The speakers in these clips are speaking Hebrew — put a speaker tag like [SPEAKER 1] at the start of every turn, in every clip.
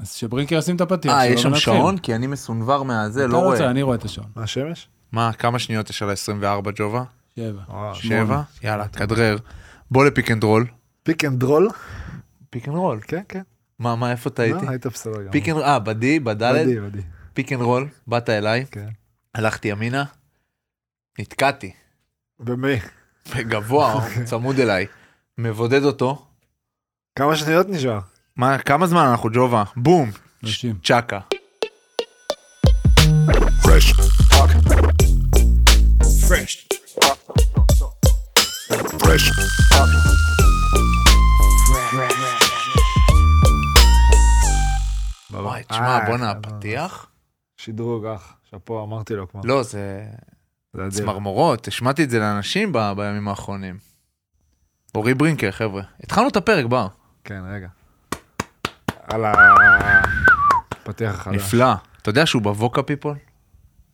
[SPEAKER 1] אז שברינקר ישים את הפתיח
[SPEAKER 2] אה,
[SPEAKER 1] שלו
[SPEAKER 2] יש שם
[SPEAKER 1] ונתחיל.
[SPEAKER 2] שעון? כי אני מסונבר מהזה,
[SPEAKER 1] אתה
[SPEAKER 2] לא רואה.
[SPEAKER 1] רוצה, אני רואה את השעון.
[SPEAKER 3] מה השמש?
[SPEAKER 4] מה, כמה שניות יש על ה-24 ג'ובה?
[SPEAKER 1] שבע. שמונה.
[SPEAKER 3] אה,
[SPEAKER 4] שבע? יאללה, תכדרר. בוא לפיק אנד רול.
[SPEAKER 3] פיק אנד רול?
[SPEAKER 4] פיק אנד רול.
[SPEAKER 3] כן, כן.
[SPEAKER 4] מה, מה, איפה טעיתי?
[SPEAKER 3] לא, היית בסדר גמור.
[SPEAKER 4] פיק אנד רול, אה, בדי, בדלת,
[SPEAKER 3] מדהים, מדהים.
[SPEAKER 4] פיק אנד רול, באת אליי,
[SPEAKER 3] כן.
[SPEAKER 4] הלכתי ימינה, נתקעתי,
[SPEAKER 3] במי?
[SPEAKER 4] גבוה, הוא צמוד אליי, מבודד אותו.
[SPEAKER 3] כמה שניות נשאר?
[SPEAKER 4] מה, כמה זמן אנחנו ג'ובה? בום,
[SPEAKER 1] שלושים.
[SPEAKER 4] צ'קה. וואי, תשמע,
[SPEAKER 3] אה,
[SPEAKER 4] בואנה,
[SPEAKER 3] אבל-
[SPEAKER 4] הפתיח?
[SPEAKER 3] שדרוג, אח. שאפו, אמרתי לו כבר.
[SPEAKER 4] לא, זה
[SPEAKER 3] זה אדיר.
[SPEAKER 4] צמרמורות, השמעתי את זה לאנשים ב- בימים האחרונים. אורי ברינקר, חבר'ה. התחלנו את הפרק, בר.
[SPEAKER 3] כן, רגע. על ה... פתיח החדש.
[SPEAKER 4] נפלא. אתה יודע שהוא בווקה פיפול?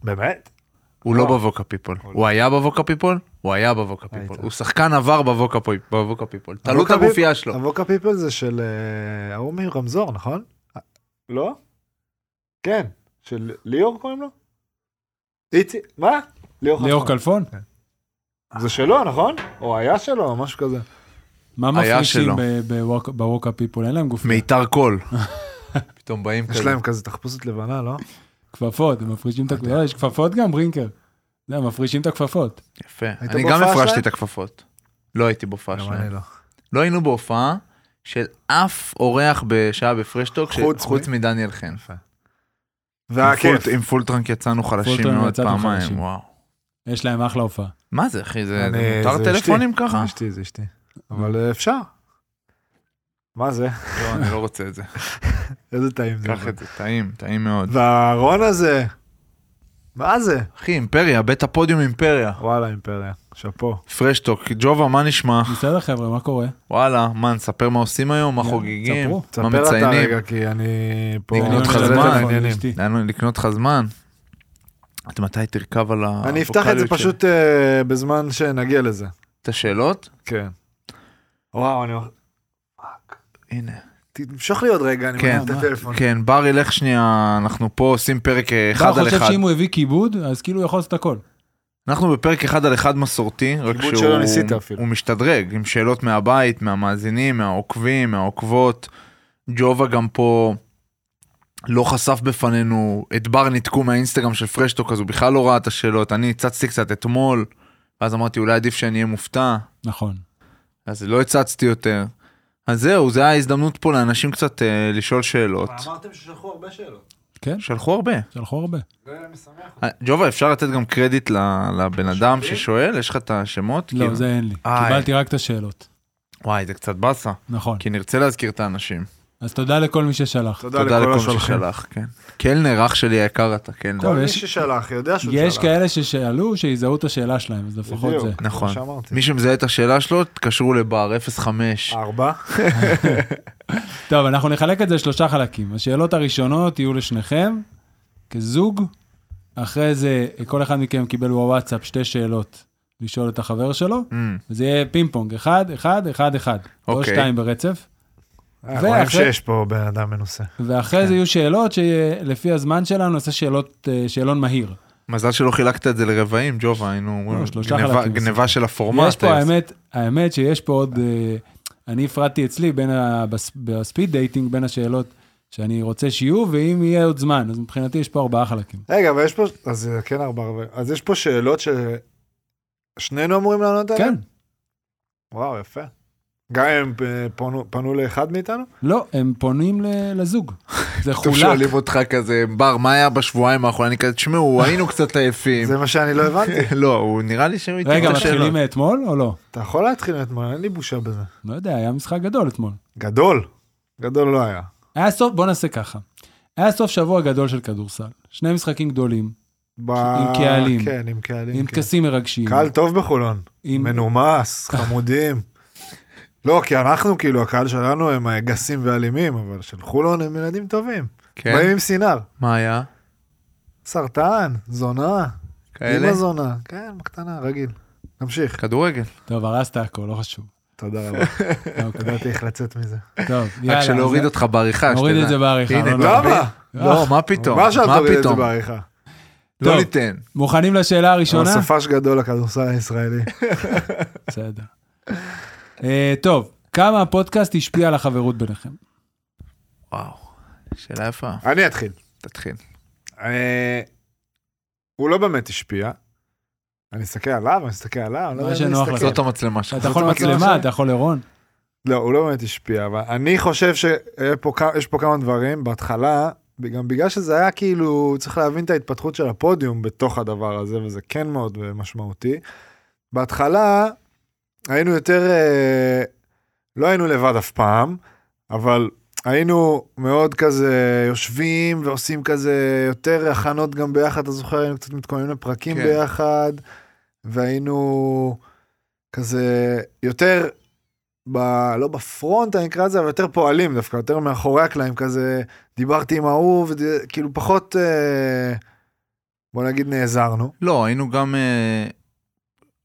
[SPEAKER 3] באמת?
[SPEAKER 4] הוא לא בווקה פיפול. הוא היה בווקה פיפול? הוא היה בווקה פיפול.
[SPEAKER 3] היית.
[SPEAKER 4] הוא שחקן עבר בווקה פוי- בווקה פיפול. תלו את
[SPEAKER 3] אבוקה
[SPEAKER 4] הגופייה
[SPEAKER 3] פיפ-
[SPEAKER 4] שלו.
[SPEAKER 3] אבוקה פיפל זה של אה, ההוא מרמזור, נכון? אה, לא? כן. של ליאור קוראים לו? איציק, מה? ליאור
[SPEAKER 1] ליאור
[SPEAKER 3] חסון.
[SPEAKER 1] כלפון?
[SPEAKER 3] זה שלו, נכון? או היה שלו, או משהו כזה.
[SPEAKER 1] מה
[SPEAKER 4] היה
[SPEAKER 1] מפרישים
[SPEAKER 4] שלו.
[SPEAKER 1] בווקה פיפול? אין להם גופים.
[SPEAKER 4] מיתר קול. פתאום באים
[SPEAKER 3] יש
[SPEAKER 4] כזה.
[SPEAKER 3] להם כזה תחפושת לבנה, לא?
[SPEAKER 1] כפפות, הם מפרישים את הכפפות. לא, יש כפפות גם, ברינקר. לא, הם מפרישים את הכפפות.
[SPEAKER 4] יפה.
[SPEAKER 3] היית
[SPEAKER 4] אני גם
[SPEAKER 3] בהופעה
[SPEAKER 4] הפרשתי
[SPEAKER 3] שלהם?
[SPEAKER 4] את הכפפות. לא הייתי בהופעה
[SPEAKER 3] גם
[SPEAKER 4] שלהם.
[SPEAKER 3] אני לא.
[SPEAKER 1] אה.
[SPEAKER 4] לא היינו בהופעה של אף אורח בשעה בפרשטוק, ש-
[SPEAKER 3] חוץ מ-
[SPEAKER 4] חוץ מדניאל חן.
[SPEAKER 3] והיה
[SPEAKER 4] עם פול-
[SPEAKER 3] כיף.
[SPEAKER 4] עם פולטרנק יצאנו חלשים
[SPEAKER 1] פולטרנק
[SPEAKER 4] מאוד
[SPEAKER 1] יצאנו
[SPEAKER 4] פעמיים,
[SPEAKER 1] חלשים.
[SPEAKER 4] וואו.
[SPEAKER 1] יש להם אחלה הופעה.
[SPEAKER 4] מה זה אחי, זה
[SPEAKER 3] אני-
[SPEAKER 4] זה מותר
[SPEAKER 3] זה
[SPEAKER 4] טלפונים
[SPEAKER 3] אשתי.
[SPEAKER 4] ככה?
[SPEAKER 3] זה אשתי, זה אשתי. אבל אה, אפשר. מה זה?
[SPEAKER 4] לא, אני לא רוצה את זה.
[SPEAKER 3] איזה טעים זה.
[SPEAKER 4] קח את זה, טעים, טעים מאוד.
[SPEAKER 3] והארון הזה, מה זה?
[SPEAKER 4] אחי, אימפריה, בית הפודיום אימפריה.
[SPEAKER 3] וואלה, אימפריה, שאפו.
[SPEAKER 4] פרשטוק, ג'ובה, מה נשמע?
[SPEAKER 1] בסדר חבר'ה, מה קורה?
[SPEAKER 4] וואלה, מה, נספר מה עושים היום, מה
[SPEAKER 1] יאללה,
[SPEAKER 4] חוגגים,
[SPEAKER 1] ספרו.
[SPEAKER 4] מה
[SPEAKER 3] תספר אתה
[SPEAKER 4] מציינים.
[SPEAKER 3] רגע, כי אני פה...
[SPEAKER 4] לקנות
[SPEAKER 1] אני
[SPEAKER 4] אותך
[SPEAKER 1] עונה
[SPEAKER 4] זמן,
[SPEAKER 1] לטלפון,
[SPEAKER 3] עניינים.
[SPEAKER 1] אשתי.
[SPEAKER 4] לאנו לקנות לך זמן. עד מתי תרכב על ה...
[SPEAKER 3] אני אפתח את זה
[SPEAKER 4] של-
[SPEAKER 3] פשוט אה, בזמן שנגיע לזה.
[SPEAKER 4] את השאלות?
[SPEAKER 3] כן. וואו, אני...
[SPEAKER 4] הנה.
[SPEAKER 3] תמשוך לי עוד רגע, אני
[SPEAKER 4] כן.
[SPEAKER 3] מנהל את הטלפון.
[SPEAKER 4] כן, בר ילך שנייה, אנחנו פה עושים פרק אה, אחד
[SPEAKER 1] אתה לא
[SPEAKER 4] על
[SPEAKER 1] חושב
[SPEAKER 4] אחד.
[SPEAKER 1] שאם הוא הביא כיבוד, אז כאילו הוא יכול לעשות הכל.
[SPEAKER 4] אנחנו בפרק אחד על אחד מסורתי, רק
[SPEAKER 3] כיבוד שלא ניסית
[SPEAKER 4] שהוא
[SPEAKER 3] אפילו.
[SPEAKER 4] הוא משתדרג עם שאלות מהבית, מהמאזינים, מהעוקבים, מהעוקבות. ג'ובה גם פה לא חשף בפנינו, את בר ניתקו מהאינסטגרם של פרשטוק, אז הוא בכלל לא ראה את השאלות. אני הצצתי קצת אתמול, ואז אמרתי אולי עדיף שאני אהיה מופתע,
[SPEAKER 1] נכון.
[SPEAKER 4] אז לא הצצתי יותר. אז זהו, זו ההזדמנות פה לאנשים קצת אה, לשאול שאלות.
[SPEAKER 3] אמרתם ששלחו הרבה שאלות.
[SPEAKER 1] כן,
[SPEAKER 4] שלחו הרבה.
[SPEAKER 1] שלחו הרבה.
[SPEAKER 3] זה משמח.
[SPEAKER 4] ג'ובה, אפשר לתת גם קרדיט ל- לבן אדם ששואל? יש לך את השמות?
[SPEAKER 1] לא,
[SPEAKER 4] כאילו?
[SPEAKER 1] זה אין לי.
[SPEAKER 4] איי.
[SPEAKER 1] קיבלתי רק את השאלות.
[SPEAKER 4] וואי, זה קצת באסה.
[SPEAKER 1] נכון.
[SPEAKER 4] כי נרצה להזכיר את האנשים.
[SPEAKER 1] אז תודה לכל מי ששלח.
[SPEAKER 3] תודה
[SPEAKER 4] תודה לכל
[SPEAKER 3] לכל
[SPEAKER 4] מי
[SPEAKER 3] השולחים.
[SPEAKER 4] ששלח, כן. קלנר, אח שלי היקר אתה,
[SPEAKER 3] כל
[SPEAKER 4] קלנר.
[SPEAKER 1] טוב,
[SPEAKER 3] מי
[SPEAKER 1] לא, יש-
[SPEAKER 3] ששלח יודע שהוא שלח.
[SPEAKER 1] יש כאלה ששאלו, שיזהו את השאלה שלהם, אז לפחות
[SPEAKER 3] בדיוק,
[SPEAKER 1] זה.
[SPEAKER 3] כמו
[SPEAKER 4] נכון.
[SPEAKER 3] שאמרתי.
[SPEAKER 4] מי שמזהה את השאלה שלו, תקשרו לבר 05.
[SPEAKER 1] אה.
[SPEAKER 3] ארבע.
[SPEAKER 1] טוב, אנחנו נחלק את זה לשלושה חלקים. השאלות הראשונות יהיו לשניכם, כזוג. אחרי זה, כל אחד מכם קיבל בוואטסאפ שתי שאלות לשאול את החבר שלו,
[SPEAKER 4] Mm,
[SPEAKER 1] וזה יהיה פינג פונג, אחד, אחד, אחד, אחד. או
[SPEAKER 4] אוקיי.
[SPEAKER 1] שתיים ברצף.
[SPEAKER 3] אה,
[SPEAKER 1] ואחרי-
[SPEAKER 3] רואים שיש פה בן אדם מנוסה.
[SPEAKER 1] ואחרי זה יהיו שאלות שלפי הזמן שלנו נעשה שאלות, אה, שאלון מהיר.
[SPEAKER 4] מזל שלא חילקת את זה לרבעים, ג'ובה, היינו אומרים,
[SPEAKER 1] לא, שלושה
[SPEAKER 4] גניבה-
[SPEAKER 1] חלקים.
[SPEAKER 4] גניבה של הפורמט. אה,
[SPEAKER 1] יש פה, האמת, האמת שיש פה עוד, אה, אני הפרדתי אצלי בין ה... בס- בספיד דייטינג, בין השאלות שאני רוצה שיהיו, ואם יהיה עוד זמן, אז מבחינתי יש פה ארבעה חלקים.
[SPEAKER 3] רגע, אבל יש פה, אז זה כן ארבע, ארבע- אז יש פה שאלות ששנינו אמורים לענות עליהן?
[SPEAKER 1] כן,
[SPEAKER 3] וואו, יפה. גם אם אה, פנו, פנו לאחד מאיתנו?
[SPEAKER 1] לא, הם פונים ל- לזוג. זה
[SPEAKER 4] טוב
[SPEAKER 1] חולק.
[SPEAKER 4] שואלים אותך כזה, בר, מה היה בשבועיים האחרונים? אני כזה, תשמעו, היינו קצת עייפים.
[SPEAKER 3] זה מה שאני לא הבנתי.
[SPEAKER 4] לא, הוא נראה לי שהוא
[SPEAKER 1] רגע,
[SPEAKER 4] את
[SPEAKER 1] מתחילים מאתמול או לא?
[SPEAKER 3] אתה יכול להתחיל אתמול, אין לי בושה בזה.
[SPEAKER 1] לא יודע, היה משחק גדול אתמול.
[SPEAKER 3] גדול. גדול לא היה.
[SPEAKER 1] היה סוף, בוא נעשה ככה. היה סוף שבוע גדול של כדורסל. שני משחקים גדולים,
[SPEAKER 3] ב...
[SPEAKER 1] עם קהלים.
[SPEAKER 3] כן, עם קהלים.
[SPEAKER 1] עם
[SPEAKER 3] כן.
[SPEAKER 1] טקסים מרגשים.
[SPEAKER 3] קהל טוב בחולון.
[SPEAKER 1] עם-
[SPEAKER 3] מנומס, חמודים. לא, כי אנחנו, כאילו, הקהל שלנו הם אה, גסים ואלימים, אבל של חולון הם ילדים טובים. באים
[SPEAKER 4] כן?
[SPEAKER 3] עם סינר.
[SPEAKER 4] מה היה?
[SPEAKER 3] סרטן, זונה,
[SPEAKER 4] כאלה?
[SPEAKER 3] אמא זונה, כן, בקטנה, רגיל. נמשיך.
[SPEAKER 4] כדורגל.
[SPEAKER 1] טוב, הרסת הכל, לא חשוב.
[SPEAKER 3] תודה רבה. ידעתי איך לצאת מזה.
[SPEAKER 1] טוב, יאללה.
[SPEAKER 4] רק שלא
[SPEAKER 1] אז
[SPEAKER 4] הוריד
[SPEAKER 1] אה,
[SPEAKER 4] אותך בעריכה,
[SPEAKER 1] נוריד את זה
[SPEAKER 4] שתדע.
[SPEAKER 1] בעריכה.
[SPEAKER 4] הנה,
[SPEAKER 1] לא, לא.
[SPEAKER 4] אתה
[SPEAKER 3] למה?
[SPEAKER 4] לא, מה פתאום?
[SPEAKER 3] אה, מה שאתה
[SPEAKER 4] מה
[SPEAKER 3] תוריד את זה
[SPEAKER 4] פתאום?
[SPEAKER 3] בעריכה.
[SPEAKER 4] לא
[SPEAKER 1] טוב.
[SPEAKER 4] ניתן.
[SPEAKER 1] מוכנים לשאלה הראשונה?
[SPEAKER 3] אבל סופש גדול לכדורסל הישראלי.
[SPEAKER 1] בסדר. אה, טוב, כמה הפודקאסט השפיע על החברות ביניכם?
[SPEAKER 4] וואו, שאלה יפה.
[SPEAKER 3] אני אתחיל.
[SPEAKER 4] תתחיל.
[SPEAKER 3] אה, הוא לא באמת השפיע. אני אסתכל עליו, אני אסתכל עליו, אני לא
[SPEAKER 1] מה
[SPEAKER 3] יודע אם
[SPEAKER 1] שנוח
[SPEAKER 3] אני
[SPEAKER 1] לך.
[SPEAKER 3] אסתכל.
[SPEAKER 4] זאת המצלמה שלך.
[SPEAKER 1] אתה יכול
[SPEAKER 3] זאת המצלמה
[SPEAKER 1] מצלמה,
[SPEAKER 3] שלי.
[SPEAKER 1] אתה יכול לרון.
[SPEAKER 3] לא, הוא לא באמת השפיע, אבל אני חושב שיש פה כמה דברים. בהתחלה, גם בגלל שזה היה כאילו, צריך להבין את ההתפתחות של הפודיום בתוך הדבר הזה, וזה כן מאוד אה, משמעותי. בהתחלה היינו יותר, אה, לא היינו לבד אף פעם, אבל היינו מאוד כזה יושבים ועושים כזה יותר הכנות גם ביחד, אתה זוכר, היינו קצת מתכוננים לפרקים
[SPEAKER 4] כן.
[SPEAKER 3] כן. ביחד, והיינו כזה יותר, ב, לא בפרונט אני אקרא לזה, אבל יותר פועלים דווקא, יותר מאחורי הקלעים כזה, דיברתי עם ההוא, וד- כאילו פחות, אה, בוא נגיד נעזרנו.
[SPEAKER 4] לא, היינו גם, אה,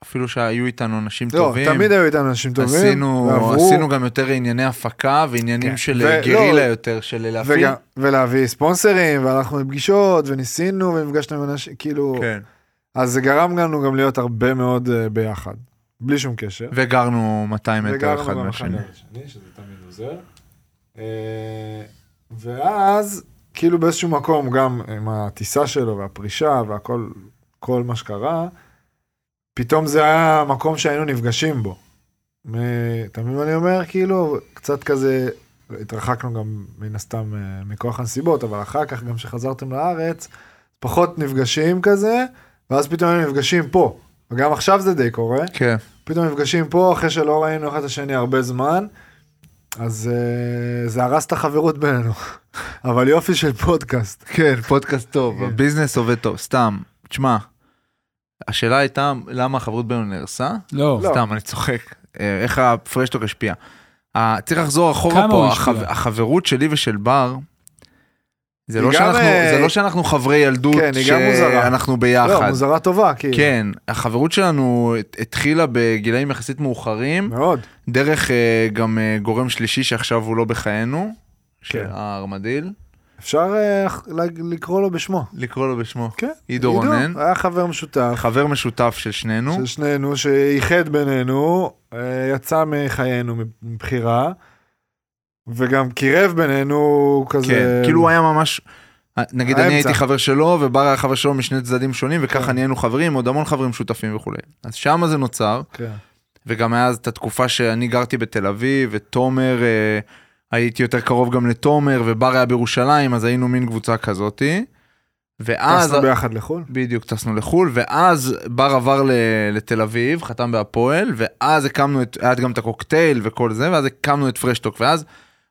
[SPEAKER 4] אפילו שהיו איתנו אנשים
[SPEAKER 3] לא,
[SPEAKER 4] טובים.
[SPEAKER 3] תמיד היו איתנו אנשים טובים,
[SPEAKER 4] עשינו,
[SPEAKER 3] ועברו,
[SPEAKER 4] עשינו גם יותר ענייני הפקה ועניינים
[SPEAKER 3] כן.
[SPEAKER 4] של
[SPEAKER 3] ו-
[SPEAKER 4] אה,
[SPEAKER 3] לא,
[SPEAKER 4] גרילה יותר, של אה, להפעיל.
[SPEAKER 3] וגם, ולהביא ספונסרים, והלכנו לפגישות, וניסינו, ונפגשנו עם אנשים, כאילו, כן.
[SPEAKER 4] כן.
[SPEAKER 3] אז זה גרם לנו גם להיות הרבה מאוד אה, ביחד, בלי שום קשר.
[SPEAKER 4] וגרנו 200 מטר
[SPEAKER 3] וגרנו
[SPEAKER 4] אחד
[SPEAKER 3] גם
[SPEAKER 4] מהשני.
[SPEAKER 3] אחד מהשני, שזה תמיד עוזר. אה, ואז, כאילו באיזשהו מקום, גם עם הטיסה שלו והפרישה והכל, כל מה שקרה, פתאום זה היה המקום שהיינו נפגשים בו. מ- אתה מבין מה אני אומר? כאילו, קצת כזה, התרחקנו גם מן הסתם אה, מכוח הנסיבות, אבל אחר כך גם כשחזרתם לארץ, פחות נפגשים כזה, ואז פתאום היינו נפגשים פה. וגם עכשיו זה די קורה.
[SPEAKER 4] כן.
[SPEAKER 3] פתאום נפגשים פה אחרי שלא ראינו אחד את השני הרבה זמן, אז אה, זה הרס את החברות בינינו. אבל יופי של פודקאסט.
[SPEAKER 4] כן, פודקאסט טוב,
[SPEAKER 3] כן.
[SPEAKER 4] הביזנס עובד טוב, סתם, תשמע, השאלה הייתה למה החברות בינינו נהרסה?
[SPEAKER 1] לא.
[SPEAKER 3] לא.
[SPEAKER 4] סתם, אני צוחק, אה, איך הפרשטוק השפיע. אה, צריך לחזור אחורה
[SPEAKER 1] כמה הוא
[SPEAKER 4] פה,
[SPEAKER 1] השפיע?
[SPEAKER 4] החב- החברות שלי ושל בר, זה
[SPEAKER 3] היא
[SPEAKER 4] לא
[SPEAKER 3] גם,
[SPEAKER 4] שאנחנו-
[SPEAKER 3] אה,
[SPEAKER 4] זה לא שאנחנו חברי ילדות,
[SPEAKER 3] כן, היא גם מוזרה.
[SPEAKER 4] שאנחנו
[SPEAKER 3] לא,
[SPEAKER 4] ביחד.
[SPEAKER 3] מוזרה טובה, כאילו.
[SPEAKER 4] כן, החברות שלנו הת- התחילה בגילאים יחסית מאוחרים,
[SPEAKER 3] מאוד.
[SPEAKER 4] דרך אה, גם אה, גורם שלישי שעכשיו הוא לא בחיינו,
[SPEAKER 3] כן.
[SPEAKER 4] הארמדיל,
[SPEAKER 3] אפשר אה, ל- לקרוא לו בשמו.
[SPEAKER 4] לקרוא לו בשמו.
[SPEAKER 3] כן.
[SPEAKER 4] עידו רונן.
[SPEAKER 3] היה חבר משותף
[SPEAKER 4] חבר משותף של שנינו.
[SPEAKER 3] של שנינו, שאיחד בינינו, אה, יצא מחיינו מבחירה, וגם קירב בינינו כזה...
[SPEAKER 4] כן, כאילו הוא היה ממש, נגיד אני
[SPEAKER 3] האמצע.
[SPEAKER 4] הייתי חבר שלו ובר היה חבר שלו משני צדדים שונים וככה
[SPEAKER 3] כן.
[SPEAKER 4] נהיינו חברים, עוד המון חברים שותפים וכולי. אז שם זה נוצר,
[SPEAKER 3] כן.
[SPEAKER 4] וגם היה אז את התקופה שאני גרתי בתל אביב ותומר, אה, הייתי יותר קרוב גם לתומר ובר היה בירושלים, אז היינו מין קבוצה כזאתי. ואז,
[SPEAKER 3] טסנו ביחד לחו"ל.
[SPEAKER 4] בדיוק, טסנו לחו"ל, ואז בר עבר ל- לתל אביב, חתם בהפועל, ואז הקמנו את, היה גם את הקוקטייל וכל זה, ואז הקמנו את פרשטוק, ואז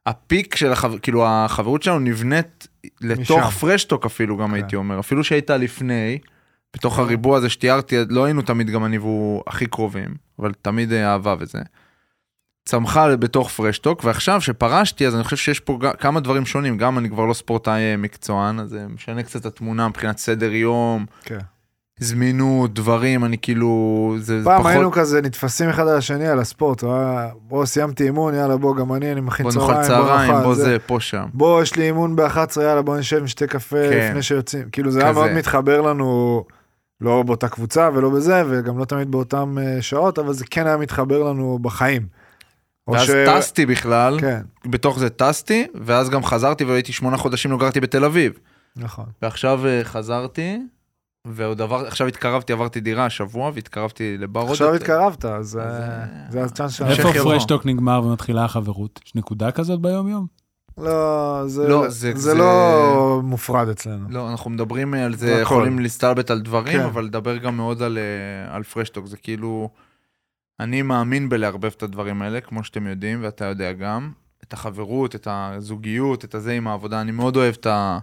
[SPEAKER 4] הפיק של, החבר, כאילו החברות שלנו נבנית לתוך
[SPEAKER 3] משם. כן.
[SPEAKER 4] פרשטוק אפילו, גם הייתי אומר, אפילו שהייתה לפני, בתוך הריבוע הזה שתיארתי, לא היינו תמיד גם אני והוא הכי קרובים, אבל תמיד אה, אהבה וזה. צמחה בתוך פרשטוק, ועכשיו שפרשתי, אז אני חושב שיש פה ג- כמה דברים שונים, גם אני כבר לא ספורטאי אה, מקצוען, אז זה משנה קצת את התמונה מבחינת סדר יום,
[SPEAKER 3] כן.
[SPEAKER 4] זמינות, דברים, אני כאילו, זה, זה
[SPEAKER 3] פעם
[SPEAKER 4] פחות,
[SPEAKER 3] היינו כזה נתפסים אחד על השני על הספורט, אה, בוא סיימתי אימון, יאללה בוא גם אני, אני מכין
[SPEAKER 4] בוא
[SPEAKER 3] צהריים,
[SPEAKER 4] נאכל צהריים,
[SPEAKER 3] נאכל
[SPEAKER 4] בוא
[SPEAKER 3] זה.
[SPEAKER 4] זה, פה שם.
[SPEAKER 3] בוא יש לי אימון ב-11, יאללה בוא נשב נשתה קפה
[SPEAKER 4] כן.
[SPEAKER 3] לפני שיוצאים, כאילו זה היה
[SPEAKER 4] כזה.
[SPEAKER 3] מאוד מתחבר לנו, לא באותה קבוצה ולא בזה, וגם לא תמיד באותן אה, שעות, אבל זה כן היה מתחבר לנו בחיים. או
[SPEAKER 4] ואז
[SPEAKER 3] ש-
[SPEAKER 4] טסתי בכלל,
[SPEAKER 3] כן,
[SPEAKER 4] בתוך זה טסתי, ואז גם חזרתי והייתי שמונה חודשים לא גרתי בתל אביב.
[SPEAKER 3] נכון.
[SPEAKER 4] ועכשיו אה, חזרתי, ועוד עבר, עכשיו התקרבתי, עברתי דירה השבוע, והתקרבתי לבר עוד
[SPEAKER 3] עכשיו
[SPEAKER 4] יותר.
[SPEAKER 3] התקרבת, אז אה,
[SPEAKER 4] אז,
[SPEAKER 3] זה הצ'אנס שלנו.
[SPEAKER 4] המשך
[SPEAKER 1] איפה
[SPEAKER 4] יבוא.
[SPEAKER 1] פרשטוק נגמר ומתחילה החברות? יש נקודה כזאת ביום-יום?
[SPEAKER 3] לא, זה-
[SPEAKER 4] לא, זה-
[SPEAKER 3] זה
[SPEAKER 4] זה-
[SPEAKER 3] לא מופרד אצלנו.
[SPEAKER 4] לא, אנחנו מדברים על זה,
[SPEAKER 3] הכל.
[SPEAKER 4] יכולים להסתלבט על דברים,
[SPEAKER 3] כן.
[SPEAKER 4] אבל לדבר גם מאוד על, אה, על פרשטוק, זה כאילו, אני מאמין בלערבב את הדברים האלה, כמו שאתם יודעים, ואתה יודע גם, את החברות, את הזוגיות, את הזה עם העבודה, אני מאוד אוהב את ה...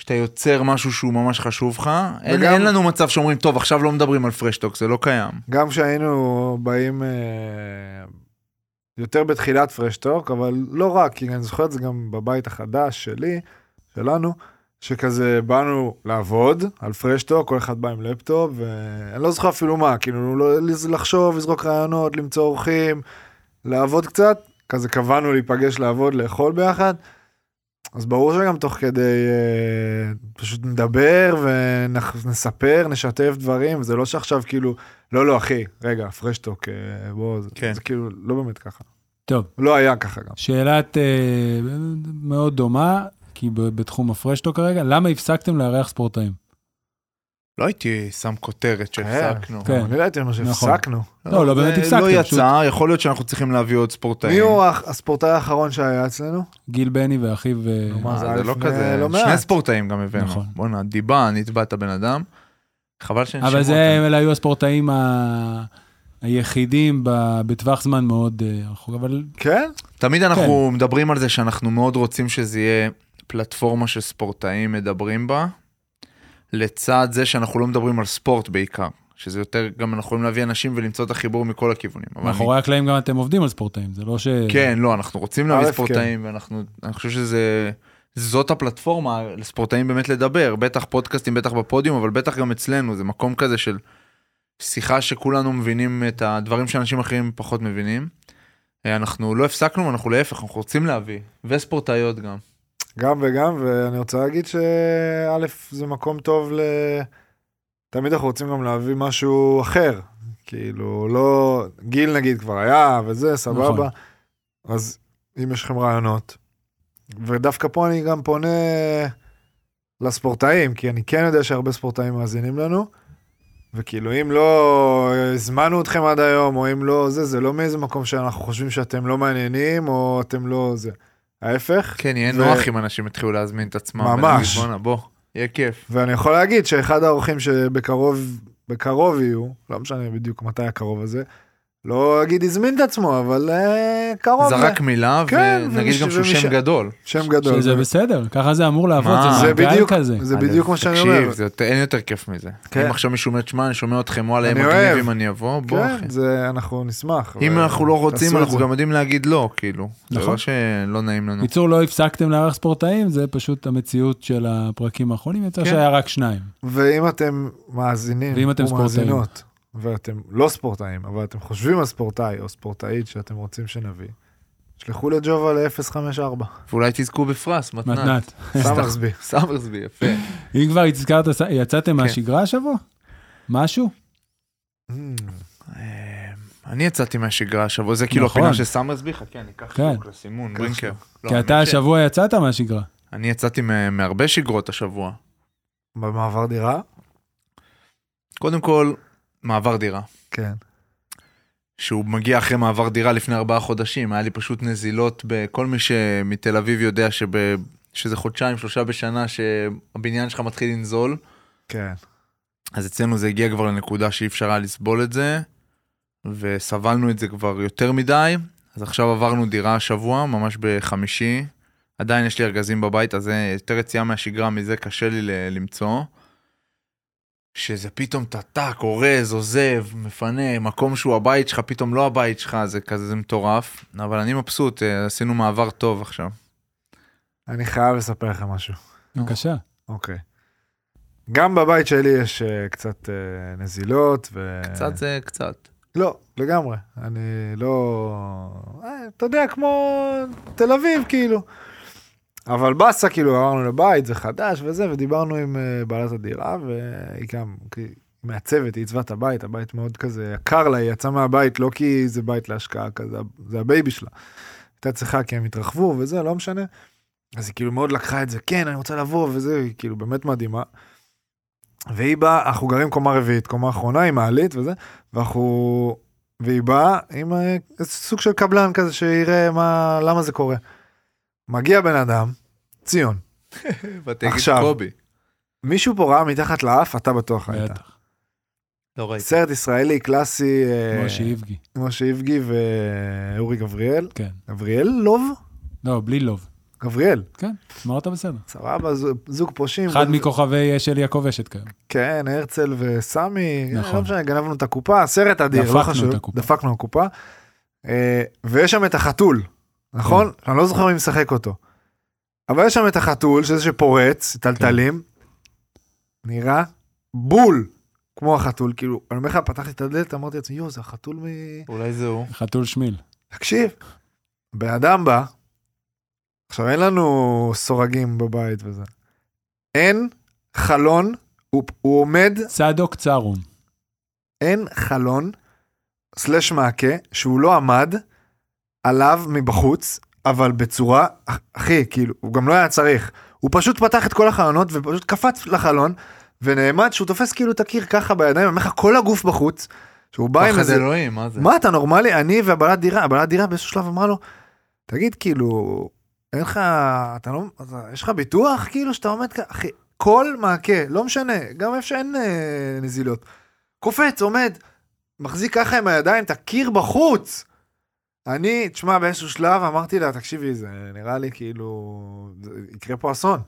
[SPEAKER 4] שאתה יוצר משהו שהוא ממש חשוב לך, אין,
[SPEAKER 3] וגם-
[SPEAKER 4] אין לנו מצב שאומרים, טוב, עכשיו לא מדברים על פרשטוק, זה לא קיים.
[SPEAKER 3] גם כשהיינו באים אה, יותר בתחילת פרשטוק, אבל לא רק, כי אני זוכר את זה גם בבית החדש שלי, שלנו, שכזה באנו לעבוד על פרשטוק, כל אחד בא עם לפטופ, ואני לא זוכר אפילו מה, כאילו לא, לחשוב, לזרוק רעיונות, למצוא אורחים, לעבוד קצת, כזה קבענו להיפגש לעבוד, לאכול ביחד, אז ברור שגם תוך כדי אה, פשוט נדבר ונספר, נשתף דברים, זה לא שעכשיו כאילו, לא, לא, אחי, רגע, פרשטוק, אה, בוא, זה,
[SPEAKER 4] כן.
[SPEAKER 3] זה כאילו לא באמת ככה.
[SPEAKER 1] טוב,
[SPEAKER 3] לא היה ככה גם.
[SPEAKER 1] שאלת אה, מאוד דומה, כי ב- בתחום הפרשטו כרגע, למה הפסקתם לארח ספורטאים?
[SPEAKER 4] לא הייתי שם כותרת שהפסקנו.
[SPEAKER 1] כן.
[SPEAKER 3] אני לא יודעת מה שהפסקנו.
[SPEAKER 1] לא, לא, באמת
[SPEAKER 4] זה
[SPEAKER 1] הפסקתם,
[SPEAKER 4] לא
[SPEAKER 1] פשוט.
[SPEAKER 4] יצא, יכול להיות שאנחנו צריכים להביא עוד ספורטאים.
[SPEAKER 3] מי הוא הח- הספורטאי האחרון שהיה אצלנו?
[SPEAKER 1] גיל בני ואחיו... אה,
[SPEAKER 3] נו, מה?
[SPEAKER 4] אה,
[SPEAKER 3] זה
[SPEAKER 4] זה
[SPEAKER 3] היה
[SPEAKER 4] לא
[SPEAKER 3] לפני
[SPEAKER 4] כזה,
[SPEAKER 3] לא מעט.
[SPEAKER 4] שני ספורטאים גם הבאנו.
[SPEAKER 1] נכון.
[SPEAKER 4] בואנה, דיבה, נתבע את הבן אדם. חבל שנשמעו
[SPEAKER 1] אבל זה, אלה היו הספורטאים ה... היחידים ב... בטווח זמן מאוד אה, רחוק, אבל
[SPEAKER 3] כן?
[SPEAKER 4] תמיד אנחנו מדברים על זה שאנחנו מאוד רוצים שזה יהיה פלטפורמה שספורטאים מדברים בה, לצד זה שאנחנו לא מדברים על ספורט בעיקר, שזה יותר, גם אנחנו יכולים להביא אנשים ולמצוא את החיבור מכל הכיוונים. אבל אני-
[SPEAKER 1] מאחורי הקלעים גם אתם עובדים על ספורטאים, זה לא ש...
[SPEAKER 4] כן, לא, אנחנו רוצים להביא
[SPEAKER 3] א',
[SPEAKER 4] ספורטאים, ואנחנו, אני חושב שזה, זאת הפלטפורמה לספורטאים באמת לדבר, בטח פודקאסטים, בטח בפודיום, אבל בטח גם אצלנו, זה מקום כזה של שיחה שכולנו מבינים את הדברים שאנשים אחרים פחות מבינים. אה, אנחנו לא הפסקנו, אנחנו להפך, אנחנו רוצים להביא, וספורטאיות גם.
[SPEAKER 3] גם וגם, ואני רוצה להגיד שא', זה מקום טוב ל... תמיד אנחנו רוצים גם להביא משהו אחר. כאילו, לא... גיל נגיד כבר היה, וזה, סבבה.
[SPEAKER 1] נכון.
[SPEAKER 3] אז אם יש לכם רעיונות, ודווקא פה אני גם פונה לספורטאים, כי אני כן יודע שהרבה ספורטאים מאזינים לנו, וכאילו, אם לא הזמנו אתכם עד היום, או אם לא זה, זה לא מאיזה מקום שאנחנו חושבים שאתם לא מעניינים, או אתם לא זה. ההפך,
[SPEAKER 4] כן, יהיה
[SPEAKER 3] ו-
[SPEAKER 4] נוח אם אנשים יתחילו להזמין את עצמם.
[SPEAKER 3] ממש.
[SPEAKER 4] ולהגיד, "בואנה, בוא, יהיה כיף.
[SPEAKER 3] ואני יכול להגיד שאחד האורחים שבקרוב, בקרוב יהיו, לא משנה בדיוק מתי הקרוב הזה, לא אגיד הזמין את עצמו, אבל אה, קרוב,
[SPEAKER 4] זרק מילה,
[SPEAKER 3] כן,
[SPEAKER 4] ונגיד
[SPEAKER 3] ומש-
[SPEAKER 4] גם שהוא שם
[SPEAKER 3] ומשם-
[SPEAKER 4] גדול.
[SPEAKER 3] שם גדול.
[SPEAKER 1] שזה בסדר, ככה זה אמור לעבוד,
[SPEAKER 4] מה?
[SPEAKER 1] זה
[SPEAKER 3] לא, זה
[SPEAKER 1] מעגל
[SPEAKER 3] בדיוק,
[SPEAKER 1] כזה.
[SPEAKER 3] זה
[SPEAKER 4] אני-
[SPEAKER 3] בדיוק מה שאני אומר.
[SPEAKER 4] תקשיב, זה יותר- אין יותר כיף מזה.
[SPEAKER 3] כן.
[SPEAKER 4] אם עכשיו מישהו אומר, שמע, אני שומע אתכם, וואלה, הם
[SPEAKER 3] אני אוהב.
[SPEAKER 4] מגניבים, אני אבוא, בוא אחי.
[SPEAKER 3] כן, זה, אנחנו נשמח.
[SPEAKER 4] אם
[SPEAKER 3] אבל
[SPEAKER 4] אנחנו לא רוצים,
[SPEAKER 3] תעשו את
[SPEAKER 4] אנחנו
[SPEAKER 3] זה.
[SPEAKER 4] גם יודעים להגיד לא, כאילו. זה
[SPEAKER 1] נכון.
[SPEAKER 4] לא שלא נעים לנו.
[SPEAKER 1] בקיצור, לא הפסקתם לארח ספורטאים, זה פשוט המציאות של הפרקים האחרונים, יצא
[SPEAKER 4] כן.
[SPEAKER 1] שהיה רק שניים.
[SPEAKER 3] ואם אתם מאזינים,
[SPEAKER 1] ואם אתם
[SPEAKER 3] או
[SPEAKER 1] ספורטאים.
[SPEAKER 3] מאזינות, ואתם לא ספורטאים, אבל אתם חושבים על ספורטאי או ספורטאית שאתם רוצים שנביא, שלחו לג'ובה ל-054.
[SPEAKER 4] ואולי תזכו בפרס, מתנת.
[SPEAKER 1] מתנת.
[SPEAKER 3] סתם בי.
[SPEAKER 4] סמרסבי, יפה.
[SPEAKER 1] אם כבר הזכרת,
[SPEAKER 4] כן.
[SPEAKER 1] יצאתם מהשגרה השבוע? משהו?
[SPEAKER 3] Mm,
[SPEAKER 4] אה, אני יצאתי מהשגרה השבוע, זה כאילו
[SPEAKER 1] נכון.
[SPEAKER 4] הפינה של סמרסבי, חכה, אני אקח
[SPEAKER 1] כן.
[SPEAKER 4] חוק לסימון,
[SPEAKER 3] קח
[SPEAKER 4] ברינקר. לא,
[SPEAKER 1] כי
[SPEAKER 4] האמת
[SPEAKER 1] אתה
[SPEAKER 4] ש-
[SPEAKER 1] השבוע יצאת מהשגרה.
[SPEAKER 4] אני יצאתי מה- מהרבה שגרות השבוע.
[SPEAKER 3] במעבר דירה?
[SPEAKER 4] קודם כל, מעבר דירה.
[SPEAKER 3] כן.
[SPEAKER 4] שהוא מגיע אחרי מעבר דירה לפני ארבעה חודשים, היה לי פשוט נזילות בכל מי שמתל אביב יודע שב... שזה חודשיים, שלושה בשנה שהבניין שלך מתחיל לנזול.
[SPEAKER 3] כן.
[SPEAKER 4] אז אצלנו זה הגיע כבר לנקודה שאי אפשר היה לסבול את זה, וסבלנו את זה כבר יותר מדי, אז עכשיו עברנו דירה השבוע, ממש בחמישי. עדיין יש לי ארגזים בבית, אז זה יותר יציאה מהשגרה מזה קשה לי ל- למצוא. שזה פתאום אתה טאק, אורז, עוזב, מפנה, מקום שהוא הבית שלך, פתאום לא הבית שלך, זה כזה זה מטורף. אבל אני מבסוט, אה, עשינו מעבר טוב עכשיו.
[SPEAKER 3] אני חייב לספר לכם משהו.
[SPEAKER 1] בבקשה.
[SPEAKER 3] אוקיי. גם בבית שלי יש אה, קצת אה, נזילות ו...
[SPEAKER 4] קצת זה קצת.
[SPEAKER 3] לא, לגמרי. אני לא... אה, אתה יודע, כמו תל אביב, כאילו. אבל באסה, כאילו, עברנו לבית, זה חדש וזה, ודיברנו עם אה, בעלת הדירה, והיא גם כי- מעצבת, היא עיצבה את הבית, הבית מאוד כזה יקר לה, היא יצאה מהבית, לא כי זה בית להשקעה כזה, זה הבייבי שלה. הייתה צריכה כי הם התרחבו וזה, לא משנה. אז היא כאילו מאוד לקחה את זה, כן, אני רוצה לבוא וזה, היא כאילו באמת מדהימה. והיא באה, אנחנו גרים קומה רביעית, קומה אחרונה עם מעלית וזה, ואנחנו... והיא באה עם אה, איזה סוג של קבלן כזה שיראה מה, למה זה קורה. מגיע בן אדם, ציון,
[SPEAKER 4] ותגיד
[SPEAKER 3] עכשיו.
[SPEAKER 4] קובי.
[SPEAKER 3] מישהו פה ראה מתחת לאף, אתה בטוח היית.
[SPEAKER 1] בטח.
[SPEAKER 4] לא ראיתי.
[SPEAKER 3] סרט ישראלי קלאסי, אה,
[SPEAKER 1] משה איבגי,
[SPEAKER 3] משה איבגי ואורי גבריאל,
[SPEAKER 1] כן.
[SPEAKER 3] גבריאל לוב?
[SPEAKER 1] לא, בלי לוב.
[SPEAKER 3] גבריאל,
[SPEAKER 1] כן, אמרת בסדר.
[SPEAKER 3] סבבה, זו- זוג פושעים.
[SPEAKER 1] אחד
[SPEAKER 3] וזה-
[SPEAKER 1] מכוכבי אה, שלי הכובשת כיום.
[SPEAKER 3] כן, הרצל וסמי,
[SPEAKER 1] נכון.
[SPEAKER 3] נכון. לא משנה, גנבנו את הקופה, סרט אדיר,
[SPEAKER 1] דפקנו
[SPEAKER 3] לא
[SPEAKER 1] את
[SPEAKER 3] חשוב,
[SPEAKER 1] הקופה.
[SPEAKER 3] דפקנו הקופה. אה, ויש שם את החתול, נכון?
[SPEAKER 1] כן.
[SPEAKER 3] אני לא זוכר מי משחק אותו. אבל יש שם את החתול, שזה שפורץ, טלטלים,
[SPEAKER 1] כן.
[SPEAKER 3] נראה בול כמו החתול, כאילו, אני אומר לך, פתחתי את הדלת, אמרתי לעצמי, יואו, זה החתול מ...
[SPEAKER 4] אולי זה הוא.
[SPEAKER 1] חתול שמיל.
[SPEAKER 3] תקשיב, בן אדם בא, עכשיו אין לנו סורגים בבית וזה, אין חלון, הוא, הוא עומד,
[SPEAKER 1] צדוק צרום.
[SPEAKER 3] אין חלון, סלש מעקה, שהוא לא עמד עליו מבחוץ, אבל בצורה, אח- אחי, כאילו, הוא גם לא היה צריך. הוא פשוט פתח את כל החלונות ופשוט קפץ לחלון, ונעמד שהוא תופס כאילו את הקיר ככה בידיים, אומר לך כל הגוף בחוץ, שהוא בא עם
[SPEAKER 4] פחד
[SPEAKER 3] איזה...
[SPEAKER 4] אלוהים, מה זה?
[SPEAKER 3] מה אתה נורמלי? אני והבעלת דירה, הבעלת דירה באיזשהו שלב אמרה לו, תגיד כאילו, אין לך, אתה לא, אתה- יש לך ביטוח כאילו שאתה עומד ככה, אחי, כל מעקה, לא משנה, גם איפה שאין אה, נזילות, קופץ, עומד, מחזיק ככה עם הידיים את הקיר בחוץ. אני, תשמע, באיזשהו שלב אמרתי לה, תקשיבי, זה נראה לי כאילו, זה- יקרה פה אסון.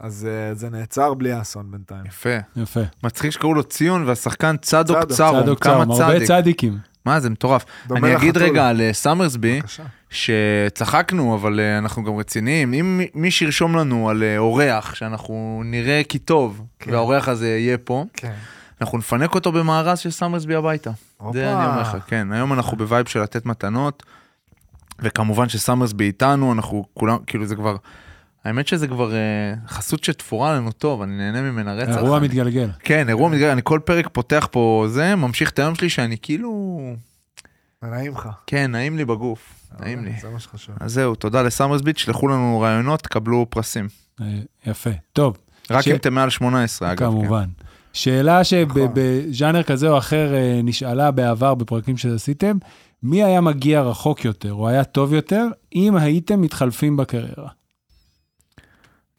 [SPEAKER 3] אז אה, זה נעצר בלי האסון בינתיים.
[SPEAKER 4] יפה.
[SPEAKER 1] יפה.
[SPEAKER 4] מצחיק שקראו לו ציון והשחקן צדוק
[SPEAKER 3] צדוק,
[SPEAKER 4] צרום,
[SPEAKER 1] צדוק
[SPEAKER 4] כמה
[SPEAKER 1] צרום, הרבה
[SPEAKER 4] צדיק.
[SPEAKER 1] צדיקים.
[SPEAKER 4] מה זה מטורף.
[SPEAKER 3] דומה
[SPEAKER 4] אני אגיד
[SPEAKER 3] לחתול.
[SPEAKER 4] רגע על אה, סמרסבי,
[SPEAKER 3] בבקשה.
[SPEAKER 4] שצחקנו, אבל אה, אנחנו גם רציניים. אם מי- מי שירשום לנו על אה, אורח, שאנחנו נראה כי טוב,
[SPEAKER 3] כן.
[SPEAKER 4] והאורח הזה יהיה פה,
[SPEAKER 3] כן. אנחנו...
[SPEAKER 4] אנחנו נפנק אותו במארז של סמרסבי הביתה. זה אני אומר לך, כן. היום אנחנו בווייב של לתת מתנות, וכמובן שסמרסבי איתנו, אנחנו כולם, כאילו זה כבר, האמת שזה כבר אה, חסות שתפורה לנו טוב, אני נהנה ממנה רצח.
[SPEAKER 1] אירוע
[SPEAKER 4] אני-
[SPEAKER 1] מתגלגל.
[SPEAKER 4] כן, אירוע מתגלגל, אני כל פרק פותח פה זה, ממשיך את היום שלי שאני כאילו...
[SPEAKER 3] נעים לך.
[SPEAKER 4] כן, נעים לי בגוף, נעים לי.
[SPEAKER 3] זה מה שחשוב.
[SPEAKER 4] אז זהו, תודה לסמרסביט, שלחו לנו רעיונות, תקבלו פרסים.
[SPEAKER 1] אה, יפה. טוב,
[SPEAKER 4] רק
[SPEAKER 1] ש-
[SPEAKER 4] אם אתם מעל 18, אגב. כן.
[SPEAKER 1] כמובן. שאלה
[SPEAKER 3] נכון.
[SPEAKER 1] שבז'אנר כזה או אחר אה, נשאלה בעבר בפרקים שעשיתם, מי היה מגיע רחוק יותר או היה טוב יותר אם הייתם מתחלפים בקריירה?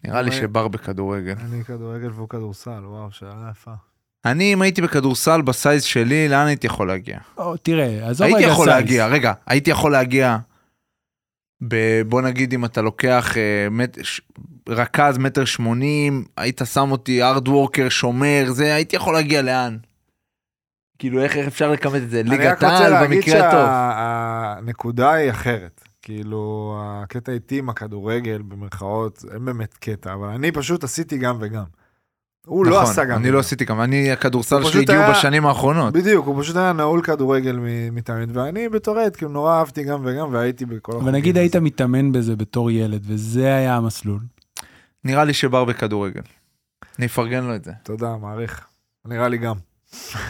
[SPEAKER 4] נראה לי
[SPEAKER 3] אולי-
[SPEAKER 4] שבר בכדורגל.
[SPEAKER 3] אני כדורגל והוא כדורסל, וואו, שאלה יפה.
[SPEAKER 4] אני, אם הייתי בכדורסל בסייז שלי, לאן הייתי יכול להגיע?
[SPEAKER 1] או, תראה, עזוב רגע
[SPEAKER 4] הייתי יכול
[SPEAKER 1] סייז.
[SPEAKER 4] להגיע, רגע, הייתי יכול להגיע, ב- בוא נגיד אם אתה לוקח אה, מט- ש- רכז מטר שמונים, היית שם אותי ארד וורקר, שומר, זה, הייתי יכול להגיע לאן? כאילו, איך איך אפשר לכמת את זה? ליגת העל במקרה הטוב.
[SPEAKER 3] שהנקודה היא אחרת. כאילו, הקטע איתי עם הכדורגל, במרכאות, אין באמת קטע, אבל אני פשוט עשיתי גם וגם. הוא לא
[SPEAKER 4] נכון,
[SPEAKER 3] עשה גם.
[SPEAKER 4] אני
[SPEAKER 3] וגם.
[SPEAKER 4] לא עשיתי גם, אני, הכדורסל
[SPEAKER 3] הוא
[SPEAKER 4] שלי
[SPEAKER 3] פשוט
[SPEAKER 4] הגיעו
[SPEAKER 3] היה-
[SPEAKER 4] בשנים האחרונות.
[SPEAKER 3] בדיוק, הוא פשוט היה נעול כדורגל מ- מתמיד, ואני בתור עת, כאילו, נורא אהבתי גם וגם, והייתי בכל
[SPEAKER 1] אבל נגיד
[SPEAKER 4] אוקיי.
[SPEAKER 3] הזה.
[SPEAKER 1] היית מתאמן בזה בתור ילד, וזה היה המסלול.
[SPEAKER 4] נראה לי שבר בכדורגל. אני אפרגן לו את זה.
[SPEAKER 3] תודה, מעריך. נראה לי גם.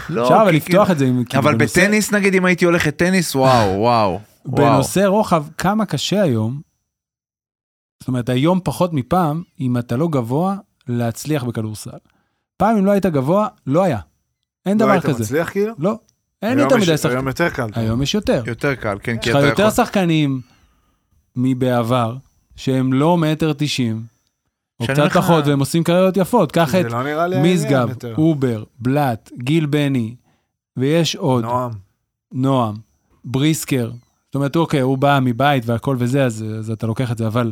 [SPEAKER 4] לא,
[SPEAKER 1] אפשר אבל
[SPEAKER 4] כי-
[SPEAKER 1] לפתוח את זה עם... כאילו,
[SPEAKER 4] אבל בטניס נגיד, אם הייתי הולך לטניס, וואו, וואו. וואו.
[SPEAKER 1] בנושא רוחב, כמה קשה היום, זאת אומרת, היום פחות מפעם, אם אתה לא גבוה, להצליח בכדורסל. פעם אם לא היית גבוה, לא היה. אין
[SPEAKER 3] לא
[SPEAKER 1] דבר
[SPEAKER 3] היית
[SPEAKER 1] כזה.
[SPEAKER 3] מצליח כאילו?
[SPEAKER 1] לא, אין
[SPEAKER 3] היום
[SPEAKER 1] יותר
[SPEAKER 3] יש-
[SPEAKER 1] מדי שחקנים.
[SPEAKER 3] היום יותר קל.
[SPEAKER 1] היום יש יותר.
[SPEAKER 4] יותר קל, כן,
[SPEAKER 1] יש
[SPEAKER 4] כי
[SPEAKER 1] לך
[SPEAKER 4] אתה יכול.
[SPEAKER 1] יותר שחקנים מבעבר, שהם לא מטר תשעים, או
[SPEAKER 4] שאני
[SPEAKER 1] קצת
[SPEAKER 4] אומר לך-
[SPEAKER 1] פחות, והם עושים קריירות יפות. קח את
[SPEAKER 3] זה לא נראה לי העניין
[SPEAKER 1] משגב,
[SPEAKER 3] יותר.
[SPEAKER 1] אובר, בלאט, גיל בני, ויש עוד,
[SPEAKER 3] נועם.
[SPEAKER 1] נועם, בריסקר. זאת אומרת, אוקיי, הוא בא מבית והכל וזה, אז, אז אתה לוקח את זה, אבל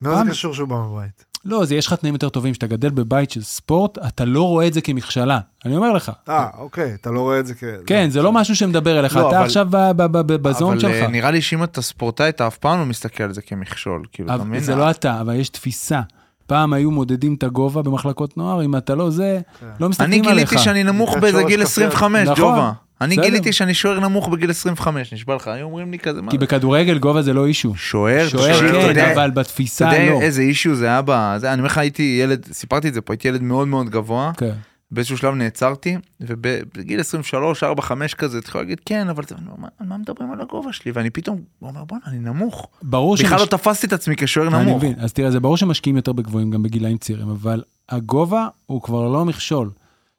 [SPEAKER 3] מה
[SPEAKER 1] פעם-
[SPEAKER 3] זה קשור שהוא בא מבית?
[SPEAKER 1] לא, זה יש לך תנאים יותר טובים. כשאתה גדל בבית של ספורט, אתה לא רואה את זה כמכשלה. אני אומר לך.
[SPEAKER 3] אה, אוקיי, אתה לא רואה את זה כ...
[SPEAKER 1] כן, זה לא משהו שמדבר אליך,
[SPEAKER 4] נכון. לא,
[SPEAKER 1] אתה
[SPEAKER 4] אבל-
[SPEAKER 1] עכשיו ב- ב- ב- ב- בזון
[SPEAKER 4] אבל אה,
[SPEAKER 1] שלך.
[SPEAKER 4] נראה לי שאם אתה ספורטאי, אתה אף פעם לא מסתכל על זה כמכשול, כאילו, אתה
[SPEAKER 1] אבל
[SPEAKER 4] מבין?
[SPEAKER 1] זה לא אתה, אבל יש תפיסה. פעם היו מודדים את הגובה במחלקות נוער, אם אתה לא זה,
[SPEAKER 3] כן.
[SPEAKER 1] לא
[SPEAKER 4] אני
[SPEAKER 1] מסתכלים עליך.
[SPEAKER 4] גיליתי שאני נמוך
[SPEAKER 3] אתה
[SPEAKER 4] באיזה
[SPEAKER 3] שורש
[SPEAKER 4] גיל
[SPEAKER 3] כפי
[SPEAKER 4] 25,
[SPEAKER 1] נכון,
[SPEAKER 4] ג'ובה. אני
[SPEAKER 1] בסדר.
[SPEAKER 4] גיליתי שאני שוער נמוך בגיל 25, נשבע לך, היו אומרים לי כזה, מה
[SPEAKER 1] כי
[SPEAKER 4] זה?
[SPEAKER 1] בכדורגל גובה זה לא אישו.
[SPEAKER 4] שוער,
[SPEAKER 1] שוער
[SPEAKER 4] תקשיב, אתה
[SPEAKER 1] כן,
[SPEAKER 4] יודע-
[SPEAKER 1] אבל
[SPEAKER 4] אתה
[SPEAKER 1] בתפיסה לא.
[SPEAKER 4] יודע איזה אישיו זה היה ב... זה, אני אומר לך, הייתי ילד, סיפרתי את זה פה, הייתי ילד מאוד מאוד גבוה,
[SPEAKER 1] כן.
[SPEAKER 4] באיזשהו שלב נעצרתי, ובגיל 23, 4, 5 כזה, התחילו להגיד, כן, אבל זה- מה- על מה מדברים על הגובה שלי? ואני פתאום אומר, בואנה, אני נמוך.
[SPEAKER 1] ברור
[SPEAKER 4] בכלל לא
[SPEAKER 1] שמש-
[SPEAKER 4] תפסתי את עצמי כשוער
[SPEAKER 1] אני
[SPEAKER 4] נמוך.
[SPEAKER 1] מבין. אז תראה, זה ברור שמשקיעים יותר בגבוהים גם בגילאים צעירים, אבל הגובה הוא כבר לא מכשול.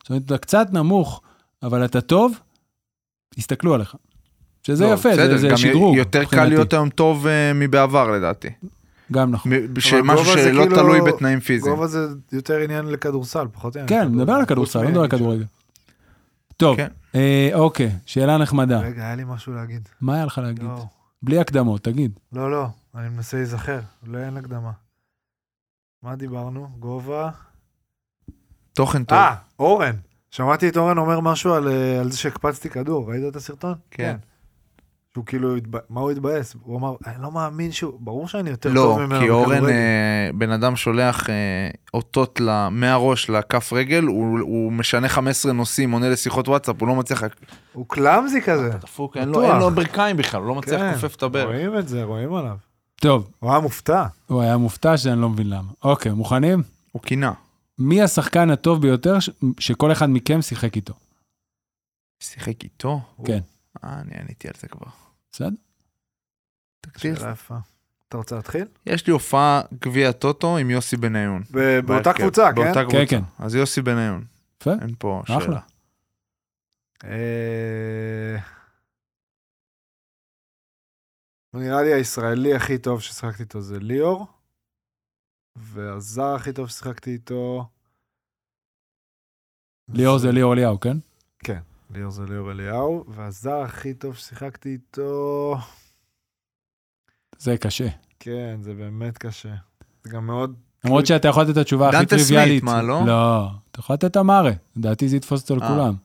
[SPEAKER 1] זאת אומרת, אתה קצת נמוך, אבל אתה טוב, יסתכלו עליך. שזה
[SPEAKER 4] לא,
[SPEAKER 1] יפה,
[SPEAKER 4] בסדר,
[SPEAKER 1] זה- זה
[SPEAKER 4] גם
[SPEAKER 1] שדרוג.
[SPEAKER 4] יותר קל
[SPEAKER 1] מבחינתי.
[SPEAKER 4] להיות היום טוב אה, מבעבר לדעתי.
[SPEAKER 1] גם נכון.
[SPEAKER 4] מ- שמשהו
[SPEAKER 3] גובה זה
[SPEAKER 4] שלא
[SPEAKER 3] כאילו-
[SPEAKER 4] תלוי בתנאים פיזיים.
[SPEAKER 3] גובה זה יותר עניין לכדורסל, פחות עניין.
[SPEAKER 1] כן, נדבר על הכדורסל, לא נדבר על כדורגל. טוב,
[SPEAKER 4] כן.
[SPEAKER 1] אה, אוקיי, שאלה נחמדה.
[SPEAKER 3] רגע, היה לי משהו להגיד.
[SPEAKER 1] מה היה לך להגיד?
[SPEAKER 3] לא,
[SPEAKER 1] בלי הקדמות, תגיד.
[SPEAKER 3] לא, לא, אני מנסה להיזכר, לא, אין הקדמה. מה דיברנו? גובה?
[SPEAKER 4] תוכן טוב.
[SPEAKER 3] אה, אורן. שמעתי את אורן אומר משהו על אה, על זה שהקפצתי כדור, ראית את הסרטון?
[SPEAKER 4] כן.
[SPEAKER 3] שהוא כאילו, התב- מה הוא התבאס? הוא אמר, אני לא מאמין שהוא, ברור שאני יותר
[SPEAKER 4] לא,
[SPEAKER 3] טוב ממנו.
[SPEAKER 4] כי אורן,
[SPEAKER 3] בכדורגל."
[SPEAKER 4] אה, בן אדם שולח אה, אותות ל- מהראש לכף רגל, הוא הוא משנה 15 נושאים, עונה לשיחות וואטסאפ, הוא לא מצליח...
[SPEAKER 3] הוא קלאמזי כזה.
[SPEAKER 4] דפוק,
[SPEAKER 3] אין לו- בטוח. אין לו
[SPEAKER 4] ברכיים בכלל, הוא לא
[SPEAKER 3] כן, רואים את זה, רואים עליו.
[SPEAKER 1] טוב,
[SPEAKER 3] הוא היה מופתע.
[SPEAKER 1] הוא היה מופתע שאני לא מבין למה. אוקיי, מוכנים?
[SPEAKER 4] הוא קינה.
[SPEAKER 1] מי השחקן הטוב ביותר ש... שכל אחד מכם שיחק איתו?
[SPEAKER 4] שיחק איתו?
[SPEAKER 1] כן.
[SPEAKER 4] אה, אני עניתי על זה כבר.
[SPEAKER 1] בסדר?
[SPEAKER 4] תקשיב,
[SPEAKER 3] שאלה יפה. אתה רוצה להתחיל?
[SPEAKER 4] יש לי הופעה גביע טוטו עם יוסי בניון.
[SPEAKER 3] ב- באותה
[SPEAKER 4] בהרכב.
[SPEAKER 3] קבוצה, כן?
[SPEAKER 4] באותה קבוצה.
[SPEAKER 1] כן.
[SPEAKER 4] אז יוסי בניון.
[SPEAKER 1] יפה.
[SPEAKER 4] אין פה
[SPEAKER 1] אחלה.
[SPEAKER 4] שאלה.
[SPEAKER 3] אה, נראה לי הישראלי הכי טוב ששיחקתי איתו זה ליאור, והזר הכי טוב ששיחקתי איתו...
[SPEAKER 1] ליאור זה ליאור אליהו, כן?
[SPEAKER 3] ליאור זה ליאור אליהו, והזר הכי טוב ששיחקתי איתו...
[SPEAKER 1] זה קשה.
[SPEAKER 3] כן, זה באמת קשה. זה גם מאוד...
[SPEAKER 1] למרות שאתה יכול לתת את התשובה הכי
[SPEAKER 4] דנטה סמית,
[SPEAKER 1] טריוויאלית.
[SPEAKER 4] מה, לא?
[SPEAKER 1] לא, אתה יכול לתת את המארה. לדעתי זה יתפוס אותו
[SPEAKER 4] אה.
[SPEAKER 1] לכולם.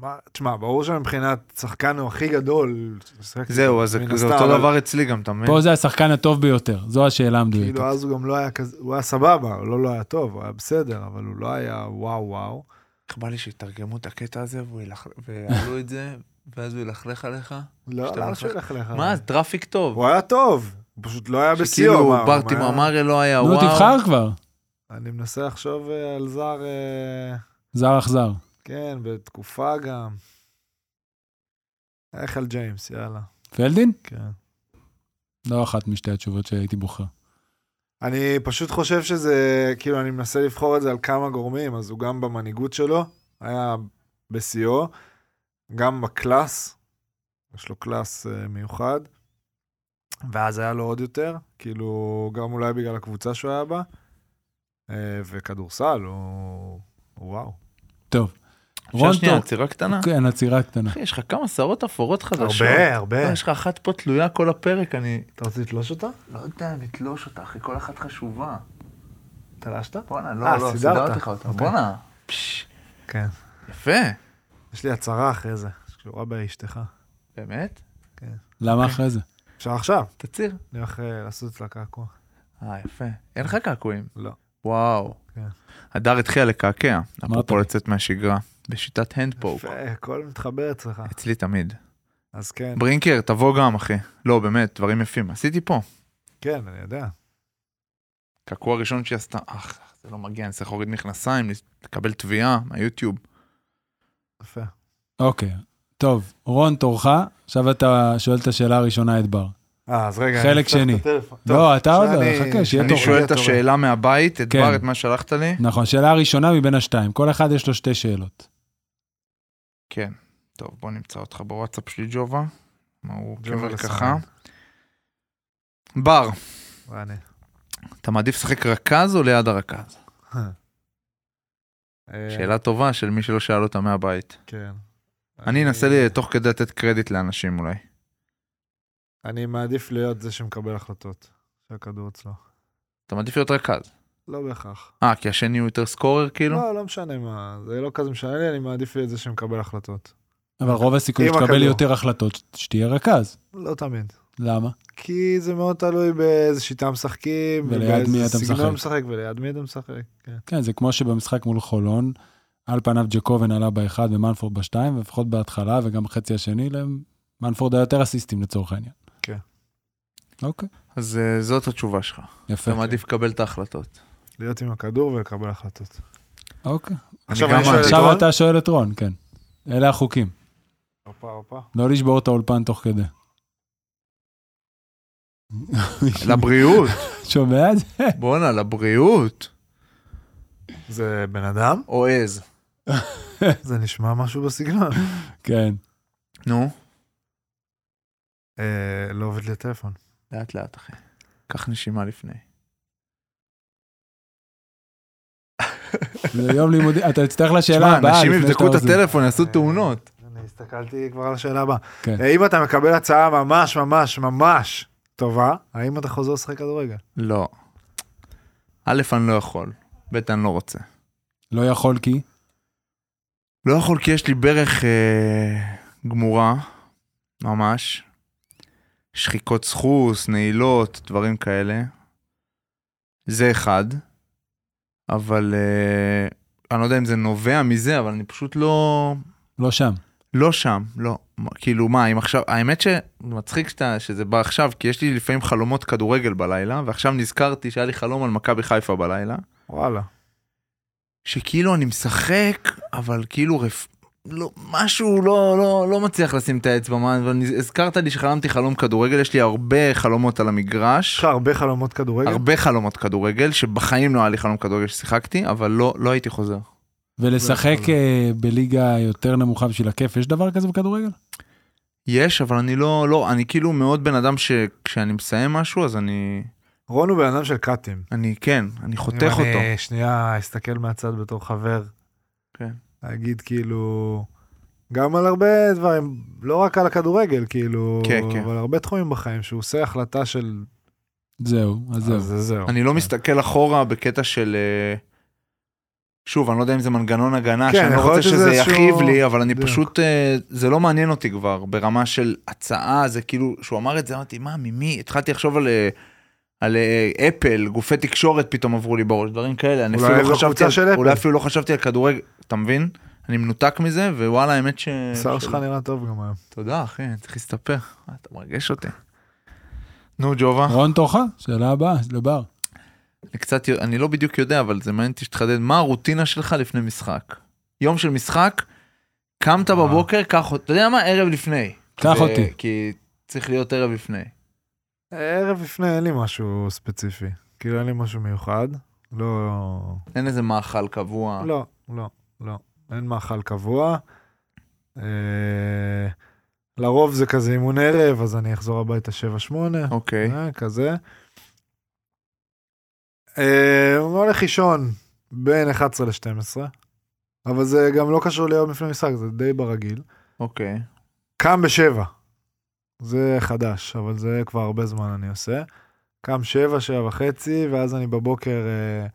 [SPEAKER 3] מה- תשמע, ברור שמבחינת שחקן הוא הכי גדול. ששיחקתי
[SPEAKER 4] זהו,
[SPEAKER 3] איתו,
[SPEAKER 4] אז זה
[SPEAKER 3] מן
[SPEAKER 4] זה
[SPEAKER 3] הסתם,
[SPEAKER 4] אותו
[SPEAKER 3] אבל
[SPEAKER 4] דבר אצלי גם, אתה מבין?
[SPEAKER 1] פה זה השחקן הטוב ביותר, זו השאלה המדויקת.
[SPEAKER 3] כאילו אז הוא גם לא היה כזה, הוא היה סבבה, הוא לא לא היה טוב, הוא היה בסדר, אבל הוא לא היה וואו וואו.
[SPEAKER 4] איך בא לי שיתרגמו את הקטע הזה והוא ילח- ויעלו את זה, ואז הוא ילכלך עליך?
[SPEAKER 3] לא,
[SPEAKER 4] שאתה
[SPEAKER 3] לא
[SPEAKER 4] מפחד.
[SPEAKER 3] שולח לך.
[SPEAKER 4] מה, זה טראפיק טוב.
[SPEAKER 3] הוא היה טוב, הוא פשוט לא היה בשיאו.
[SPEAKER 4] שכאילו
[SPEAKER 3] מה,
[SPEAKER 4] ברטי
[SPEAKER 3] מה היה-
[SPEAKER 4] ממארי לא היה
[SPEAKER 1] נו,
[SPEAKER 4] וואו.
[SPEAKER 1] תבחר כבר.
[SPEAKER 3] אני מנסה לחשוב אה, על זר, אה,
[SPEAKER 1] זר אכזר.
[SPEAKER 3] כן, בתקופה גם. איך על ג'יימס, יאללה,
[SPEAKER 1] פלדין?
[SPEAKER 3] כן.
[SPEAKER 1] לא אחת משתי התשובות שהייתי בוחר.
[SPEAKER 3] אני פשוט חושב שזה, כאילו, אני מנסה לבחור את זה על כמה גורמים, אז הוא גם במנהיגות שלו, היה בשיאו, גם בקלאס, יש לו קלאס אה, מיוחד, ואז היה לו עוד יותר, כאילו, גם אולי בגלל הקבוצה שהוא היה בה, אה, וכדורסל, הוא... וואו.
[SPEAKER 1] טוב.
[SPEAKER 4] אפשר
[SPEAKER 1] רון
[SPEAKER 4] שנייה,
[SPEAKER 1] טוב.
[SPEAKER 4] עצירה קטנה?
[SPEAKER 1] כן, עצירה קטנה.
[SPEAKER 4] אחי, יש לך כמה שערות אפורות חדשות.
[SPEAKER 3] הרבה, הרבה.
[SPEAKER 4] לא, יש לך אחת פה תלויה כל הפרק, אני...
[SPEAKER 3] אתה רוצה אה, לתלוש אותה?
[SPEAKER 4] לא יודע, לתלוש אותה, אחי, כל אחת חשובה.
[SPEAKER 3] תלשת?
[SPEAKER 4] בואנה,
[SPEAKER 3] אה,
[SPEAKER 4] לא, לא,
[SPEAKER 3] סידרת.
[SPEAKER 4] סידרתי לך אותה.
[SPEAKER 3] אוקיי.
[SPEAKER 4] בואנה. פש,
[SPEAKER 3] כן.
[SPEAKER 4] יפה.
[SPEAKER 3] יש לי הצהרה אחרי זה, שקשורה באשתך.
[SPEAKER 4] באמת?
[SPEAKER 1] למה אחרי זה?
[SPEAKER 3] אפשר עכשיו,
[SPEAKER 4] תצהיר.
[SPEAKER 3] אני הולך אה, לעשות אצלה קעקוע.
[SPEAKER 4] אה, יפה. אין לך קעקועים.
[SPEAKER 3] לא.
[SPEAKER 4] וואו.
[SPEAKER 3] כן.
[SPEAKER 4] הדר התחילה לקעקע, אפרופו
[SPEAKER 1] לי.
[SPEAKER 4] לצאת מהשגרה, בשיטת הנדפוק.
[SPEAKER 3] יפה, הכל מתחבר אצלך.
[SPEAKER 4] אצלי תמיד.
[SPEAKER 3] אז כן,
[SPEAKER 4] ברינקר, תבוא גם, אחי. לא, באמת, דברים יפים. עשיתי פה.
[SPEAKER 3] כן, אני יודע.
[SPEAKER 4] קעקוע ראשון שהיא עשתה, אך, זה לא מגיע, אני צריך להוריד מכנסיים, לקבל תביעה מהיוטיוב.
[SPEAKER 3] יפה.
[SPEAKER 1] אוקיי. טוב, רון, תורך. עכשיו אתה שואל את השאלה הראשונה את בר.
[SPEAKER 3] אה, אז רגע,
[SPEAKER 1] חלק
[SPEAKER 3] אני אפתח את
[SPEAKER 1] שני.
[SPEAKER 3] הטלפון. טוב,
[SPEAKER 1] לא, אתה עוד לא,
[SPEAKER 3] שאני-
[SPEAKER 1] חכה, שיהיה
[SPEAKER 4] אני
[SPEAKER 1] תורך.
[SPEAKER 4] שואל את
[SPEAKER 3] אה.
[SPEAKER 4] השאלה מהבית, את
[SPEAKER 1] כן.
[SPEAKER 4] בר, את מה שלחת לי.
[SPEAKER 1] נכון, שאלה הראשונה מבין השתיים. כל אחד יש לו שתי שאלות.
[SPEAKER 4] כן. טוב, בוא נמצא אותך בוואטסאפ שלי, ג'ובה. מה הוא
[SPEAKER 3] ג'ובה
[SPEAKER 4] גבר
[SPEAKER 3] לסמן.
[SPEAKER 4] ככה. בר,
[SPEAKER 3] אני.
[SPEAKER 4] אתה מעדיף לשחק רכז או ליד הרכז?
[SPEAKER 3] אה,
[SPEAKER 4] שאלה טובה של מי שלא שאל אותה מהבית.
[SPEAKER 3] כן.
[SPEAKER 4] אני אנסה לי תוך כדי לתת קרדיט לאנשים אולי.
[SPEAKER 3] אני מעדיף להיות זה שמקבל החלטות. שהכדור אצלו.
[SPEAKER 4] אתה מעדיף להיות רכז.
[SPEAKER 3] לא בהכרח.
[SPEAKER 4] אה, כי השני הוא יותר סקורר כאילו?
[SPEAKER 3] לא, לא משנה מה, זה לא כזה משנה לי, אני מעדיף להיות זה שמקבל החלטות.
[SPEAKER 1] אבל רוב הסיכוי
[SPEAKER 3] עם
[SPEAKER 1] שתקבל
[SPEAKER 3] הכדור.
[SPEAKER 1] יותר החלטות, ש- שתהיה רכז.
[SPEAKER 3] לא תמיד.
[SPEAKER 1] למה?
[SPEAKER 3] כי זה מאוד תלוי באיזה שיטה משחקים,
[SPEAKER 1] וליד
[SPEAKER 3] ובאיזה
[SPEAKER 1] מי אתה
[SPEAKER 3] סגנון
[SPEAKER 1] משחק.
[SPEAKER 3] משחק וליד מי אתה משחק. כן.
[SPEAKER 1] כן, זה כמו שבמשחק מול חולון, על פניו ג'קובן עלה באחד ומנפורד בשתיים, ולפחות בהתחלה וגם בחצי השני, למנפורד היה יותר אסיסטים לצורך העניין.
[SPEAKER 3] כן.
[SPEAKER 1] אוקיי,
[SPEAKER 4] אז אה, זאת התשובה שלך.
[SPEAKER 1] יפה.
[SPEAKER 4] אתה מעדיף לקבל את ההחלטות.
[SPEAKER 3] להיות עם הכדור ולקבל החלטות.
[SPEAKER 1] אוקיי.
[SPEAKER 3] עכשיו
[SPEAKER 4] גם
[SPEAKER 3] אני שואל את
[SPEAKER 4] עכשיו
[SPEAKER 1] עכשיו
[SPEAKER 3] רון.
[SPEAKER 1] אתה שואל את רון, כן. אלה החוקים.
[SPEAKER 3] הופה, הופה.
[SPEAKER 1] לא לשבור את האולפן תוך כדי.
[SPEAKER 4] לבריאות.
[SPEAKER 1] שומע את זה?
[SPEAKER 4] בואנה, לבריאות.
[SPEAKER 3] זה בן אדם?
[SPEAKER 4] או עז.
[SPEAKER 3] זה נשמע משהו בסגנון.
[SPEAKER 1] כן.
[SPEAKER 4] נו.
[SPEAKER 3] אה, לא עובד לי הטלפון.
[SPEAKER 4] לאט לאט אחי. קח נשימה לפני.
[SPEAKER 1] זה יום לימודי, אתה תצטרך לשאלה
[SPEAKER 4] תשמע,
[SPEAKER 1] הבאה.
[SPEAKER 4] אנשים
[SPEAKER 1] לפני
[SPEAKER 4] יבדקו
[SPEAKER 1] שאתה
[SPEAKER 4] את
[SPEAKER 1] עוזב.
[SPEAKER 4] הטלפון, יעשו תאונות.
[SPEAKER 3] אני הסתכלתי כבר על השאלה הבאה.
[SPEAKER 1] כן.
[SPEAKER 3] אה, אם אתה מקבל הצעה ממש ממש ממש טובה, האם אתה חוזר לשחק כדורגל?
[SPEAKER 4] לא. א', אני לא יכול. ב', אני לא רוצה.
[SPEAKER 1] לא יכול כי?
[SPEAKER 4] לא יכול כי יש לי ברך אה, גמורה, ממש, שחיקות סחוס, נעילות, דברים כאלה. זה אחד. אבל אה, אני לא יודע אם זה נובע מזה, אבל אני פשוט לא...
[SPEAKER 1] לא שם.
[SPEAKER 4] לא שם, לא. מה, כאילו, מה, אם עכשיו... האמת שמצחיק שאתה, שזה בא עכשיו, כי יש לי לפעמים חלומות כדורגל בלילה, ועכשיו נזכרתי שהיה לי חלום על מכבי חיפה בלילה.
[SPEAKER 3] וואלה.
[SPEAKER 4] שכאילו אני משחק, אבל כאילו רפ... לא, משהו לא, לא, לא מצליח לשים את האצבע, מה, אבל אני- הזכרת לי שחלמתי חלום כדורגל, יש לי הרבה חלומות על
[SPEAKER 3] יש
[SPEAKER 4] המגרש,
[SPEAKER 3] לך הרבה חלומות כדורגל?
[SPEAKER 4] הרבה חלומות כדורגל, שבחיים לא היה לי חלום כדורגל ששיחקתי, אבל לא, לא הייתי חוזר.
[SPEAKER 1] ולשחק
[SPEAKER 3] לא, לא.
[SPEAKER 1] אה, בליגה יותר נמוכה בשביל הכיף, יש דבר כזה בכדורגל?
[SPEAKER 4] יש, אבל אני לא, לא, אני כאילו מאוד בן אדם שכשאני מסיים משהו, אז אני,
[SPEAKER 3] רון הוא בן אדם של קאטים.
[SPEAKER 4] אני כן, אני
[SPEAKER 3] אם
[SPEAKER 4] חותך
[SPEAKER 3] אני אה,
[SPEAKER 4] אותו.
[SPEAKER 3] שנייה אסתכל מהצד בתור חבר.
[SPEAKER 4] כן.
[SPEAKER 3] להגיד כאילו, גם על הרבה דברים, לא רק על הכדורגל, כאילו,
[SPEAKER 4] כן, כן.
[SPEAKER 3] אבל הרבה תחומים בחיים שהוא עושה החלטה של...
[SPEAKER 1] זהו, אז זהו.
[SPEAKER 3] אז זה זהו. כן.
[SPEAKER 4] אני לא מסתכל אחורה בקטע של... אה, שוב, אני לא יודע אם זה מנגנון הגנה,
[SPEAKER 3] כן,
[SPEAKER 4] שאני לא
[SPEAKER 3] יכול
[SPEAKER 4] רוצה
[SPEAKER 3] להיות
[SPEAKER 4] שזה
[SPEAKER 3] שזה
[SPEAKER 4] יכאיב
[SPEAKER 3] איזשהו-
[SPEAKER 4] לי, אבל אני
[SPEAKER 3] בדיוק.
[SPEAKER 4] פשוט, אה, זה לא מעניין אותי כבר, ברמה של הצעה, זה כאילו, כשהוא אמר את זה, אמרתי, מה, ממי? התחלתי לחשוב על, אה, על אה, אפל, גופי תקשורת פתאום עברו לי בראש, דברים כאלה. אני
[SPEAKER 3] אולי
[SPEAKER 4] אפילו
[SPEAKER 3] זו
[SPEAKER 4] לא חשבתי
[SPEAKER 3] קבוצה
[SPEAKER 4] על,
[SPEAKER 3] של אפל.
[SPEAKER 4] אולי אפילו לא חשבתי על כדורגל, אתה מבין? אני מנותק מזה, ווואלה, האמת ש...
[SPEAKER 3] השיער
[SPEAKER 4] של-
[SPEAKER 3] שלך נראה טוב גם היום.
[SPEAKER 4] תודה, אחי, אני צריך להסתפח. אה, אתה מרגש אותי. נו, ג'ובה.
[SPEAKER 1] רון תורך? שאלה הבאה, לבר.
[SPEAKER 4] אני קצת, אני לא בדיוק יודע, אבל זה מעניין אותי שתחדד, מה הרוטינה שלך לפני משחק? יום של משחק, קמת
[SPEAKER 3] אה.
[SPEAKER 4] בבוקר, קח אותי, אתה יודע מה? ערב לפני.
[SPEAKER 1] קח
[SPEAKER 4] זה-
[SPEAKER 1] אותי.
[SPEAKER 4] כי צריך להיות ערב לפני.
[SPEAKER 3] ערב לפני אין לי משהו ספציפי. כאילו אין לי משהו מיוחד. לא...
[SPEAKER 4] אין איזה מאכל קבוע.
[SPEAKER 3] לא, לא, לא. אין מאכל קבוע. אה, לרוב זה כזה אימון ערב, אז אני אחזור הביתה 7-8,
[SPEAKER 4] אוקיי.
[SPEAKER 3] אה, כזה. אה, הוא הולך לישון בין 11 ל-12, אבל זה גם לא קשור ליום לפני משחק, זה די ברגיל.
[SPEAKER 4] אוקיי.
[SPEAKER 3] קם בשבע. זה חדש, אבל זה כבר הרבה זמן אני עושה. קם שבע, שבע וחצי, ואז אני בבוקר אה,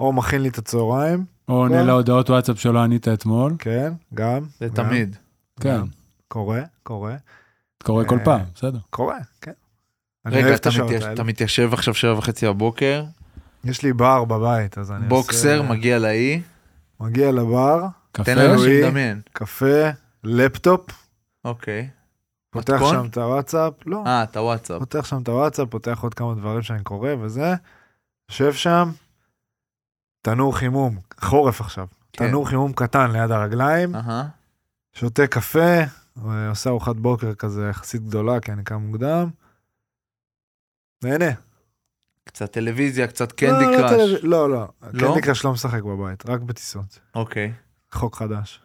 [SPEAKER 3] או מכין לי את הצהריים,
[SPEAKER 1] או עונה
[SPEAKER 3] כן.
[SPEAKER 1] להודעות וואטסאפ שלא ענית אתמול.
[SPEAKER 3] כן, גם.
[SPEAKER 4] זה
[SPEAKER 3] גם,
[SPEAKER 4] תמיד.
[SPEAKER 1] כן,
[SPEAKER 3] גם. קורה, קורה.
[SPEAKER 1] קורה כל
[SPEAKER 3] אה,
[SPEAKER 1] פעם, בסדר.
[SPEAKER 3] קורה, כן. אני
[SPEAKER 4] רגע,
[SPEAKER 3] אוהב את
[SPEAKER 4] אתה
[SPEAKER 3] השעות
[SPEAKER 4] מתייש-
[SPEAKER 3] האלה.
[SPEAKER 4] אתה מתיישב עכשיו שבע וחצי בבוקר,
[SPEAKER 3] יש לי בר בבית, אז אני
[SPEAKER 4] בוקסר,
[SPEAKER 3] עושה...
[SPEAKER 4] מגיע לאי,
[SPEAKER 3] מגיע לבר,
[SPEAKER 1] קפה?
[SPEAKER 4] תן לנו
[SPEAKER 3] אלוהי.
[SPEAKER 4] לדמיין.
[SPEAKER 3] קפה, לפטופ,
[SPEAKER 4] אוקיי.
[SPEAKER 3] פותח
[SPEAKER 4] מתכון?
[SPEAKER 3] שם את הוואטסאפ, לא,
[SPEAKER 4] אה, אתה וואטסאפ.
[SPEAKER 3] פותח שם את הוואטסאפ, פותח עוד כמה דברים שאני קורא וזה, יושב שם, תנור חימום, חורף עכשיו,
[SPEAKER 4] כן. אה.
[SPEAKER 3] תנור חימום קטן ליד הרגליים,
[SPEAKER 4] אהה.
[SPEAKER 3] שותה קפה, אה, עושה ארוחת בוקר כזה יחסית גדולה, כי אני קם מוקדם. נהנה.
[SPEAKER 4] קצת טלוויזיה, קצת
[SPEAKER 3] לא,
[SPEAKER 4] קנדי
[SPEAKER 3] לא
[SPEAKER 4] קראש.
[SPEAKER 3] טלוויז- לא, לא.
[SPEAKER 4] לא?
[SPEAKER 3] קנדי קראש לא משחק בבית, רק בטיסות.
[SPEAKER 4] אוקיי.
[SPEAKER 3] חוק חדש.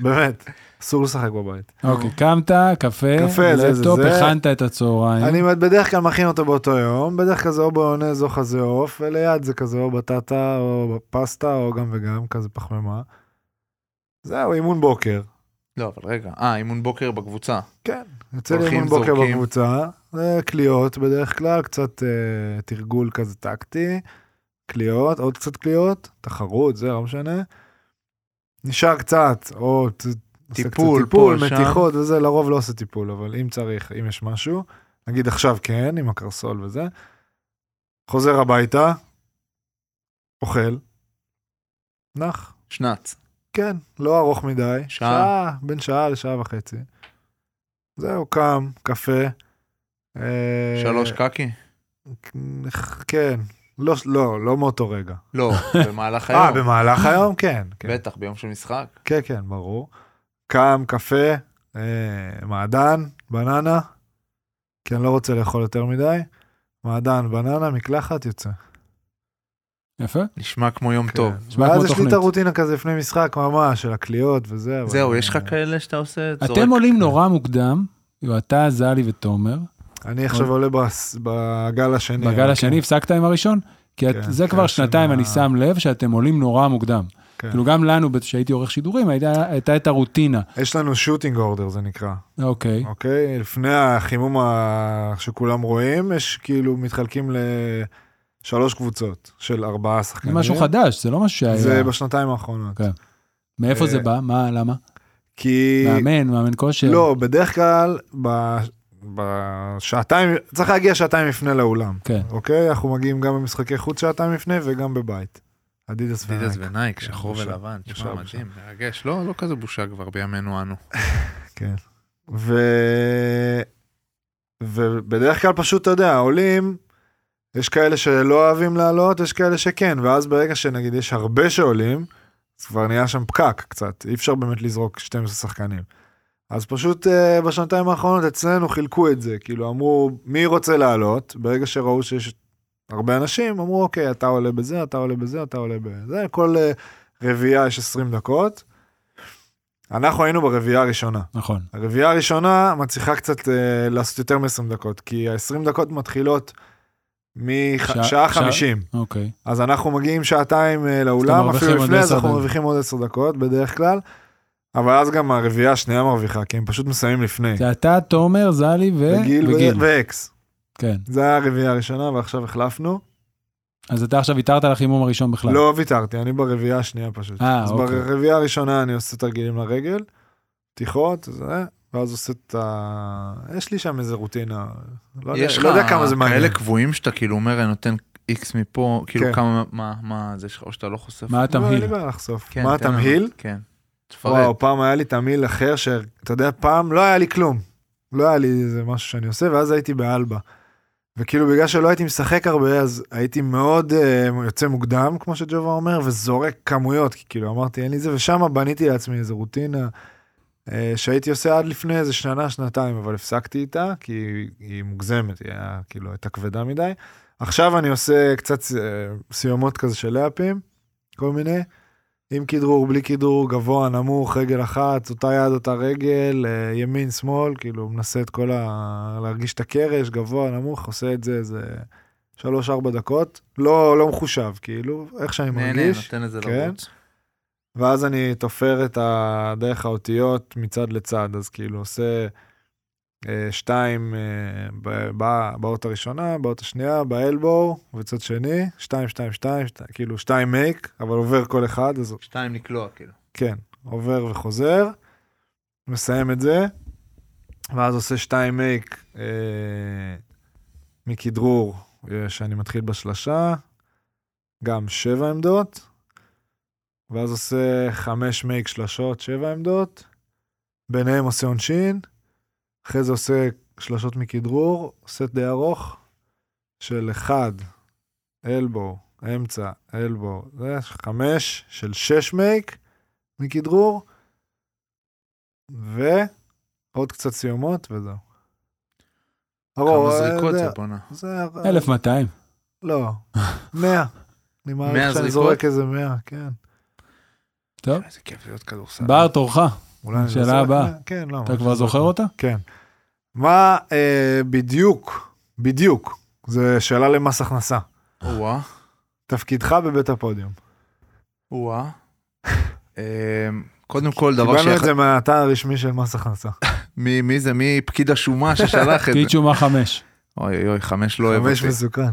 [SPEAKER 3] באמת, אסור לשחק בבית.
[SPEAKER 1] אוקיי, קמת, קפה,
[SPEAKER 3] קפה, זה, זה,
[SPEAKER 1] לפטופ,
[SPEAKER 3] זה.
[SPEAKER 1] הכנת את הצהריים.
[SPEAKER 4] אה?
[SPEAKER 3] אני בדרך כלל מכין אותו באותו יום, בדרך כלל זה או באונז או חזה עוף, וליד זה כזה או בטטה או פסטה או גם וגם, כזה פחמימה. זהו, אימון בוקר.
[SPEAKER 4] לא, אבל רגע. אה, אימון בוקר בקבוצה.
[SPEAKER 3] כן, יוצא לי
[SPEAKER 4] הולכים,
[SPEAKER 3] אימון בוקר
[SPEAKER 4] זורקים.
[SPEAKER 3] בקבוצה, זה קליעות בדרך כלל, קצת אה, תרגול כזה טקטי, קליעות, עוד קצת קליעות, תחרות, זה לא משנה. נשאר קצת, או ת- עושה קצת
[SPEAKER 4] טיפול,
[SPEAKER 3] טיפול
[SPEAKER 4] פה, שם.
[SPEAKER 3] מתיחות וזה, לרוב לא עושה טיפול, אבל אם צריך, אם יש משהו, נגיד עכשיו כן, עם הקרסול וזה, חוזר הביתה, אוכל, נח,
[SPEAKER 4] שנץ.
[SPEAKER 3] כן, לא ארוך מדי.
[SPEAKER 4] שעה.
[SPEAKER 3] שעה, בין שעה לשעה וחצי. זהו, קם, קפה. אה,
[SPEAKER 4] שלוש קקי?
[SPEAKER 3] כן. לא, לא, לא מאותו רגע.
[SPEAKER 4] לא, במהלך
[SPEAKER 3] אה,
[SPEAKER 4] היום.
[SPEAKER 3] במהלך היום? כן, כן,
[SPEAKER 4] בטח, ביום של משחק.
[SPEAKER 3] כן, כן, ברור. קם, קפה, אה, מעדן, בננה, כי אני לא רוצה לאכול יותר מדי. מעדן, בננה, מקלחת, יוצא.
[SPEAKER 1] יפה.
[SPEAKER 4] נשמע כמו יום
[SPEAKER 3] כן.
[SPEAKER 4] טוב.
[SPEAKER 1] נשמע כמו
[SPEAKER 3] ואז יש לי
[SPEAKER 1] תוכנית.
[SPEAKER 3] את הרוטינה כזה לפני משחק ממש, של הקליעות וזה. אבל-
[SPEAKER 4] זהו, יש לך כאלה שאתה עושה?
[SPEAKER 1] אתם עולים נורא מוקדם, אתה, זלי ותומר.
[SPEAKER 3] אני עכשיו עולה בס- בגל השני.
[SPEAKER 1] בגל
[SPEAKER 3] אבל
[SPEAKER 1] השני הפסקת עם הראשון? כי את-
[SPEAKER 3] אוקיי. כן,
[SPEAKER 1] זה
[SPEAKER 3] כן,
[SPEAKER 1] כבר שנתיים
[SPEAKER 3] שמה-
[SPEAKER 1] אני שם לב שאתם עולים נורא מוקדם.
[SPEAKER 3] כן.
[SPEAKER 1] כאילו גם לנו, כשהייתי עורך שידורים, הייתה- הייתה את הרוטינה.
[SPEAKER 3] יש לנו שוטינג אורדר זה נקרא,
[SPEAKER 1] אוקיי.
[SPEAKER 3] אוקיי? לפני החימום ה- שכולם רואים, יש כאילו מתחלקים לשלוש קבוצות של ארבעה
[SPEAKER 1] זה
[SPEAKER 3] שחקנים.
[SPEAKER 1] משהו חדש, זה לא משהו
[SPEAKER 3] אוקיי. זה
[SPEAKER 1] שהיה.
[SPEAKER 3] בשנתיים האחרונות.
[SPEAKER 1] כן. מאיפה זה
[SPEAKER 3] אה,
[SPEAKER 1] בא? מה, למה?
[SPEAKER 3] כי...
[SPEAKER 1] מאמן, מאמן כושר.
[SPEAKER 3] לא, בדרך כלל, ב... בשעתיים, צריך להגיע שעתיים לפני לאולם.
[SPEAKER 1] כן.
[SPEAKER 3] אוקיי? אנחנו מגיעים גם במשחקי חוץ שעתיים לפני וגם בבית. אדידס
[SPEAKER 4] דידס
[SPEAKER 3] ונייק.
[SPEAKER 4] ונייק, שחור
[SPEAKER 3] אה, כן, בושה.
[SPEAKER 4] ולבן,
[SPEAKER 3] בושה,
[SPEAKER 4] תשמע
[SPEAKER 3] בושה.
[SPEAKER 4] מדהים, מרגש, לא לא כזה בושה כבר בימינו אנו.
[SPEAKER 3] כן. ו... ובדרך כלל פשוט, אתה יודע, עולים, יש כאלה שלא אוהבים לעלות, יש כאלה שכן, ואז ברגע שנגיד יש הרבה שעולים, אז כבר נהיה שם פקק קצת, אי אפשר באמת לזרוק 12 שחקנים. אז פשוט אה, בשנתיים האחרונות אצלנו חילקו את זה, כאילו אמרו, מי רוצה לעלות? ברגע שראו שיש הרבה אנשים, אמרו, אוקיי, אתה עולה בזה, אתה עולה בזה, אתה עולה בזה, כל אה, רביעייה יש 20 דקות. אנחנו היינו ברביעייה הראשונה.
[SPEAKER 1] נכון.
[SPEAKER 3] הרביעייה הראשונה מצליחה קצת אה, לעשות יותר מ-20 דקות, כי ה-20 דקות מתחילות
[SPEAKER 1] שעה-
[SPEAKER 3] משעה
[SPEAKER 1] שעה?
[SPEAKER 3] 50.
[SPEAKER 1] אוקיי.
[SPEAKER 3] אז אנחנו מגיעים שעתיים אה,
[SPEAKER 1] אז אתם
[SPEAKER 3] לאולם,
[SPEAKER 1] מרוויחים
[SPEAKER 3] אפילו
[SPEAKER 1] עוד
[SPEAKER 3] לפני, אז
[SPEAKER 1] עשר
[SPEAKER 3] אנחנו
[SPEAKER 1] דקות.
[SPEAKER 3] מרוויחים עוד 10 דקות בדרך כלל, אבל אז גם הרביעייה השנייה מרוויחה, כי הם פשוט מסיימים לפני.
[SPEAKER 1] זה אתה, תומר, זלי ו...
[SPEAKER 3] וגיל ו- ואקס.
[SPEAKER 1] כן.
[SPEAKER 3] זה היה הרביעייה הראשונה, ועכשיו החלפנו.
[SPEAKER 1] אז אתה עכשיו ויתרת על החימום הראשון בכלל.
[SPEAKER 3] לא ויתרתי, אני ברביעייה השנייה פשוט.
[SPEAKER 1] אה,
[SPEAKER 3] אז
[SPEAKER 1] אוקיי.
[SPEAKER 3] ברביעייה הראשונה אני עושה תרגילים לרגל, פתיחות, זה, ואז עושה את ה... יש לי שם איזה רוטינה, לא יודע-
[SPEAKER 4] יש
[SPEAKER 3] לא יודע
[SPEAKER 4] לך
[SPEAKER 3] כמה זה מעניין.
[SPEAKER 4] כאלה קבועים שאתה כאילו אומר, אני נותן איקס מפה, כאילו
[SPEAKER 3] כן.
[SPEAKER 4] כמה, מה, מה, זה שלך, או שאתה לא חושף.
[SPEAKER 1] מה
[SPEAKER 3] לא, אין
[SPEAKER 1] התמהיל?
[SPEAKER 3] לי בעיה לחשוף.
[SPEAKER 4] כן,
[SPEAKER 3] מה
[SPEAKER 4] תן לנו.
[SPEAKER 3] התמהיל?
[SPEAKER 4] כן. תפרט.
[SPEAKER 3] וואו, פעם היה לי תמהיל אחר, שאתה יודע, פעם לא היה לי כלום. לא היה לי איזה משהו שאני עושה, ואז הייתי באלבה. וכאילו בגלל שלא הייתי משחק הרבה, אז הייתי מאוד אה, יוצא מוקדם, כמו שג'ובה אומר, וזורק כמויות, כי כאילו אמרתי, אין לי זה, ושם בניתי לעצמי איזה רוטינה אה, שהייתי עושה עד לפני איזה שנה, שנתיים, אבל הפסקתי איתה, כי היא, היא מוגזמת, היא היה, כאילו הייתה כבדה מדי. עכשיו אני עושה קצת אה, סיומות כזה של לאפים, כל מיני, עם כדרור, בלי כדרור, גבוה, נמוך, רגל אחת, אותה יד, אותה רגל, אה, ימין, שמאל, כאילו מנסה את כל ה... להרגיש את הקרש, גבוה, נמוך, עושה את זה איזה שלוש, ארבע דקות, לא, לא מחושב, כאילו, איך שאני מרגיש.
[SPEAKER 4] נהנה, נותן לזה
[SPEAKER 3] כן.
[SPEAKER 4] לרוץ.
[SPEAKER 3] ואז אני תופר את ה... דרך האותיות מצד לצד, אז כאילו עושה אה, שתיים אה, ב- ב- באות הראשונה, באות השנייה, באלבור, וצד שני, שתיים, שתיים, שתיים, שתי, כאילו שתיים מייק, אבל עובר כל אחד, אז
[SPEAKER 4] שתיים לקלוע, כאילו.
[SPEAKER 3] כן, עובר וחוזר, מסיים את זה, ואז עושה שתיים מייק אה, מכדרור, אה, שאני מתחיל בשלשה, גם שבע עמדות, ואז עושה חמש מייק שלשות, שבע עמדות, ביניהם עושה עונשין, אחרי זה עושה שלשות מכדרור, סט די ארוך של אחד, אלבו, אמצע, אלבו, זה חמש של שש מייק, מכדרור, ועוד קצת סיומות וזהו.
[SPEAKER 4] כמה
[SPEAKER 3] הרוב,
[SPEAKER 4] זריקות זה,
[SPEAKER 3] אה, זה-
[SPEAKER 4] בואנה.
[SPEAKER 3] זה...
[SPEAKER 1] 1,200.
[SPEAKER 3] לא, 100. אני
[SPEAKER 4] מאה
[SPEAKER 3] מעריך שאני
[SPEAKER 4] זריקות?
[SPEAKER 3] זורק איזה 100, כן.
[SPEAKER 1] טוב.
[SPEAKER 4] איזה כיף להיות כדורסל.
[SPEAKER 1] בר, תורך.
[SPEAKER 3] אולי אני
[SPEAKER 1] שאלה
[SPEAKER 3] זורק
[SPEAKER 1] הבאה.
[SPEAKER 3] 100, כן, לא.
[SPEAKER 1] אתה כבר זוכר אותה?
[SPEAKER 3] כן. מה אה, בדיוק, בדיוק, זו שאלה למס הכנסה.
[SPEAKER 4] וואה,
[SPEAKER 3] תפקידך בבית הפודיום.
[SPEAKER 4] וואה. אמ, קודם כל, דבר
[SPEAKER 3] קיבלנו את
[SPEAKER 4] ש...
[SPEAKER 3] זה מהאתר הרשמי של מס הכנסה.
[SPEAKER 4] מי מי זה? מי פקיד השומה ששלח את זה?
[SPEAKER 1] קיצ'ומה 5.
[SPEAKER 4] אוי אוי אוי, חמש לא אוהב
[SPEAKER 3] חמש
[SPEAKER 4] אותי.
[SPEAKER 3] מסוכן.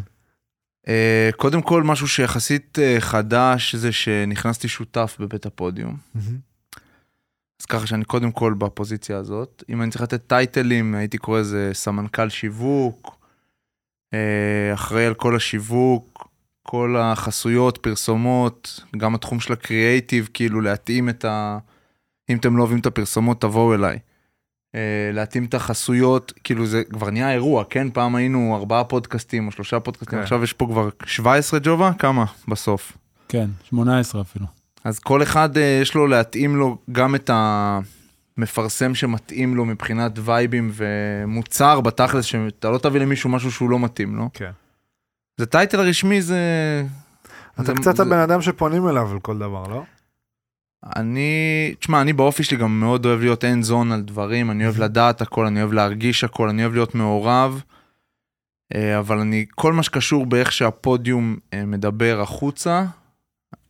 [SPEAKER 4] אה, קודם כל, משהו שיחסית אה, חדש זה שנכנסתי שותף בבית הפודיום.
[SPEAKER 3] מהמם.
[SPEAKER 4] אז ככה שאני קודם כל בפוזיציה הזאת. אם אני צריך לתת טייטלים, הייתי קורא לזה סמנכ"ל שיווק, אה, אחראי על כל השיווק, כל החסויות, פרסומות, גם התחום של הקריאייטיב, כאילו להתאים את ה... אם אתם לא אוהבים את הפרסומות, תבואו אליי. אה, להתאים את החסויות, כאילו זה כבר נהיה אירוע, כן? פעם היינו ארבעה פודקאסטים או שלושה פודקאסטים,
[SPEAKER 3] כן.
[SPEAKER 4] עכשיו יש פה כבר 17 ג'ובה? כמה? בסוף.
[SPEAKER 1] כן, 18 אפילו.
[SPEAKER 4] אז כל אחד אה, יש לו להתאים לו גם את המפרסם שמתאים לו מבחינת וייבים ומוצר בתכלס, שאתה לא תביא למישהו משהו שהוא לא מתאים לו.
[SPEAKER 3] כן.
[SPEAKER 4] זה טייטל רשמי, זה...
[SPEAKER 3] Mm-hmm. אתה
[SPEAKER 4] זה-
[SPEAKER 3] קצת
[SPEAKER 4] זה-
[SPEAKER 3] הבן אדם שפונים אליו על כל דבר, לא?
[SPEAKER 4] אני, תשמע, אני באופי שלי גם מאוד אוהב להיות אין זון על דברים, אני אוהב לדעת הכל, אני אוהב להרגיש הכל, אני אוהב להיות מעורב, אה, אבל אני, כל מה שקשור באיך שהפודיום אה, מדבר החוצה,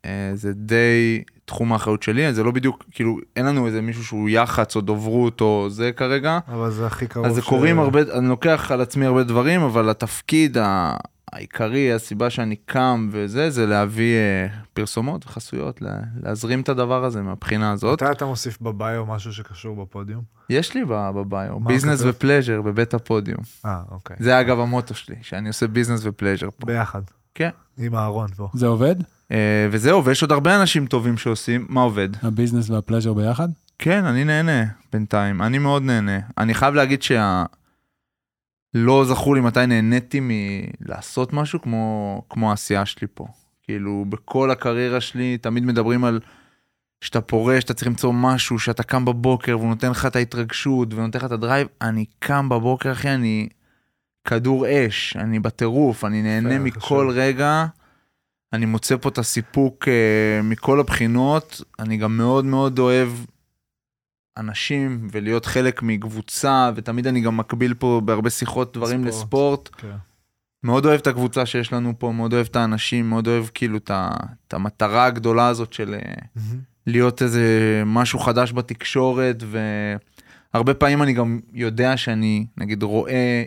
[SPEAKER 4] אה, זה די תחום האחריות שלי, אז זה לא בדיוק, כאילו, אין לנו איזה מישהו שהוא יח"צ או דוברות או זה כרגע,
[SPEAKER 3] אבל זה הכי קרוב.
[SPEAKER 4] אז זה
[SPEAKER 3] ש-
[SPEAKER 4] קורים הרבה, אני לוקח על עצמי הרבה דברים, אבל התפקיד ה- העיקרי, הסיבה שאני קם וזה, זה להביא אה, פרסומות וחסויות, לה- להזרים את הדבר הזה מהבחינה הזאת.
[SPEAKER 3] מתי אתה מוסיף בביו משהו שקשור בפודיום?
[SPEAKER 4] יש לי ב- בביו,
[SPEAKER 3] מה
[SPEAKER 4] ביזנס
[SPEAKER 3] כתוב?
[SPEAKER 4] ופלז'ר בבית הפודיום.
[SPEAKER 3] אה, אוקיי.
[SPEAKER 4] זה אגב המוטו שלי, שאני עושה ביזנס ופלז'ר פה.
[SPEAKER 3] ביחד.
[SPEAKER 4] כן.
[SPEAKER 3] עם אהרון פה.
[SPEAKER 1] זה עובד?
[SPEAKER 4] אה, וזהו, ויש עוד הרבה אנשים טובים שעושים, מה עובד?
[SPEAKER 1] הביזנס והפלז'ר ביחד?
[SPEAKER 4] כן, אני נהנה בינתיים, אני מאוד נהנה. אני חייב להגיד שה... לא זכור לי מתי נהניתי מלעשות משהו כמו, כמו העשייה שלי פה. כאילו, בכל הקריירה שלי תמיד מדברים על שאתה פורש, אתה צריך למצוא משהו, שאתה קם בבוקר והוא נותן לך את ההתרגשות ונותן לך את הדרייב. אני קם בבוקר, אחי, אני כדור אש, אני בטירוף, אני נהנה
[SPEAKER 3] יפה,
[SPEAKER 4] מכל
[SPEAKER 3] חשוב.
[SPEAKER 4] רגע. אני מוצא פה את הסיפוק אה, מכל הבחינות. אני גם מאוד מאוד אוהב אנשים ולהיות חלק מקבוצה, ותמיד אני גם מקביל פה בהרבה שיחות דברים
[SPEAKER 3] ספורט.
[SPEAKER 4] ספורט. לספורט.
[SPEAKER 3] כן.
[SPEAKER 4] מאוד אוהב את הקבוצה שיש לנו פה, מאוד אוהב את האנשים, מאוד אוהב כאילו את ה- את המטרה הגדולה הזאת של אה, להיות איזה משהו חדש בתקשורת, והרבה פעמים אני גם יודע שאני, נגיד, רואה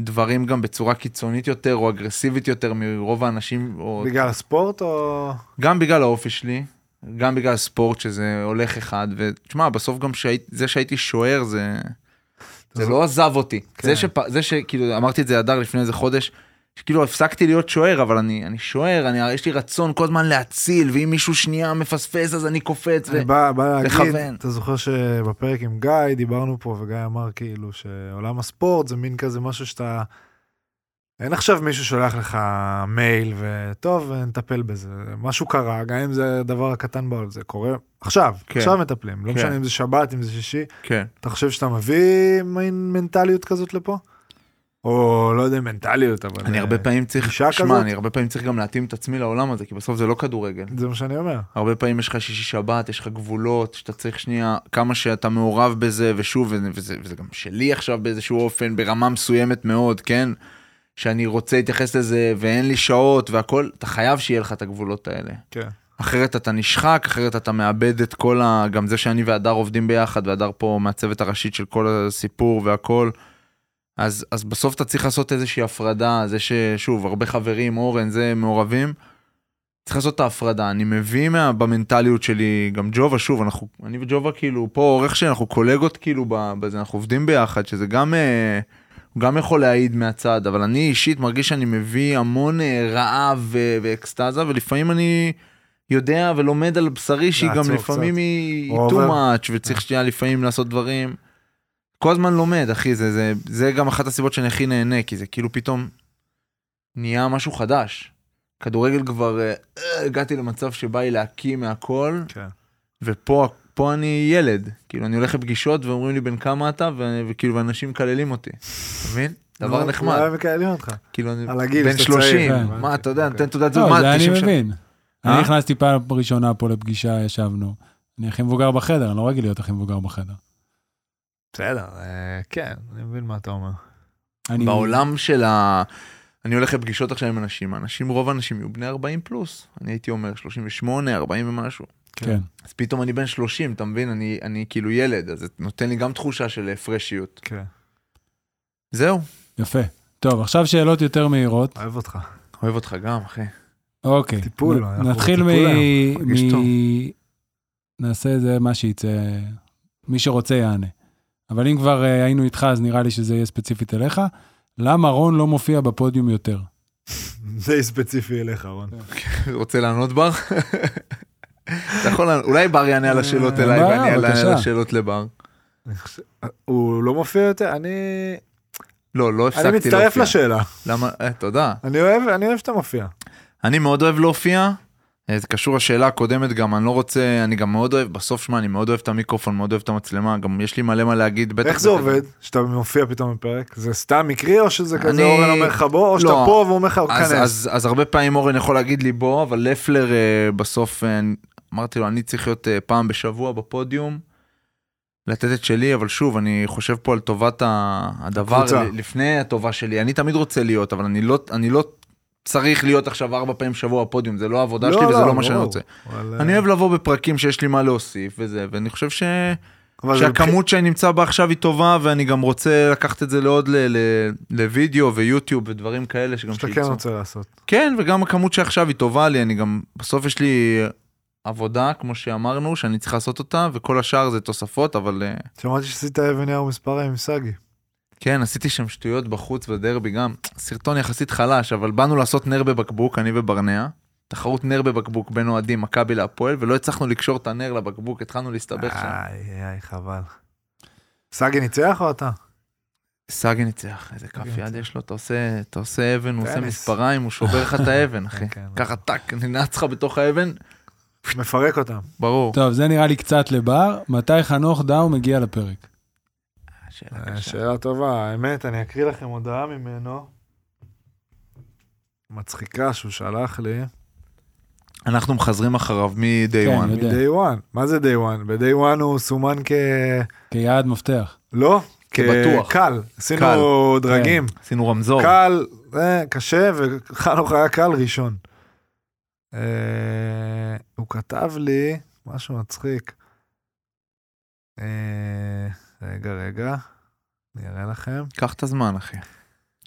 [SPEAKER 4] דברים גם בצורה קיצונית יותר או אגרסיבית יותר מרוב האנשים, או
[SPEAKER 3] בגלל הספורט או...
[SPEAKER 4] גם בגלל האופי שלי, גם בגלל הספורט שזה הולך אחד, ותשמע, בסוף גם שהי... זה שהייתי שוער זה, זה לא עזב אותי.
[SPEAKER 3] כן.
[SPEAKER 4] זה, שפ... זה שכאילו, אמרתי את זה להדר לפני איזה חודש, שכאילו הפסקתי להיות שוער, אבל אני, אני שוער, אני... יש לי רצון כל הזמן להציל, ואם מישהו שנייה מפספס אז אני קופץ. ו...
[SPEAKER 3] אני בא, בא להגיד,
[SPEAKER 4] לכוון.
[SPEAKER 3] אתה זוכר שבפרק עם גיא דיברנו פה וגיא אמר כאילו שעולם הספורט זה מין כזה משהו שאתה... אין עכשיו מישהו שולח לך מייל וטוב נטפל בזה, משהו קרה, גם אם זה הדבר הקטן בעולם, זה קורה עכשיו,
[SPEAKER 4] כן.
[SPEAKER 3] עכשיו מטפלים, לא
[SPEAKER 4] כן.
[SPEAKER 3] משנה אם זה שבת, אם זה שישי,
[SPEAKER 4] כן.
[SPEAKER 3] אתה חושב שאתה מביא מין מנטליות כזאת לפה? או לא יודע, מנטליות, אבל...
[SPEAKER 4] אני
[SPEAKER 3] אה,
[SPEAKER 4] הרבה פעמים צריך,
[SPEAKER 3] גישה
[SPEAKER 4] שמע,
[SPEAKER 3] כזאת?
[SPEAKER 4] אני הרבה פעמים צריך גם להתאים את עצמי לעולם הזה, כי בסוף זה לא כדורגל.
[SPEAKER 3] זה מה שאני אומר.
[SPEAKER 4] הרבה פעמים יש לך שישי שבת, יש לך גבולות, שאתה צריך שנייה, כמה שאתה מעורב בזה, ושוב, וזה, וזה, וזה גם שלי עכשיו באיזשהו אופן, ברמה מסוימת מאוד, כן? שאני רוצה להתייחס לזה, ואין לי שעות והכל, אתה חייב שיהיה לך את הגבולות האלה.
[SPEAKER 3] כן.
[SPEAKER 4] אחרת אתה נשחק, אחרת אתה מאבד את כל ה... גם זה שאני והדר עובדים ביחד, והדר פה מהצוות הראשית של כל הסיפור והכל. אז, אז בסוף אתה צריך לעשות איזושהי הפרדה, זה ששוב, הרבה חברים, אורן, זה, מעורבים. צריך לעשות את ההפרדה, אני מביא מה, במנטליות שלי, גם ג'ובה, שוב, אנחנו, אני וג'ובה כאילו, פה עורך שלי, אנחנו קולגות כאילו ב- בזה, אנחנו עובדים ביחד, שזה גם, אה, הוא גם יכול להעיד מהצד, אבל אני אישית מרגיש שאני מביא המון אה, רעב ו- ואקסטזה, ולפעמים אני יודע ולומד על בשרי שהיא גם
[SPEAKER 3] לעצור
[SPEAKER 4] לפעמים
[SPEAKER 3] קצת.
[SPEAKER 4] היא
[SPEAKER 3] או
[SPEAKER 4] היא too
[SPEAKER 3] עובר. אה.
[SPEAKER 4] much, וצריך שנייה לפעמים לעשות דברים. כל הזמן לומד, אחי, זה, זה, זה גם אחת הסיבות שאני הכי נהנה, כי זה כאילו פתאום נהיה משהו חדש. כדורגל כבר, אה, אה, הגעתי למצב שבא לי להקים מהכל,
[SPEAKER 3] כן.
[SPEAKER 4] ופה פה אני ילד. כאילו, אני הולך לפגישות ואומרים לי בן כמה אתה, ו- וכאילו, אנשים מקללים אותי. אתה מבין? דבר
[SPEAKER 3] לא-
[SPEAKER 4] נחמד.
[SPEAKER 3] לא היה מקללים אותך.
[SPEAKER 4] כאילו, אני
[SPEAKER 3] על הגיל,
[SPEAKER 4] בן
[SPEAKER 3] שאתה צעיר,
[SPEAKER 4] 30,
[SPEAKER 3] הבנתי,
[SPEAKER 4] מה, אתה יודע,
[SPEAKER 3] אוקיי.
[SPEAKER 4] נותן תעודת זהות,
[SPEAKER 1] לא,
[SPEAKER 4] מה,
[SPEAKER 1] זה אני
[SPEAKER 4] 90 שנה?
[SPEAKER 1] מבין. אני
[SPEAKER 4] אה?
[SPEAKER 1] נכנסתי פעם ראשונה פה לפגישה, ישבנו. אני הכי מבוגר בחדר, אני לא רגיל להיות הכי מבוגר בחדר.
[SPEAKER 3] בסדר, אה, כן, אני מבין מה אתה אומר.
[SPEAKER 1] אני-
[SPEAKER 4] בעולם של ה... אני הולך לפגישות עכשיו עם אנשים, האנשים, רוב האנשים יהיו בני 40 פלוס, אני הייתי אומר 38, 40 ומשהו.
[SPEAKER 1] כן.
[SPEAKER 4] אז פתאום אני בן 30, אתה מבין? אני, אני כאילו ילד, אז זה נותן לי גם תחושה של הפרשיות.
[SPEAKER 3] כן.
[SPEAKER 4] זהו,
[SPEAKER 1] יפה. טוב, עכשיו שאלות יותר מהירות.
[SPEAKER 3] אוהב אותך.
[SPEAKER 4] אוהב אותך גם, אחי.
[SPEAKER 1] אוקיי.
[SPEAKER 3] טיפול,
[SPEAKER 1] נ-
[SPEAKER 3] אנחנו
[SPEAKER 1] נתחיל מ...
[SPEAKER 3] בטיפול היום,
[SPEAKER 4] מרגיש
[SPEAKER 1] מ-
[SPEAKER 4] טוב.
[SPEAKER 1] נעשה את זה מה שיצא, מי שרוצה יענה. אבל אם כבר אה, היינו איתך, אז נראה לי שזה יהיה ספציפית אליך. למה רון לא מופיע בפודיום יותר?
[SPEAKER 3] די ספציפי אליך, רון.
[SPEAKER 4] רוצה לענות בר? אתה יכול לענות, אולי בר יענה על השאלות
[SPEAKER 1] אה,
[SPEAKER 4] אליי
[SPEAKER 1] בר,
[SPEAKER 4] ואני אענה על
[SPEAKER 1] בבקשה.
[SPEAKER 4] השאלות לבר.
[SPEAKER 3] אני חושב- הוא לא מופיע יותר? אני...
[SPEAKER 4] לא, לא
[SPEAKER 3] אני
[SPEAKER 4] הפסקתי
[SPEAKER 3] מצטרף
[SPEAKER 4] להופיע.
[SPEAKER 3] לשאלה.
[SPEAKER 4] למה? אה, תודה.
[SPEAKER 3] אני אוהב, אני אוהב שאתה מופיע.
[SPEAKER 4] אני מאוד אוהב להופיע. אה, זה קשור לשאלה הקודמת גם, אני לא רוצה, אני גם מאוד אוהב, בסוף שמע, אני מאוד אוהב את המיקרופון, מאוד אוהב את המצלמה, גם יש לי מלא מה להגיד, בטח.
[SPEAKER 3] איך זה
[SPEAKER 4] בטח-
[SPEAKER 3] עובד? שאתה מופיע פתאום בפרק? זה סתם מקרי או שזה כזה
[SPEAKER 4] אני-
[SPEAKER 3] אורן אומר לך בוא, או
[SPEAKER 4] לא.
[SPEAKER 3] שאתה פה והוא אומר לך
[SPEAKER 4] אז,
[SPEAKER 3] כנס?
[SPEAKER 4] אז, אז הרבה פעמים אורן יכול להגיד לי בוא, אבל לפלר אה, בסוף, אה, אמרתי לו, אני צריך להיות אה, פעם בשבוע בפודיום, לתת את שלי, אבל שוב, אני חושב פה על טובת ה- הדבר,
[SPEAKER 3] הקבוצה.
[SPEAKER 4] ל- לפני הטובה שלי, אני תמיד רוצה להיות, אבל אני לא, אני לא צריך להיות עכשיו ארבע פעמים בשבוע בפודיום, זה לא העבודה שלי וזה לא מה שאני
[SPEAKER 3] ברור.
[SPEAKER 4] רוצה.
[SPEAKER 3] אבל,
[SPEAKER 4] אני
[SPEAKER 3] אה,
[SPEAKER 4] אוהב לבוא בפרקים שיש לי מה להוסיף וזה, ואני חושב ש...
[SPEAKER 3] אבל זה מבחי-
[SPEAKER 4] שהכמות שאני נמצא בה עכשיו היא טובה, ואני גם רוצה לקחת את זה לעוד ל- ל- לוידאו ויוטיוב ודברים כאלה שגם
[SPEAKER 3] שאתה כן
[SPEAKER 4] שייצאו.
[SPEAKER 3] רוצה לעשות.
[SPEAKER 4] כן, וגם הכמות שעכשיו היא טובה לי, אני גם, בסוף יש לי עבודה, כמו שאמרנו, שאני צריך לעשות אותה, וכל השאר זה תוספות, אבל אה,
[SPEAKER 3] שמעתי שעשית אבן יאו מספריים עם סגי.
[SPEAKER 4] כן, עשיתי שם שטויות בחוץ בדרבי גם, סרטון יחסית חלש, אבל באנו לעשות נר בבקבוק, אני וברנע, תחרות נר בבקבוק בין אוהדים, מכבי להפועל, ולא הצלחנו לקשור את הנר לבקבוק, התחלנו להסתבך שם.
[SPEAKER 3] איי, איי, חבל. סגי ניצח או אתה?
[SPEAKER 4] סאגי ניצח, איזה כף יד יש לו, אתה עושה, אתה עושה אבן, הוא עושה
[SPEAKER 3] טניס.
[SPEAKER 4] מספריים, הוא שובר לך את האבן, אחי.
[SPEAKER 3] כן, כן.
[SPEAKER 4] ככה טאק, ננעץ לך בתוך האבן,
[SPEAKER 3] מפרק אותם.
[SPEAKER 4] ברור.
[SPEAKER 1] טוב, זה נראה לי קצת לבר. מתי חנוך דאו מגיע לפרק?
[SPEAKER 4] שאלה
[SPEAKER 3] אה,
[SPEAKER 4] קשה.
[SPEAKER 3] שאלה טובה, האמת, אני אקריא לכם הודעה ממנו. מצחיקה שהוא שלח לי.
[SPEAKER 4] אנחנו מחזרים אחריו מ-day
[SPEAKER 1] כן,
[SPEAKER 4] one.
[SPEAKER 1] יודע.
[SPEAKER 3] מ-day one. מה זה day one? ב-day one הוא סומן כ...
[SPEAKER 1] כיעד מפתח.
[SPEAKER 3] לא?
[SPEAKER 4] כבטוח. כן.
[SPEAKER 3] קל. עשינו דרגים.
[SPEAKER 4] עשינו רמזור.
[SPEAKER 3] קל, אה, קשה, וחנוך היה קל ראשון. אה, הוא כתב לי משהו מצחיק. אה, רגע, רגע, אני אראה לכם.
[SPEAKER 4] קח את הזמן, אחי.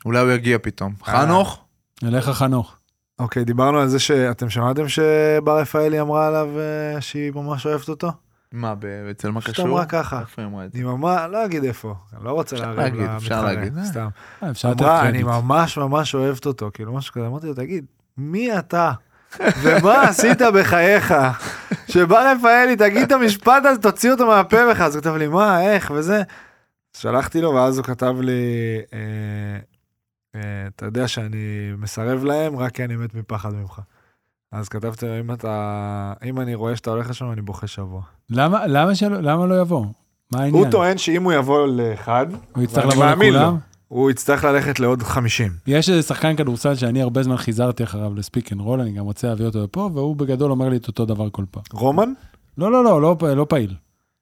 [SPEAKER 4] אולי הוא יגיע פתאום.
[SPEAKER 3] אה.
[SPEAKER 4] חנוך?
[SPEAKER 1] אליך חנוך.
[SPEAKER 3] אוקיי, דיברנו על זה שאתם שמעתם שבר רפאלי אמרה עליו אה, שהיא ממש אוהבת אותו?
[SPEAKER 4] מה, ב- אצל מה
[SPEAKER 3] פשוט
[SPEAKER 4] קשור?
[SPEAKER 3] אמרה ככה.
[SPEAKER 4] איפה היא אמרה את זה?
[SPEAKER 3] היא ממש, לא אגיד איפה, אני לא רוצה
[SPEAKER 4] אפשר
[SPEAKER 3] לערב
[SPEAKER 4] להגיד, אפשר להגיד,
[SPEAKER 3] למתחרה,
[SPEAKER 4] אה.
[SPEAKER 3] סתם.
[SPEAKER 1] אה, אפשר לתת
[SPEAKER 3] אמרה, אני
[SPEAKER 1] קרדיט.
[SPEAKER 3] ממש ממש אוהבת אותו, כאילו משהו כזה, אמרתי לו, תגיד, מי אתה? ומה עשית בחייך? שבא רפאלי, תגיד את המשפט הזה, תוציא אותו מהפה בך, אז הוא כתב לי, מה, איך, וזה. שלחתי לו, ואז הוא כתב לי, אה, אה, אתה יודע שאני מסרב להם, רק כי אני מת מפחד ממך. אז כתבתי לו, אם אתה, אם אני רואה שאתה הולך לשם, אני בוכה שבוע.
[SPEAKER 1] למה- למה שלא- למה לא יבוא? מה העניין?
[SPEAKER 3] הוא טוען שאם הוא יבוא לאחד,
[SPEAKER 1] הוא יצטרך
[SPEAKER 3] ואני
[SPEAKER 1] לבוא
[SPEAKER 3] מאמין לו.
[SPEAKER 1] לכולם?
[SPEAKER 3] הוא יצטרך ללכת לעוד 50.
[SPEAKER 1] יש איזה שחקן כדורסל שאני הרבה זמן חיזרתי אחריו לספיק אנד רול, אני גם רוצה להביא אותו לפה, והוא בגדול אומר לי את אותו דבר כל פעם.
[SPEAKER 3] רומן?
[SPEAKER 1] לא, לא, לא, לא, פ- לא פעיל.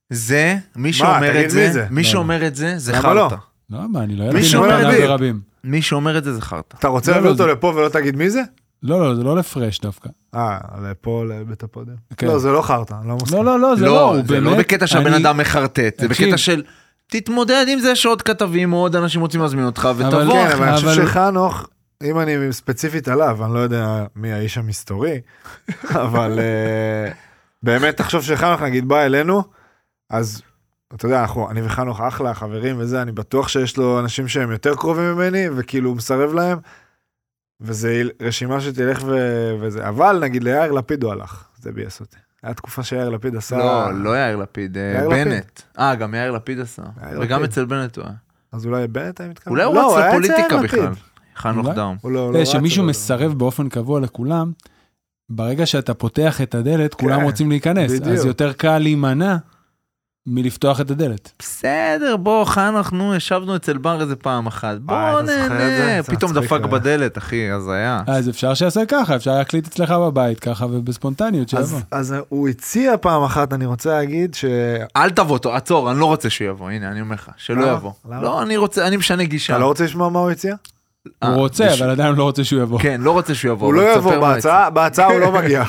[SPEAKER 4] זה, מי
[SPEAKER 3] תגיד
[SPEAKER 4] שאומר את
[SPEAKER 3] מי
[SPEAKER 4] זה,
[SPEAKER 3] זה?
[SPEAKER 4] מי
[SPEAKER 1] לא,
[SPEAKER 4] שאומר את זה, זה
[SPEAKER 3] למה לא?
[SPEAKER 4] חרטא.
[SPEAKER 1] לא, מה, אני לא יודע.
[SPEAKER 4] מי
[SPEAKER 1] אם
[SPEAKER 4] שאומר
[SPEAKER 1] הוא פנה
[SPEAKER 4] לי-
[SPEAKER 1] ברבים.
[SPEAKER 4] מי שאומר את זה זה חרטא.
[SPEAKER 3] אתה רוצה
[SPEAKER 1] לא,
[SPEAKER 3] להביא
[SPEAKER 1] לא,
[SPEAKER 3] אותו
[SPEAKER 1] זה-
[SPEAKER 3] לפה ולא תגיד מי זה?
[SPEAKER 1] לא, לא, זה לא לפרש דווקא.
[SPEAKER 3] אה, לפה, לבית הפודיום.
[SPEAKER 1] כן.
[SPEAKER 3] לא, זה לא חרטא, אני לא מסכים.
[SPEAKER 1] לא, לא, לא, זה לא,
[SPEAKER 4] לא,
[SPEAKER 1] הוא
[SPEAKER 4] זה לא
[SPEAKER 1] באמת-
[SPEAKER 4] בקטע שהבן
[SPEAKER 1] אני-
[SPEAKER 4] אדם מחרטט, זה
[SPEAKER 1] תקשיב.
[SPEAKER 4] בקטע של תתמודד עם זה שעוד כתבים או עוד אנשים רוצים להזמין אותך ותבוא.
[SPEAKER 1] כן,
[SPEAKER 3] כן, אבל אני חושב
[SPEAKER 1] אבל-
[SPEAKER 3] שחנוך, אם אני ספציפית עליו, אני לא יודע מי האיש המסתורי, אבל אה, באמת תחשוב שחנוך נגיד בא אלינו, אז אתה יודע, אנחנו, אני וחנוך אחלה, חברים וזה, אני בטוח שיש לו אנשים שהם יותר קרובים ממני, וכאילו הוא מסרב להם, וזה רשימה שתלך ו- וזה, אבל נגיד ליאיר לפיד הוא הלך, זה ביאס אותי. היה תקופה שיאיר לפיד עשה...
[SPEAKER 4] לא, לא יאיר לפיד, אה,
[SPEAKER 3] יאיר לפיד.
[SPEAKER 4] בנט. אה, גם יאיר לפיד עשה.
[SPEAKER 3] יאיר
[SPEAKER 4] וגם
[SPEAKER 3] לפיד.
[SPEAKER 4] אצל בנט הוא היה.
[SPEAKER 3] אז אולי בנט היה מתכוון?
[SPEAKER 4] אולי הוא
[SPEAKER 3] לא,
[SPEAKER 4] רץ
[SPEAKER 3] היה אצל
[SPEAKER 4] לפוליטיקה
[SPEAKER 3] יאיר לפיד.
[SPEAKER 4] בכלל. חנוך
[SPEAKER 1] אולי?
[SPEAKER 4] דאום.
[SPEAKER 3] הוא לא,
[SPEAKER 1] אתה יודע, אה, שמישהו מסרב באופן קבוע לכולם, ברגע שאתה פותח את הדלת, כולם
[SPEAKER 3] כן,
[SPEAKER 1] רוצים להיכנס. אז
[SPEAKER 3] בדיוק.
[SPEAKER 1] יותר קל להימנע מלפתוח את הדלת.
[SPEAKER 4] בסדר, בוא, חנוך, נו, ישבנו אצל בר איזה פעם אחת. בוא
[SPEAKER 3] אתה אה, זוכר את
[SPEAKER 4] נהנה.
[SPEAKER 3] זה? אה. זה
[SPEAKER 4] פתאום
[SPEAKER 3] מצחיק
[SPEAKER 4] דפק
[SPEAKER 3] היה.
[SPEAKER 4] בדלת, אחי, הזיה.
[SPEAKER 1] אז אפשר שיעשה ככה, אפשר להקליט אצלך בבית ככה ובספונטניות, שיבוא. כן.
[SPEAKER 3] אז, אז הוא הציע פעם אחת, אני רוצה להגיד, ש...
[SPEAKER 1] אה.
[SPEAKER 4] אל תבוא, ת- עצור, אני לא רוצה שהוא יבוא, הנה, אני אומר לך, שלא
[SPEAKER 3] למה?
[SPEAKER 4] יבוא.
[SPEAKER 3] למה?
[SPEAKER 4] לא, אני רוצה, אני משנה
[SPEAKER 3] אתה
[SPEAKER 4] גישה.
[SPEAKER 3] לא רוצה לשמוע מה הוא הציע?
[SPEAKER 1] הוא
[SPEAKER 4] אה,
[SPEAKER 1] רוצה,
[SPEAKER 4] בש-
[SPEAKER 1] אבל עדיין לא רוצה שהוא יבוא.
[SPEAKER 4] כן, לא רוצה שהוא יבוא.
[SPEAKER 3] הוא
[SPEAKER 4] אבל
[SPEAKER 3] לא
[SPEAKER 4] תספר
[SPEAKER 3] יבוא,
[SPEAKER 4] מה כן, יצא.
[SPEAKER 3] בהצעה, בהצעה הוא לא מגיע.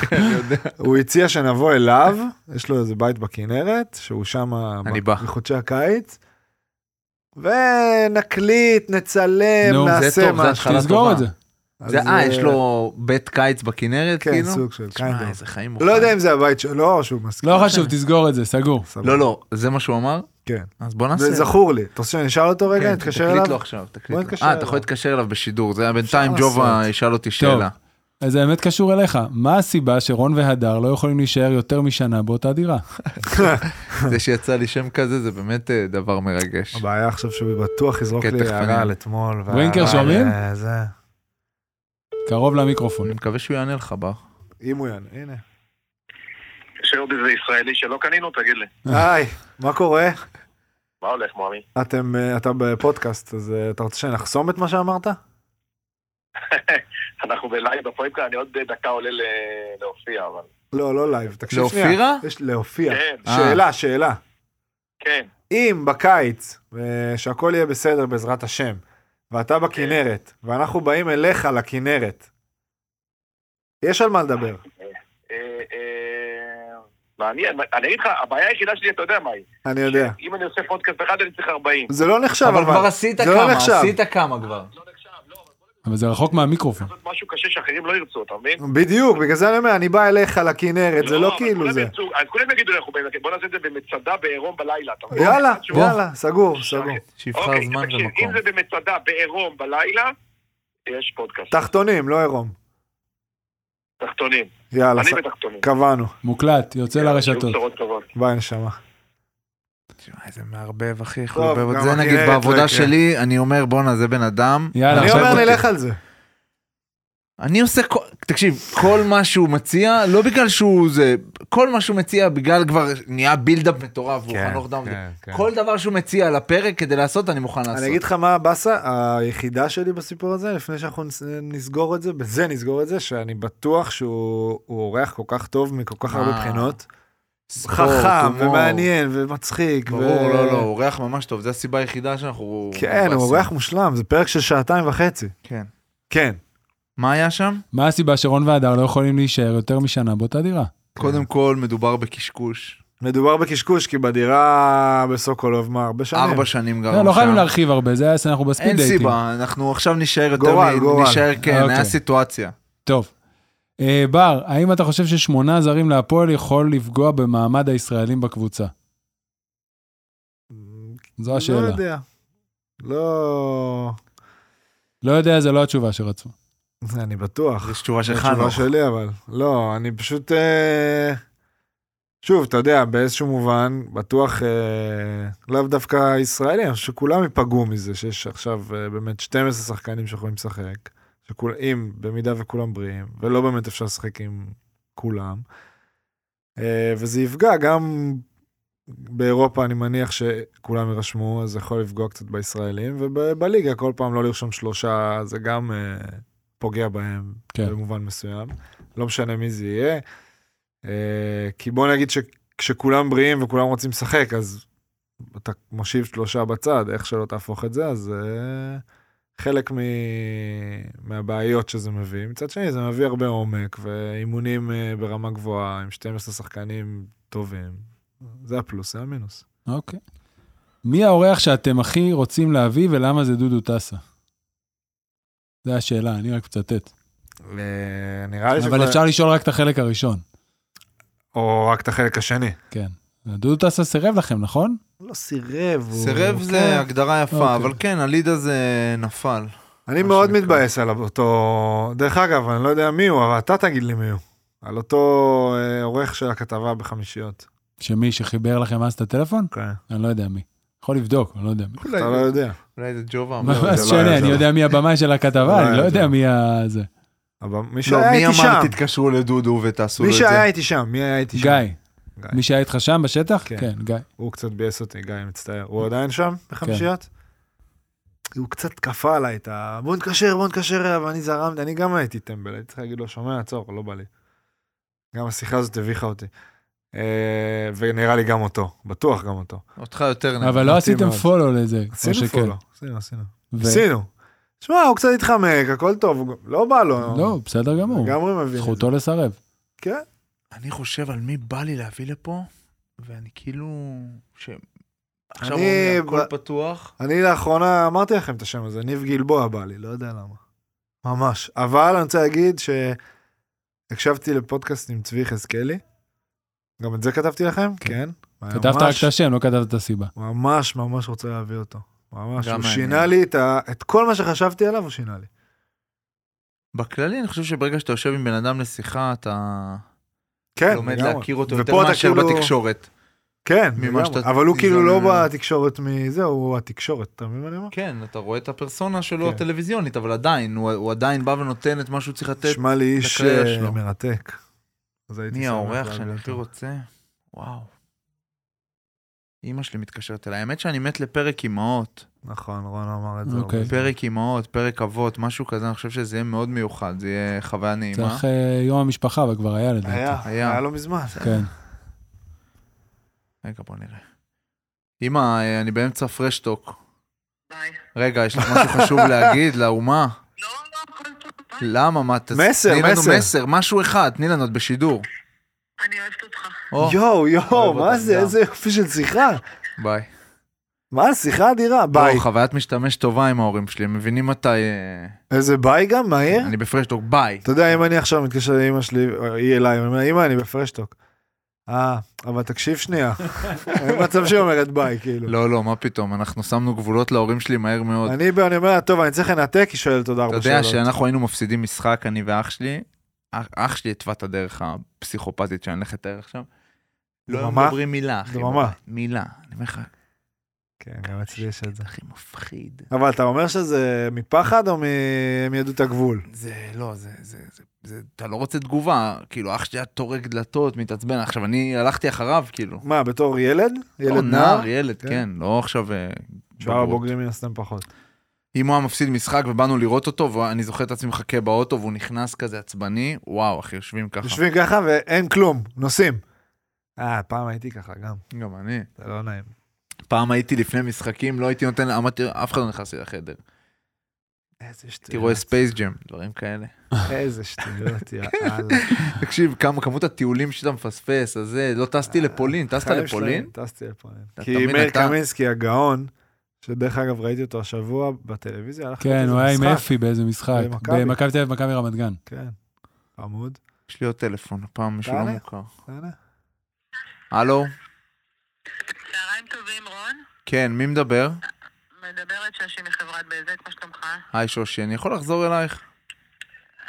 [SPEAKER 3] הוא הציע שנבוא אליו, יש לו איזה בית בכנרת, שהוא שם
[SPEAKER 4] אני
[SPEAKER 3] ב-
[SPEAKER 4] בא.
[SPEAKER 3] בחודשי הקיץ, ונקליט, נצלם,
[SPEAKER 1] נו, זה
[SPEAKER 3] נעשה
[SPEAKER 4] טוב, זה
[SPEAKER 3] משהו.
[SPEAKER 4] התחלה
[SPEAKER 1] תסגור
[SPEAKER 4] טובה.
[SPEAKER 1] את זה.
[SPEAKER 3] אז,
[SPEAKER 4] זה, אה, יש לו בית קיץ בכנרת,
[SPEAKER 3] כן,
[SPEAKER 4] כאילו?
[SPEAKER 3] סוג של
[SPEAKER 4] תשמע,
[SPEAKER 3] קיינדר.
[SPEAKER 4] איזה חיים הוא
[SPEAKER 3] לא
[SPEAKER 4] חי.
[SPEAKER 3] יודע אם זה הבית שלו או שהוא מסכים.
[SPEAKER 1] לא חשוב, תסגור את זה, סגור.
[SPEAKER 3] סבבה.
[SPEAKER 4] לא, לא, זה מה שהוא אמר?
[SPEAKER 3] כן.
[SPEAKER 4] אז בוא נעשה.
[SPEAKER 3] זה זכור לי. אתה רוצה שאני אשאל אותו רגע,
[SPEAKER 4] כן,
[SPEAKER 3] נתקשר
[SPEAKER 4] תקליט לו
[SPEAKER 3] אליו?
[SPEAKER 4] עכשיו, תקליט
[SPEAKER 3] בוא
[SPEAKER 4] לו.
[SPEAKER 3] נתקשר
[SPEAKER 4] אה,
[SPEAKER 3] אליו.
[SPEAKER 4] אתה יכול להתקשר אליו בשידור, זה היה בינתיים
[SPEAKER 3] אפשר
[SPEAKER 4] ג'ובה
[SPEAKER 3] לעשות.
[SPEAKER 4] ישאל אותי שאלה.
[SPEAKER 1] אז האמת קשור אליך. מה הסיבה שרון והדר לא יכולים להישאר יותר משנה באותה דירה?
[SPEAKER 4] זה שיצא לי שם כזה, זה באמת אה, דבר מרגש.
[SPEAKER 3] הבעיה עכשיו שהוא בטוח יזרוק
[SPEAKER 4] כן,
[SPEAKER 3] לי
[SPEAKER 4] תכף אני-
[SPEAKER 3] הערה על אתמול. והערה
[SPEAKER 1] ווינקר
[SPEAKER 3] על,
[SPEAKER 1] שומעים?
[SPEAKER 3] אה, זה.
[SPEAKER 1] קרוב למיקרופון.
[SPEAKER 4] אני מקווה שהוא יענה לך בר.
[SPEAKER 3] אם הוא יענה, הנה.
[SPEAKER 5] יש עוד איזה ישראלי שלא קנינו, תגיד לי.
[SPEAKER 3] היי, מה קורה?
[SPEAKER 5] מה הולך, מועמי?
[SPEAKER 3] אתם, אה, אתה בפודקאסט, אז אה, אתה רוצה שנחסום את מה שאמרת?
[SPEAKER 5] אנחנו בלייב בפויקה, אני עוד דקה עולה ל- להופיע, אבל...
[SPEAKER 3] לא, לא לייב, תקשיב שנייה.
[SPEAKER 4] לאופירה?
[SPEAKER 3] יש להופיע.
[SPEAKER 5] כן,
[SPEAKER 3] שאלה, שאלה.
[SPEAKER 5] כן.
[SPEAKER 3] אם בקיץ, אה, שהכל יהיה בסדר בעזרת השם, ואתה בכנרת, ואנחנו באים אליך לכנרת, יש על מה לדבר.
[SPEAKER 5] אה, אה, מעניין, אני אגיד לך, הבעיה היחידה שלי, אתה יודע מה היא.
[SPEAKER 3] אני יודע.
[SPEAKER 5] אם אני עושה פודקאסט אחד, אני צריך 40.
[SPEAKER 3] זה לא נחשב, אבל.
[SPEAKER 4] אבל כבר עשית
[SPEAKER 3] זה לא
[SPEAKER 4] כמה,
[SPEAKER 3] נחשב.
[SPEAKER 4] עשית כמה כבר.
[SPEAKER 5] לא נחשב, לא, אבל בוא
[SPEAKER 1] אבל זה רחוק מהמיקרופון.
[SPEAKER 5] לעשות משהו קשה שאחרים לא ירצו, אתה מבין?
[SPEAKER 3] בדיוק, בגלל זה אני אומר, אני בא אליך לכנרת, זה לא
[SPEAKER 5] אבל
[SPEAKER 3] כאילו
[SPEAKER 5] כולם
[SPEAKER 3] זה.
[SPEAKER 5] ירצו, אז כולם יגידו לי, אנחנו באים, בוא נעשה את זה במצדה בעירום בלילה, אתה מבין?
[SPEAKER 3] יאללה,
[SPEAKER 5] עד שהוא-
[SPEAKER 3] יאללה, סגור, סגור.
[SPEAKER 4] שיבחר
[SPEAKER 5] אוקיי,
[SPEAKER 4] זמן
[SPEAKER 5] תקשיב,
[SPEAKER 4] ומקום.
[SPEAKER 5] אם זה במצדה בעירום בלילה, יש פודקאסט.
[SPEAKER 3] תחתונים, לא עירום.
[SPEAKER 5] תחתונים.
[SPEAKER 3] יאללה,
[SPEAKER 5] אני
[SPEAKER 3] ס-
[SPEAKER 5] בתחתונים.
[SPEAKER 3] קבענו.
[SPEAKER 1] מוקלט, יוצא
[SPEAKER 5] שיהיו
[SPEAKER 1] לרשתות.
[SPEAKER 5] בשורות טובות.
[SPEAKER 3] ביי, נשמה.
[SPEAKER 4] תשמע, איזה מערבב, אחי, איך
[SPEAKER 3] טוב,
[SPEAKER 4] הוא מערבב
[SPEAKER 3] גם
[SPEAKER 4] את זה.
[SPEAKER 3] הכנרת
[SPEAKER 4] נגיד,
[SPEAKER 3] לא
[SPEAKER 4] בעבודה
[SPEAKER 3] יקרה.
[SPEAKER 4] שלי, אני אומר, בואנה, זה בן אדם.
[SPEAKER 1] יאללה,
[SPEAKER 3] אני
[SPEAKER 1] עכשיו
[SPEAKER 3] אומר,
[SPEAKER 1] בודקים.
[SPEAKER 3] נלך על זה.
[SPEAKER 4] אני עושה, כל- תקשיב, כל מה שהוא מציע, לא בגלל שהוא זה, כל מה שהוא מציע בגלל כבר נהיה בילדאפ
[SPEAKER 3] כן,
[SPEAKER 4] מטורף, והוא חנוך דם. כל דבר שהוא מציע על הפרק כדי לעשות, אני מוכן לעשות.
[SPEAKER 3] אני אגיד לך מה הבאסה היחידה שלי בסיפור הזה, לפני שאנחנו נס- נסגור את זה, בזה נסגור את זה, שאני בטוח שהוא הוא אורח כל כך טוב מכל כך הרבה
[SPEAKER 4] אה.
[SPEAKER 3] בחינות.
[SPEAKER 4] ספורט,
[SPEAKER 3] חכם
[SPEAKER 4] הומור.
[SPEAKER 3] ומעניין ומצחיק. ו-
[SPEAKER 4] ברור, לא, לא, הוא אורח ממש טוב, זו הסיבה היחידה שאנחנו...
[SPEAKER 3] כן, הוא אורח מושלם, זה פרק של שעתיים וחצי.
[SPEAKER 4] כן.
[SPEAKER 3] כן.
[SPEAKER 4] מה היה שם?
[SPEAKER 1] מה הסיבה שרון והדר לא יכולים להישאר יותר משנה באותה דירה?
[SPEAKER 4] קודם כל, מדובר בקשקוש.
[SPEAKER 3] מדובר בקשקוש, כי בדירה בסוקולוב, מה, הרבה שנים.
[SPEAKER 4] ארבע שנים גרנו
[SPEAKER 1] לא,
[SPEAKER 4] שם.
[SPEAKER 1] לא חייבים להרחיב הרבה, זה היה אנחנו בספיד
[SPEAKER 4] אין
[SPEAKER 1] דייטים.
[SPEAKER 4] סיבה, אנחנו עכשיו נישאר יותר...
[SPEAKER 3] גורל,
[SPEAKER 4] מ-
[SPEAKER 3] גורל.
[SPEAKER 4] נישאר, כן,
[SPEAKER 1] אוקיי.
[SPEAKER 4] היה סיטואציה.
[SPEAKER 1] טוב. אה, בר, האם אתה חושב ששמונה זרים להפועל יכול לפגוע במעמד הישראלים בקבוצה? זו
[SPEAKER 3] לא
[SPEAKER 1] השאלה.
[SPEAKER 3] יודע. לא...
[SPEAKER 1] לא יודע, זה לא התשובה שרצו.
[SPEAKER 3] זה אני בטוח.
[SPEAKER 4] זו תשובה
[SPEAKER 3] זו
[SPEAKER 4] של
[SPEAKER 3] התשובה
[SPEAKER 4] חנוך.
[SPEAKER 3] שלי, אבל. לא, אני פשוט... אה, שוב, אתה יודע, באיזשהו מובן, בטוח אה, לאו דווקא ישראלי, אני חושב שכולם ייפגעו מזה, שיש עכשיו אה, באמת 12 שחקנים שיכולים לשחק, שכול, אם, במידה וכולם בריאים, ולא באמת אפשר לשחק עם כולם, אה, וזה יפגע גם באירופה, אני מניח שכולם יירשמו, אז זה יכול לפגוע קצת בישראלים, ובליגה כל פעם לא לרשום שלושה, זה גם אה, פוגע בהם
[SPEAKER 1] כן.
[SPEAKER 3] במובן מסוים. לא משנה מי זה יהיה. אה, כי בוא נגיד שכשכולם בריאים וכולם רוצים לשחק, אז אתה מושיב שלושה בצד, איך שלא תהפוך את זה, אז זה חלק מ... מהבעיות שזה מביא. מצד שני, זה מביא הרבה עומק ואימונים אה, ברמה גבוהה עם 12 שחקנים טובים. זה הפלוס, זה המינוס.
[SPEAKER 1] אוקיי. מי האורח שאתם הכי רוצים להביא ולמה זה דודו טסה? זו השאלה, אני רק מצטט.
[SPEAKER 3] אה, נראה לי
[SPEAKER 1] אבל
[SPEAKER 3] שכבר-
[SPEAKER 1] אפשר לשאול רק את החלק הראשון.
[SPEAKER 3] או רק את החלק השני.
[SPEAKER 1] כן. דודו טסה סירב לכם, נכון?
[SPEAKER 3] לא סירב. הוא-
[SPEAKER 4] סירב
[SPEAKER 3] כן.
[SPEAKER 4] זה הגדרה יפה,
[SPEAKER 1] אוקיי.
[SPEAKER 4] אבל כן, הליד הזה נפל.
[SPEAKER 3] אני
[SPEAKER 4] מה
[SPEAKER 3] מאוד
[SPEAKER 4] שנקרא.
[SPEAKER 3] מתבאס על אותו... דרך אגב, אני לא יודע מי הוא, אבל אתה תגיד לי מי הוא. על אותו אה, עורך של הכתבה בחמישיות.
[SPEAKER 1] שמי שחיבר לכם אז את הטלפון?
[SPEAKER 4] אוקיי.
[SPEAKER 3] כן.
[SPEAKER 1] אני לא יודע מי. יכול לבדוק, אני לא יודע מי.
[SPEAKER 3] אתה לא יודע.
[SPEAKER 4] אולי זה ג'ובה.
[SPEAKER 1] מה
[SPEAKER 4] אבל-
[SPEAKER 1] מה זה
[SPEAKER 3] זה לא
[SPEAKER 1] שונה,
[SPEAKER 3] היה
[SPEAKER 1] אני
[SPEAKER 3] זה.
[SPEAKER 1] יודע מי הבמאי של הכתבה,
[SPEAKER 3] לא
[SPEAKER 1] אני
[SPEAKER 3] היה
[SPEAKER 1] לא
[SPEAKER 3] זה.
[SPEAKER 1] יודע מי ה... זה.
[SPEAKER 3] אבל מי
[SPEAKER 4] לא,
[SPEAKER 3] שהיה
[SPEAKER 4] מי
[SPEAKER 3] איתי
[SPEAKER 4] אמר
[SPEAKER 3] שם.
[SPEAKER 4] תתקשרו לדודו ותעשו לו
[SPEAKER 3] מי
[SPEAKER 4] את זה?
[SPEAKER 3] שהיה איתי שם, מי היה איתי שם?
[SPEAKER 1] גיא.
[SPEAKER 3] גיא.
[SPEAKER 1] מי שהיה איתך שם בשטח?
[SPEAKER 3] כן.
[SPEAKER 1] כן, גיא.
[SPEAKER 3] הוא קצת ביאס אותי, גיא, מצטער.
[SPEAKER 4] כן.
[SPEAKER 3] הוא עדיין שם בחמישיות? הוא קצת כפה עליי את ה... בוא נתקשר, בוא נתקשר אליו, ואני זרמתי, אני גם הייתי טמבל, הייתי צריך להגיד לו, שומע, עצור, לא בא לי. גם השיחה הזאת הביכה אותי. אה, ונראה לי גם אותו, בטוח גם אותו.
[SPEAKER 4] אותך יותר נראה.
[SPEAKER 1] אבל לא
[SPEAKER 3] מתאים
[SPEAKER 1] עשיתם
[SPEAKER 3] מאוד.
[SPEAKER 1] פולו לזה. או
[SPEAKER 3] עשינו
[SPEAKER 1] שכן.
[SPEAKER 3] פולו, עשינו, עשינו.
[SPEAKER 1] ו-
[SPEAKER 3] עשינו. שמע, הוא קצת התחמק, הכל טוב, הוא גם- לא בא לו.
[SPEAKER 1] לא, בסדר גמור.
[SPEAKER 3] לגמרי מבין. את זה.
[SPEAKER 1] זכותו לסרב.
[SPEAKER 3] כן.
[SPEAKER 4] אני חושב על מי בא לי להביא לפה, ואני כאילו... ש- עכשיו
[SPEAKER 3] אני
[SPEAKER 4] אומרים לי, הכל
[SPEAKER 3] ב-
[SPEAKER 4] פתוח.
[SPEAKER 3] אני לאחרונה אמרתי לכם את השם הזה, ניב גלבוע בא לי, לא יודע למה. ממש. אבל אני רוצה להגיד שהקשבתי לפודקאסט עם צבי יחזקאלי, גם את זה כתבתי לכם? כן. והיה
[SPEAKER 1] כתבת רק
[SPEAKER 3] ממש-
[SPEAKER 1] את השם, לא כתבת את הסיבה.
[SPEAKER 3] ממש ממש רוצה להביא אותו. ממש,
[SPEAKER 4] גם
[SPEAKER 3] הוא
[SPEAKER 4] מעניין.
[SPEAKER 3] שינה לי את ה- את כל מה שחשבתי עליו, הוא שינה לי.
[SPEAKER 4] בכללי, אני חושב שברגע שאתה יושב עם בן אדם לשיחה, אתה
[SPEAKER 3] כן,
[SPEAKER 4] לומד
[SPEAKER 3] לגמרי.
[SPEAKER 4] להכיר אותו
[SPEAKER 3] ופה
[SPEAKER 4] יותר
[SPEAKER 3] אתה
[SPEAKER 4] מאשר
[SPEAKER 3] כאילו-
[SPEAKER 4] בתקשורת.
[SPEAKER 3] כן,
[SPEAKER 4] ממה
[SPEAKER 3] לגמרי.
[SPEAKER 4] שאתה
[SPEAKER 3] אבל הוא כאילו לא
[SPEAKER 4] תיזון-
[SPEAKER 3] בתקשורת מזה, הוא התקשורת, אתה מבין מה אני אומר?
[SPEAKER 4] כן, אתה רואה את הפרסונה שלו
[SPEAKER 3] כן.
[SPEAKER 4] הטלוויזיונית, אבל עדיין, הוא הוא עדיין בא ונותן את מה שהוא צריך לתת.
[SPEAKER 3] נשמע לי איש
[SPEAKER 4] לקריירה
[SPEAKER 3] אה,
[SPEAKER 4] שלו.
[SPEAKER 3] מרתק. אז הייתי
[SPEAKER 4] מי
[SPEAKER 3] שמח
[SPEAKER 4] האורח
[SPEAKER 3] להביא
[SPEAKER 4] שאני הכי
[SPEAKER 3] אותו.
[SPEAKER 4] רוצה? וואו. אימא שלי מתקשרת אליי. האמת שאני מת לפרק אימהות.
[SPEAKER 3] נכון, רון אמר את זה.
[SPEAKER 1] אוקיי.
[SPEAKER 3] הרבה.
[SPEAKER 4] פרק אימהות, פרק אבות, משהו כזה, אני חושב שזה יהיה מאוד מיוחד, זה יהיה חוויה נעימה.
[SPEAKER 1] צריך אה, יום המשפחה, אבל כבר היה לדעתי.
[SPEAKER 3] היה,
[SPEAKER 4] היה.
[SPEAKER 3] היה לא מזמן.
[SPEAKER 1] כן.
[SPEAKER 4] רגע, בוא נראה. אימא, אה, אני באמצע פרשטוק. רגע, יש לך משהו חשוב להגיד לאומה?
[SPEAKER 6] לא,
[SPEAKER 4] למה? מה? תס-
[SPEAKER 3] מסר,
[SPEAKER 4] תני לנו
[SPEAKER 3] מסר.
[SPEAKER 4] מסר, משהו אחד, תני לנו, את בשידור.
[SPEAKER 6] אני אוהבת אותך.
[SPEAKER 4] או,
[SPEAKER 3] יואו, יואו,
[SPEAKER 4] אוהב
[SPEAKER 3] מה
[SPEAKER 4] אותם
[SPEAKER 3] זה?
[SPEAKER 4] גם.
[SPEAKER 3] איזה יופי של שיחה.
[SPEAKER 4] ביי.
[SPEAKER 3] מה, שיחה אדירה. ביי.
[SPEAKER 4] ביי. חוויית משתמש טובה עם ההורים שלי, הם מבינים מתי... אה,
[SPEAKER 3] איזה ביי גם, מהיר?
[SPEAKER 4] אני בפרשטוק, ביי.
[SPEAKER 3] אה? אתה יודע, אם אני עכשיו מתקשר לאמא שלי, או היא אליי, אני אומר, אמא, אני בפרשטוק. אה, אבל תקשיב שנייה. אין מצב שהיא אומרת ביי, כאילו.
[SPEAKER 4] לא, לא, מה פתאום, אנחנו שמנו גבולות להורים שלי מהר מאוד.
[SPEAKER 3] אני, לא אני אומר, טוב, אני צריך לנתק, היא שואלת עוד
[SPEAKER 4] אתה
[SPEAKER 3] ארבע
[SPEAKER 4] יודע
[SPEAKER 3] שאלות.
[SPEAKER 4] שאנחנו היינו מפסידים משחק, אני ואח שלי, אח- אח שלי התווה את הדרך הפסיכופתית שאני הולך לתאר עכשיו. לא היו
[SPEAKER 3] דממה?
[SPEAKER 4] מדברים מילה, אחי.
[SPEAKER 3] דממה.
[SPEAKER 4] בבית. מילה. אני אומר לך,
[SPEAKER 3] כן, גם אצלי יש את זה.
[SPEAKER 4] הכי מפחיד.
[SPEAKER 3] אבל אתה אומר שזה מפחד או מ... הם ידעו את הגבול?
[SPEAKER 4] זה לא, זה, זה, זה, זה, אתה לא רוצה תגובה, כאילו אח שלי היה טורק דלתות, מתעצבן, עכשיו אני הלכתי אחריו, כאילו.
[SPEAKER 3] מה, בתור ילד?
[SPEAKER 4] לא,
[SPEAKER 3] ילד נער?
[SPEAKER 4] ילד,
[SPEAKER 3] כן.
[SPEAKER 4] כן, לא עכשיו... אה,
[SPEAKER 3] שאר
[SPEAKER 4] בגרות.
[SPEAKER 3] הבוגרים מן הסתם פחות.
[SPEAKER 4] נכון. אם הוא היה מפסיד משחק ובאנו לראות אותו, ואני זוכר את עצמי מחכה באוטו והוא נכנס כזה עצבני, וואו, אחי, יושבים ככה.
[SPEAKER 3] יושבים ככה ואין כלום, נוסעים. אה, פעם הייתי ככה גם,
[SPEAKER 4] גם אני.
[SPEAKER 3] זה לא נעים.
[SPEAKER 4] פעם הייתי לפני משחקים, לא הייתי נותן, אמרתי, אף אחד לא נכנס לי לחדר.
[SPEAKER 3] איזה
[SPEAKER 4] הייתי רואה
[SPEAKER 3] שטויות.
[SPEAKER 4] ספייס ג'ם, דברים כאלה.
[SPEAKER 3] איזה שטויות, יאללה.
[SPEAKER 4] תקשיב, כמה כמות הטיולים שאתה מפספס, אז זה, לא טסתי לפולין, טסת
[SPEAKER 3] חיים
[SPEAKER 4] לפולין?
[SPEAKER 3] שלמים, טסתי לפולין.
[SPEAKER 4] אתה
[SPEAKER 3] כי
[SPEAKER 4] תמיד
[SPEAKER 3] מאיר
[SPEAKER 4] אתה-
[SPEAKER 3] קמינסקי הגאון, שדרך אגב ראיתי אותו השבוע בטלוויזיה, הלך
[SPEAKER 1] כן,
[SPEAKER 3] לראות
[SPEAKER 1] הוא היה
[SPEAKER 3] איזה
[SPEAKER 1] עם
[SPEAKER 3] משחק.
[SPEAKER 1] אפי באיזה משחק.
[SPEAKER 3] במכבי.
[SPEAKER 1] במכבי תל אביב, מכבי רמת גן.
[SPEAKER 3] כן, חמוד.
[SPEAKER 4] יש לי עוד טלפון, הפעם מישהו לא
[SPEAKER 3] תענה.
[SPEAKER 4] מוכר.
[SPEAKER 3] הנה.
[SPEAKER 4] הלו?
[SPEAKER 6] צהריים טובים, רון.
[SPEAKER 4] כן, מי מדבר?
[SPEAKER 6] מדברת שושי מחברת בזק, מה שלומך?
[SPEAKER 4] היי שושי, אני יכול לחזור אלייך?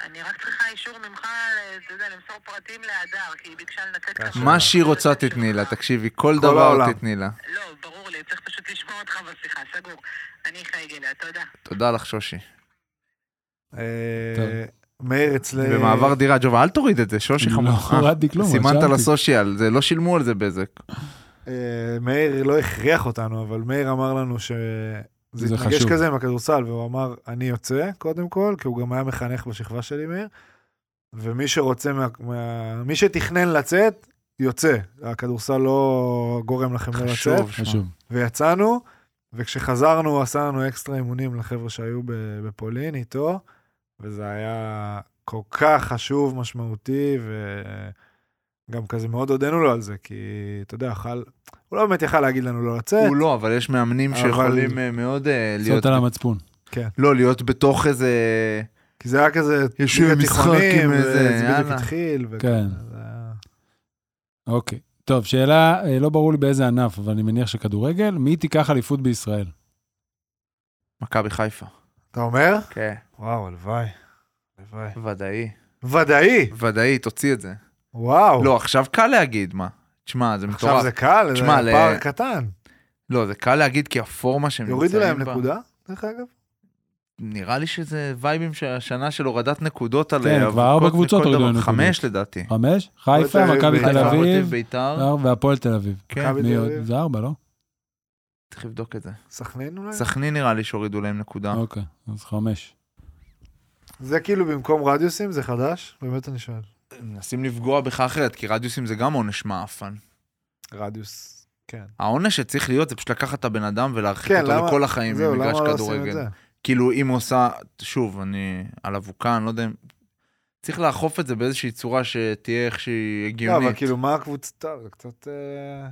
[SPEAKER 6] אני רק צריכה אישור ממך, אה, אתה יודע, למסור פרטים להדר, כי היא ביקשה לנתק את
[SPEAKER 4] מה שהיא רוצה תתני לה, תקשיבי, כל דבר
[SPEAKER 3] העולם.
[SPEAKER 4] תתני לה.
[SPEAKER 6] לא, ברור לי, צריך פשוט לשמוע אותך בשיחה, סגור. אני חייגלה, תודה.
[SPEAKER 4] תודה לך שושי.
[SPEAKER 3] אה,
[SPEAKER 1] טוב.
[SPEAKER 3] מאיר אצלי...
[SPEAKER 4] במעבר דירה, ג'ובה, אל תוריד את זה, שושי
[SPEAKER 1] אה, לא
[SPEAKER 4] חמור. אה,
[SPEAKER 1] הורדתי כלום,
[SPEAKER 4] סימנת
[SPEAKER 1] רשמתי.
[SPEAKER 4] לסושיאל, זה לא שילמו על זה בזק.
[SPEAKER 3] אה, מאיר לא הכריח אותנו, אבל מאיר אמר לנו ש...
[SPEAKER 1] זה
[SPEAKER 3] זה התנגש
[SPEAKER 1] חשוב.
[SPEAKER 3] כזה עם הכדורסל, והוא אמר, אני יוצא, קודם כל, כי הוא גם היה מחנך בשכבה שלי, מאיר, ומי שרוצה, מה, מה, מי שתכנן לצאת, יוצא. הכדורסל לא גורם לכם לא לצאת.
[SPEAKER 4] חשוב. שמע.
[SPEAKER 1] חשוב.
[SPEAKER 3] ויצאנו, וכשחזרנו, הוא עשה לנו אקסטרה אימונים לחבר'ה שהיו ב- בפולין איתו, וזה היה כל כך חשוב, משמעותי, וגם כזה מאוד הודינו לו על זה, כי אתה יודע, יכל, הוא לא באמת יכל להגיד לנו לא לצאת,
[SPEAKER 4] הוא לא, אבל יש מאמנים
[SPEAKER 3] אבל-
[SPEAKER 4] שיכולים אה, מאוד אה, להיות...
[SPEAKER 1] זאת על המצפון.
[SPEAKER 4] לא, להיות בתוך איזה...
[SPEAKER 3] כי זה היה כזה,
[SPEAKER 4] יש
[SPEAKER 3] ליגת
[SPEAKER 4] משחק
[SPEAKER 3] תיכונים,
[SPEAKER 4] עם איזה-
[SPEAKER 3] וזה בדיוק
[SPEAKER 4] יאללה.
[SPEAKER 3] התחיל, אה, וכן.
[SPEAKER 1] כן. אוקיי. טוב, שאלה, אה, לא ברור לי באיזה ענף, אבל אני מניח שכדורגל, מי תיקח אליפות בישראל?
[SPEAKER 4] מכבי חיפה.
[SPEAKER 3] אתה אומר?
[SPEAKER 4] כן.
[SPEAKER 3] וואו, הלוואי. הלוואי.
[SPEAKER 4] ודאי.
[SPEAKER 3] ודאי,
[SPEAKER 4] ודאי, תוציא את זה.
[SPEAKER 3] וואו.
[SPEAKER 4] לא, עכשיו קל להגיד, מה? תשמע, זה
[SPEAKER 3] עכשיו
[SPEAKER 4] מטורף.
[SPEAKER 3] זה קל, זה
[SPEAKER 4] תשמע, ל-
[SPEAKER 3] פער קטן.
[SPEAKER 4] לא, זה קל להגיד כי הפורמה שהם נמצאים בה...
[SPEAKER 3] יורידו להם נקודה, דרך אגב.
[SPEAKER 4] נראה לי שזה וייבים של השנה של הורדת נקודות על... אה,
[SPEAKER 1] כן, כבר ארבע קבוצות הורידו להם
[SPEAKER 4] חמש לדעתי.
[SPEAKER 1] חמש? חיפה,
[SPEAKER 3] תל אביב,
[SPEAKER 1] מכבי תל
[SPEAKER 4] חיפה,
[SPEAKER 1] אביב, אה.
[SPEAKER 4] ביתר.
[SPEAKER 1] הר- והפועל תל אביב.
[SPEAKER 4] כן,
[SPEAKER 3] מכבי
[SPEAKER 1] מי
[SPEAKER 3] תל
[SPEAKER 1] עוד?
[SPEAKER 3] אביב.
[SPEAKER 1] זה ארבע, לא?
[SPEAKER 4] צריך לבדוק את זה.
[SPEAKER 3] סכנין אולי?
[SPEAKER 4] סכנין נראה לי שהורידו להם
[SPEAKER 3] אה.
[SPEAKER 4] נקודה.
[SPEAKER 1] אוקיי, אז חמש.
[SPEAKER 3] זה כאילו במקום רדיוסים, זה חדש? באמת אני שואל.
[SPEAKER 4] מנסים לפגוע בך אחרת, כי רדיוסים זה גם עונש מעפן.
[SPEAKER 3] רדיוס. כן.
[SPEAKER 4] העונש שצריך להיות זה פשוט לקחת את הבן אדם ולהרחיק
[SPEAKER 3] כן,
[SPEAKER 4] אותו
[SPEAKER 3] למה-
[SPEAKER 4] לכל החיים
[SPEAKER 3] זהו, למה
[SPEAKER 4] ממגרש
[SPEAKER 3] לא עושים את
[SPEAKER 4] כדורגל.
[SPEAKER 3] זה?
[SPEAKER 4] כאילו אם הוא עושה, שוב, אני על אבוקה, לא יודע אם... צריך לאכוף את זה באיזושהי צורה שתהיה איכשהי
[SPEAKER 3] לא,
[SPEAKER 4] הגיונית.
[SPEAKER 3] אבל כאילו, מה הקבוצה? טוב, זה קצת... אה,